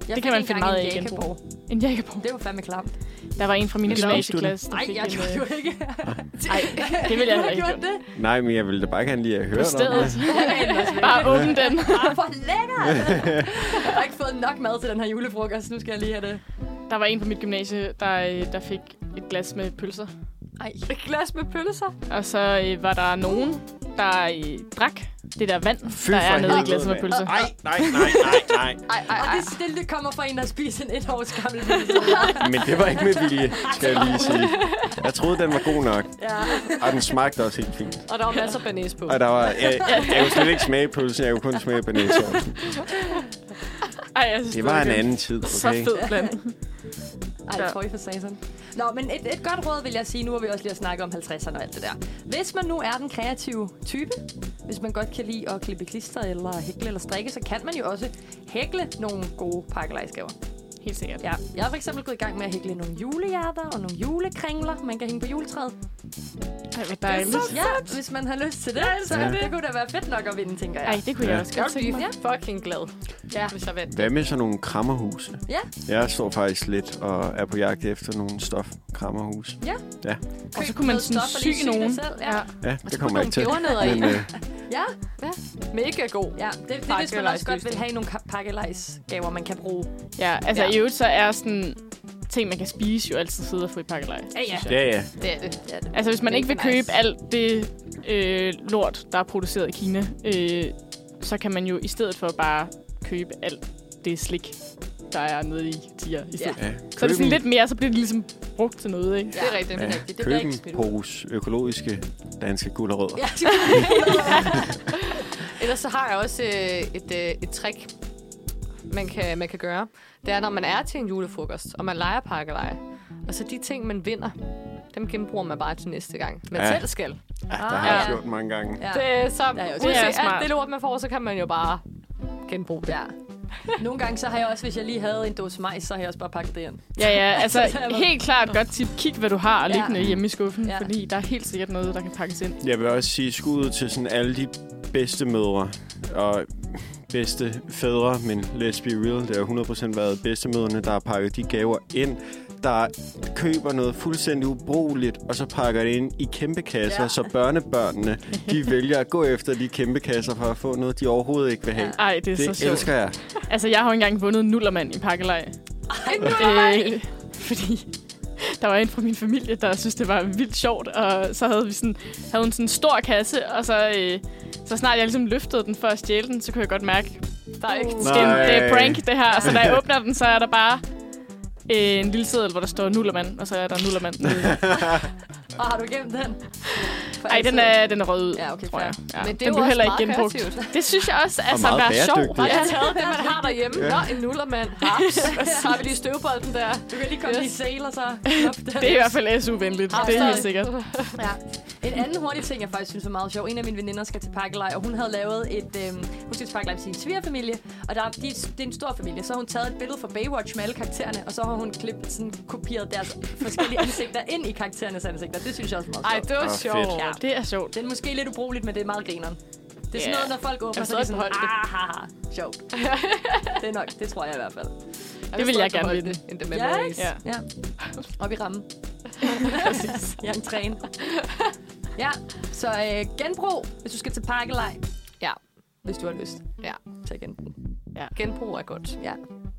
C: Det kan
D: fik
C: man
D: engang
C: finde meget
D: en
C: af i genbrug.
D: jakkeborg.
C: en jakke på.
D: Det var fandme klamt.
C: Der var en fra min
B: Men stoppede du
C: gymnasieklasse, der
D: Nej,
C: fik
D: jeg
C: en...
D: gjorde
C: øh,
D: jo ikke.
C: Ej, det ville jeg
D: Du
C: heller
D: har
C: ikke
D: gjort
C: gjort.
D: det.
B: Nej, men jeg ville da bare gerne lige have
C: På
B: hørt om
C: stedet.
B: det.
C: Bare åbne den.
D: Bare for Ah, lækkert. jeg har ikke fået nok mad til den her julefrokost. Nu skal jeg lige have det.
C: Der var en på mit gymnasie, der, øh, der fik et glas med pølser.
D: Ej.
A: Et glas med pølser.
C: Og så øh, var der nogen, der øh, drak det der vand,
B: Fy
C: der
B: for
C: er nede i
B: helvede,
C: glasset med
B: mand.
C: pølser.
B: Nej, nej, nej, nej, nej.
A: Ej, ej,
D: Og
A: ej.
D: det, det, det kommer fra en, der har spist en et års gammel pølse.
B: Men det var ikke med vilje, skal jeg lige sige. Jeg troede, den var god nok.
D: Ja.
B: Og den smagte også helt fint.
A: Og der var masser af banæs på.
B: Og der var, jeg, jeg kunne slet ikke smage pølsen, jeg kunne kun smage bananasaucen.
C: Ej, jeg synes,
B: Det var en
C: det-
B: anden tid,
C: Så
B: okay?
C: fed blanding.
D: Ej, jeg tror I for satan. Nå, men et, et godt råd vil jeg sige, nu hvor vi også lige har snakket om 50'erne og alt det der. Hvis man nu er den kreative type, hvis man godt kan lide at klippe klister eller hækle eller strikke, så kan man jo også hækle nogle gode pakkelejskaver.
C: Helt sikkert.
D: Ja, jeg har for eksempel gået i gang med at hækle nogle julehjerter og nogle julekringler, man kan hænge på juletræet.
C: Ej, hvor dejligt.
D: Ja, hvis man har lyst til det, så
B: elsker
D: det kunne da være fedt nok at vinde, tænker jeg.
C: Ej, det kunne jeg
B: Ja.
C: også
A: Jeg
C: godt tænke mig.
A: er fucking glad,
D: Ja.
A: hvis jeg vandt.
B: Hvad med sådan nogle krammerhuse?
D: Ja.
B: Jeg står faktisk lidt og er på jagt efter nogle stofkrammerhuse.
D: Ja.
B: Ja,
C: Og så
D: Køb
C: kunne man
D: noget
C: sådan
D: stof og
C: sy
D: lige sy det
C: nogen.
D: selv, ja.
B: ja det kommer jeg ikke til.
A: pebernødder i.
B: Men øh,
D: Ja,
A: Mega god.
D: ja. Det, det, er, hvis man også godt vil have nogle ka- pakkelejsgaver, man kan bruge.
C: Ja, altså
D: Ja.
C: i øvrigt, så er sådan ting, man kan spise, jo altid sidde og få i pakkelej.
D: Ja, ja.
B: øh, ja, ja.
A: Det er det.
D: Ja, det-
C: Altså, hvis man
A: Det er
C: ikke vil
A: nice.
C: købe alt det øh, lort, der er produceret i Kina, øh, så kan man jo i stedet for bare købe alt det slik, der er nede i tier. I stedet.
B: ja.
C: Så er det sådan lidt mere, så bliver det ligesom brugt til noget, ikke?
A: Det er rigtigt.
B: Ja,
A: Det er rigtigt. Det bliver
B: køb
A: ikke
B: en
A: smidt ud.
B: pose økologiske danske gulerødder.
D: Ja,
A: Ellers så har jeg også øh, et, øh, et trick, man kan, man kan gøre. Det er, når man er til en julefrokost, og man leger pakkeleje, og så de ting, man vinder, dem genbruger man bare til næste gang. Man
B: Ja.
A: ja. selv skal.
B: Ja, det har jeg
A: Ah, ja.
B: gjort mange gange.
D: ja.
A: Det, er så
D: jo
A: ja,
D: det.
A: uanset
C: Det er
A: alt
C: smart.
A: det lort, man får, så kan man jo bare genbruge det.
D: ja. Nogle gange så har jeg også, hvis jeg lige havde en dåse majs, så har jeg også bare pakket det ind.
C: Ja, ja, altså
D: Så er der-
C: helt klart et godt tip. Kig, hvad du har og
D: Ja.
C: liggende hjemme i skuffen,
D: Ja.
C: fordi der er helt sikkert noget, der kan pakkes ind.
B: Jeg vil også sige skud ud til sådan alle de bedste mødre og bedste fædre, men let's be real, det har 100% været bedstemødrene, der har pakket de gaver ind, der køber noget fuldstændig ubrugeligt, og så pakker det ind i kæmpe kasser,
D: Ja.
B: ja. så børnebørnene, de vælger at gå efter de kæmpe kasser for at få noget, de overhovedet ikke vil have.
C: Ej, det er
B: Det,
C: så
B: det
C: sjovt.
B: elsker jeg.
C: Altså, jeg har jo engang vundet en nullermand i pakkelej.
D: nullermand?
C: Øh, fordi der var en fra min familie, der synes det var vildt sjovt. Og så havde vi sådan, havde hun sådan en stor kasse, og så, øh, så snart jeg ligesom løftede den for at stjæle den, så kunne jeg godt mærke, der er ikke
D: Uh.
C: det er en
B: Oh. Nej.
C: øh, prank, det her. Og så da jeg åbner den, så er der bare øh, en lille seddel, hvor der står nullermand, og så er der nullermand. nede.
D: Og har du gemt den? For
C: Ej, den er, den er røget ud,
D: Ja, okay,
C: tror
D: fair.
C: jeg. Ja.
A: Men det er
C: den
A: jo
C: blev
A: også
C: heller ikke
A: meget
C: genbrugt.
A: kreativt.
C: Det synes jeg også, altså,
B: meget
C: der er sjov.
B: bæredygtigt.
A: Bare jeg har taget det, man har derhjemme. Nå, en nullermand. Haps. Så har vi lige støvbolden der.
D: Du kan lige komme yes. i sale og så knop den.
C: Det er i hvert fald SU-venligt.
D: Ah,
C: Det er helt
D: stadig.
C: sikkert.
D: Ja. En anden hurtig ting, jeg faktisk synes er meget sjov. En af mine veninder skal til pakkelej, og hun havde lavet et... Øhm, hun skal til pakkelej med sin svigerfamilie, og der, er- de, det er en stor familie. Så har hun taget et billede fra Baywatch med alle karaktererne, og så har hun klippet, sådan, kopieret deres forskellige ansigter ind i karakterernes ansigter. Det synes jeg også er meget
A: Ej,
D: sjovt.
A: det var
B: Åh, fedt.
A: sjovt.
D: Ja.
C: Det er sjovt.
D: Det er måske lidt ubrugeligt, men det er meget grineren. Det er sådan
C: Ja.
D: noget, når folk åbner,
A: Jeg
D: så er de sådan,
A: forstår ikke,
D: ah, ha, ha, sjovt. det er nok, det tror jeg i hvert fald.
C: vil jeg gerne
A: vide.
C: vide.
A: In the
D: Ja,
A: memories.
D: ikke? Ja. Op i rammen. Præcis. Jeg er en træne. Ja, så øh, genbrug, hvis du skal til pakkelej.
A: Ja.
D: hvis du har lyst
A: Ja.
D: til at genbruge.
A: Genbrug er godt.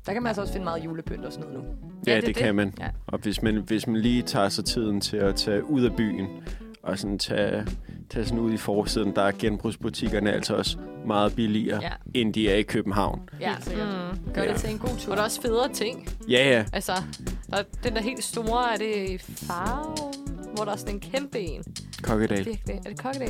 D: Der kan man altså også finde meget julepynt og sådan noget nu.
B: Ja,
A: Ja,
B: det,
A: det er
B: det kan man. Ja.
D: Ja.
B: Og hvis man, hvis man lige tager sig tiden til at tage ud af byen, og sådan tage, tage sådan ud i forsiden, der er genbrugsbutikkerne altså også meget billigere, ja.
D: Ja.
B: end de er i København.
D: Ja,
C: Helt sikkert. Mm.
D: gør
B: Ja.
D: det til en god tur.
A: Og der er også federe ting.
B: Ja, ja.
A: Altså, der er den der helt store, er det i Farum, hvor der er sådan en kæmpe en.
B: Kokkedal.
A: Virkelig. Er det kokkedal?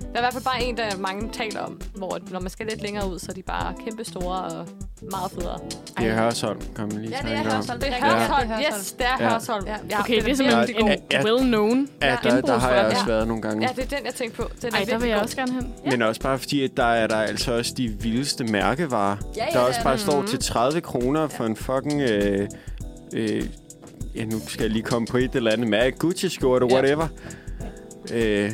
A: Der er i hvert fald bare en, der mange taler om, hvor at når man skal lidt længere ud, så er de bare kæmpe store og meget federe.
B: Det er Hørsholm, kom lige i
D: Ja, det
B: tanke
D: er
B: om.
D: Hørsholm.
A: Det er
D: rigtigt.
A: Hørsholm.
D: Ja, det er
A: Yes, det er
B: Ja.
A: Hørsholm.
D: Ja.
C: Okay, det er
A: virkelig
C: simpelthen en,
B: Ja,
C: en
B: ja.
C: well-known.
B: Ja, der, der har jeg
A: genbrugsforretning.
B: også været nogle gange.
A: Ja, det er den, jeg tænkte på. Den er
C: Ej, der vil
A: virkelig
C: jeg
A: god.
C: også gerne hen.
B: Men også bare fordi, at der er der altså også de vildeste mærkevarer.
D: Ja,
B: der
D: ja, Mhm.
B: også bare står til 30 kroner for en fucking... Øh, øh, ja, nu skal jeg lige komme på et eller andet mærke. Gucci-skjorte,
A: Ja.
B: whatever. Øh,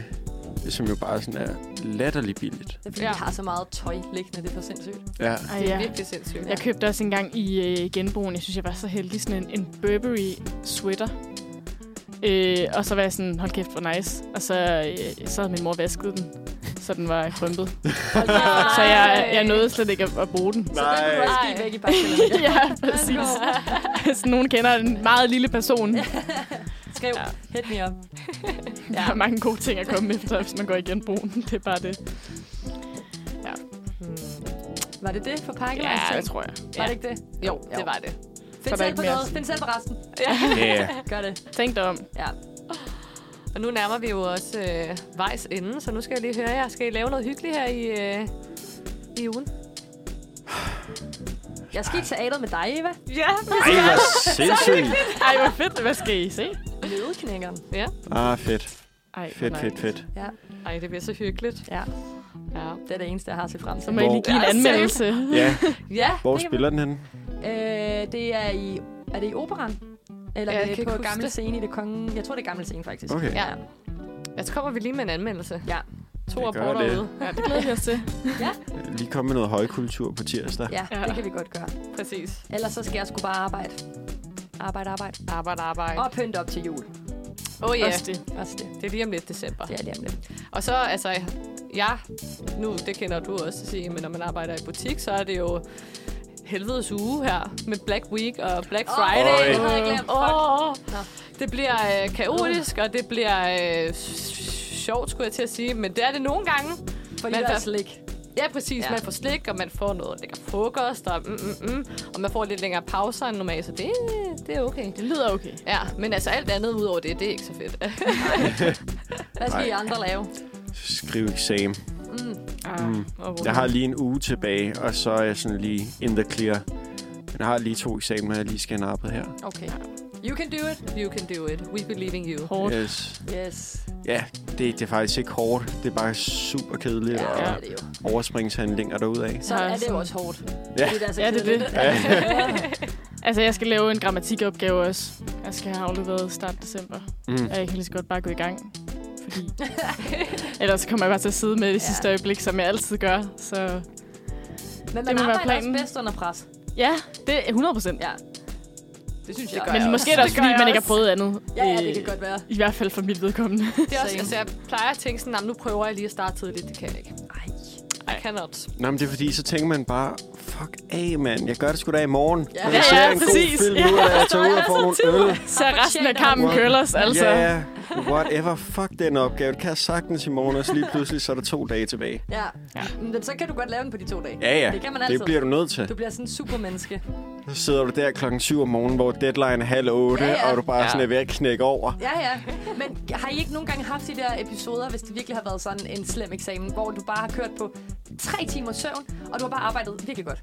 B: som jo bare sådan er latterligt billigt.
D: Det er fordi,
C: Ja.
D: ja. de har så meget tøj liggende. Det er for sindssygt.
B: Ja.
C: Ej,
A: Det er
C: ja.
A: virkelig sindssygt.
C: Jeg købte også engang i øh, genbrugen, jeg synes, jeg var så heldig, sådan en, en Burberry sweater. Øh, og så var jeg sådan, hold kæft, hvor nice. Og så, øh, så havde min mor vasket den, så den var krympet. så jeg, jeg nåede slet ikke at, at bruge den.
D: Så den kunne du også
A: Nej.
D: give væk i Barcelona.
C: ja, præcis. Så nogen kender en meget lille person.
D: Skriv, hit me up.
C: Der er mange gode ting at komme efter, hvis man går i genbrugen. Det er bare det.
D: Var det det for pakkelejs?
C: Ja, det tror jeg.
D: Var det ikke det?
A: Jo, det
D: Jo.
A: var det.
C: Så
D: Find
C: er der
D: selv
C: ikke
D: på
C: mere.
D: noget. Find selv på resten.
B: Yeah.
D: Gør det.
C: Tænk dig om.
D: Ja.
A: Og nu nærmer vi jo også øh, vejs ende, så nu skal jeg lige høre jer. Skal I lave noget hyggeligt her i, øh, i ugen?
D: Jeg skal i teateret med dig, Eva.
A: Ja.
B: Ej, hvor sindssygt.
C: Ej, hvor fedt. Hvad skal I se?
D: Nødeknækkeren.
B: Ah, fedt.
C: Ej,
B: Fedt,
C: nej.
B: fedt, fedt.
A: Ej, det bliver så hyggeligt.
D: Ja,
A: Ja.
D: det er det eneste, jeg har til frem
C: Så
D: til.
C: må jeg lige give en
A: Hvor-
C: anmeldelse.
B: Ja,
D: Ja,
B: hvor
D: det kan man-
B: spiller den henne?
D: Øh, det er i... Er det i operan? Eller
A: Jeg
D: ja,
A: kan
D: det
A: ikke
D: er på
A: huske
D: gamle
A: det.
D: scene i det konge... Jeg tror, det er gamle scene, faktisk.
B: Okay.
A: Ja. Ja, Altså, så kommer vi lige med en anmeldelse.
D: Ja.
A: To
B: Det
A: af
B: gør
A: borgere
B: det.
A: ude.
C: Ja, det glæder vi os til.
B: Lige komme med noget højkultur på tirsdag.
D: Ja,
C: Ja.
D: det kan vi godt gøre.
A: Præcis.
D: Ellers så skal jeg sgu bare arbejde. Arbejde, arbejde.
A: Arbejde, arbejde.
D: Og pynt op til jul.
A: Åh oh, ja,
C: Også det.
D: Også det.
A: det er lige om lidt december.
D: Det er lige om lidt.
A: Og så, altså, ja, nu, det kender du også, sige, men når man arbejder i butik, så er det jo helvedes uge her med Black Week og Black
D: Åh,
A: Friday.
D: det havde jeg glemt.
A: Åh,
D: Nå.
A: det bliver øh, kaotisk, og det bliver øh, s- sjovt, skulle jeg til at sige, men det er det nogle gange.
D: For
A: Men
D: I
A: hvad-
D: er slik.
A: Ja, præcis. Ja.
D: Ja.
A: Man får slik, og man får noget lækker frokost, og, mm, mm, mm, og man får lidt længere pauser end normalt, så det, det er okay.
C: Det lyder okay.
A: Ja, men altså alt andet udover det, det er ikke så fedt.
D: Hvad skal I andre lave?
B: Skriv eksamen.
C: Ah. Mm.
B: Jeg har lige en uge tilbage, og så er jeg sådan lige in the clear. Men jeg har lige to eksamener, jeg lige skal have nappet her.
A: Okay. You can do it. You can do it. We believe in you.
C: Hårdt.
B: Yes.
D: Yes.
B: Ja, det, det er faktisk ikke hårdt. Det er bare super kedeligt ja.
D: Ja,
B: og
D: det er jo.
B: overspringshandlinger derudad.
D: Så
C: Ja,
D: er det jo
C: sådan.
D: også hårdt.
B: Ja.
D: Fordi er så
C: Ja, det er det.
D: kedeligt.
C: Altså, jeg skal lave en grammatikopgave også. Jeg skal have afleveret start december.
B: Mm.
C: Og jeg kan lige så godt bare gå i gang. Fordi... Ellers kommer jeg bare til at sidde med det sidste
D: Ja.
C: øjeblik, som jeg altid gør. Så
D: Men
C: Det
D: man
C: må være
D: arbejder også
C: planen.
D: bedst under pres.
C: ja, det er 100 procent.
D: Ja.
A: Det synes
D: jeg
C: Men
D: også.
C: måske er det også,
A: Det gør
C: fordi
A: jeg
C: man ikke har
A: også.
C: prøvet andet.
D: Ja, ja, det kan
C: Øh,
D: godt være.
C: I hvert fald for mit vedkommende.
A: Det er også,
D: Same.
A: altså, jeg plejer at tænke sådan, "Nå, men nu prøver jeg lige at starte tidligt. Det kan jeg ikke.
D: Ej.
A: I cannot.
B: Nå, men det er fordi, så tænker man bare, fuck af, mand. Jeg gør det sgu da i morgen.
D: Ja.
B: Når
D: Ja,
B: jeg ser
C: ja,
B: en
C: præcis.
B: god film nu, og jeg tager ud og får nogle øl.
C: Så er resten af
D: fortjener
C: kampen
B: hun.
C: køllers, altså.
B: Ja, yeah, whatever. Fuck den opgave. Det kan jeg sagtens i morgen, og så lige pludselig, så er der to dage tilbage.
D: Ja.
C: Ja.
D: ja. Men så kan du godt lave den på de to dage.
B: Ja, ja.
D: Det kan man altid.
B: det bliver du nødt til.
D: Du bliver sådan en supermenneske.
B: Så sidder du der klokken 7 om morgenen, hvor deadline er halv 8, ja,
D: Ja,
B: ja.
D: ja.
B: og du bare ja. sådan er ved at knække over.
D: Ja, ja. Men har I ikke nogle gange haft de der episoder, hvis det virkelig har været sådan en slem eksamen, hvor du bare har kørt på tre timer søvn, og du har bare arbejdet virkelig godt?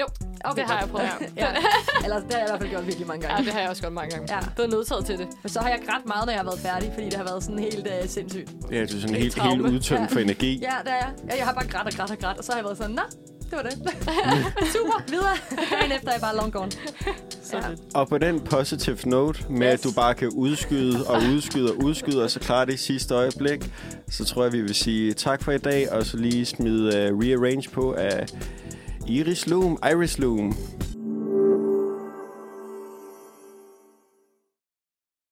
A: Jo,
D: Okay,
A: det har jeg
D: godt.
A: prøvet.
D: ja. Eller det har jeg i hvert fald gjort virkelig mange
A: Ja,
D: gange.
A: det har jeg også gjort mange gange.
D: Ja.
A: Ja. Blevet nødtaget til det.
D: Men så har jeg grædt meget, når jeg har været færdig, fordi det har været sådan helt øh, sindssygt.
B: Ja, du er sådan helt, helt
A: traume.
B: udtømt ja.
D: Ja.
B: for energi. Ja.
D: Ja, det er jeg. Ja, Jeg har bare grædt og grædt og grædt, og så har jeg været sådan, nå, det var det. Super, videre. Dagen efter er jeg bare long gone.
C: Så
D: Ja.
C: lidt.
B: Og på den positive note med, yes. at
D: Yes.
B: du bare kan udskyde og udskyde og udskyde, og så klare det i sidste øjeblik, så tror jeg, vi vil sige tak for i øh, dag, og så lige smide uh, Rearrange på af Iris Loom. Iris Loom.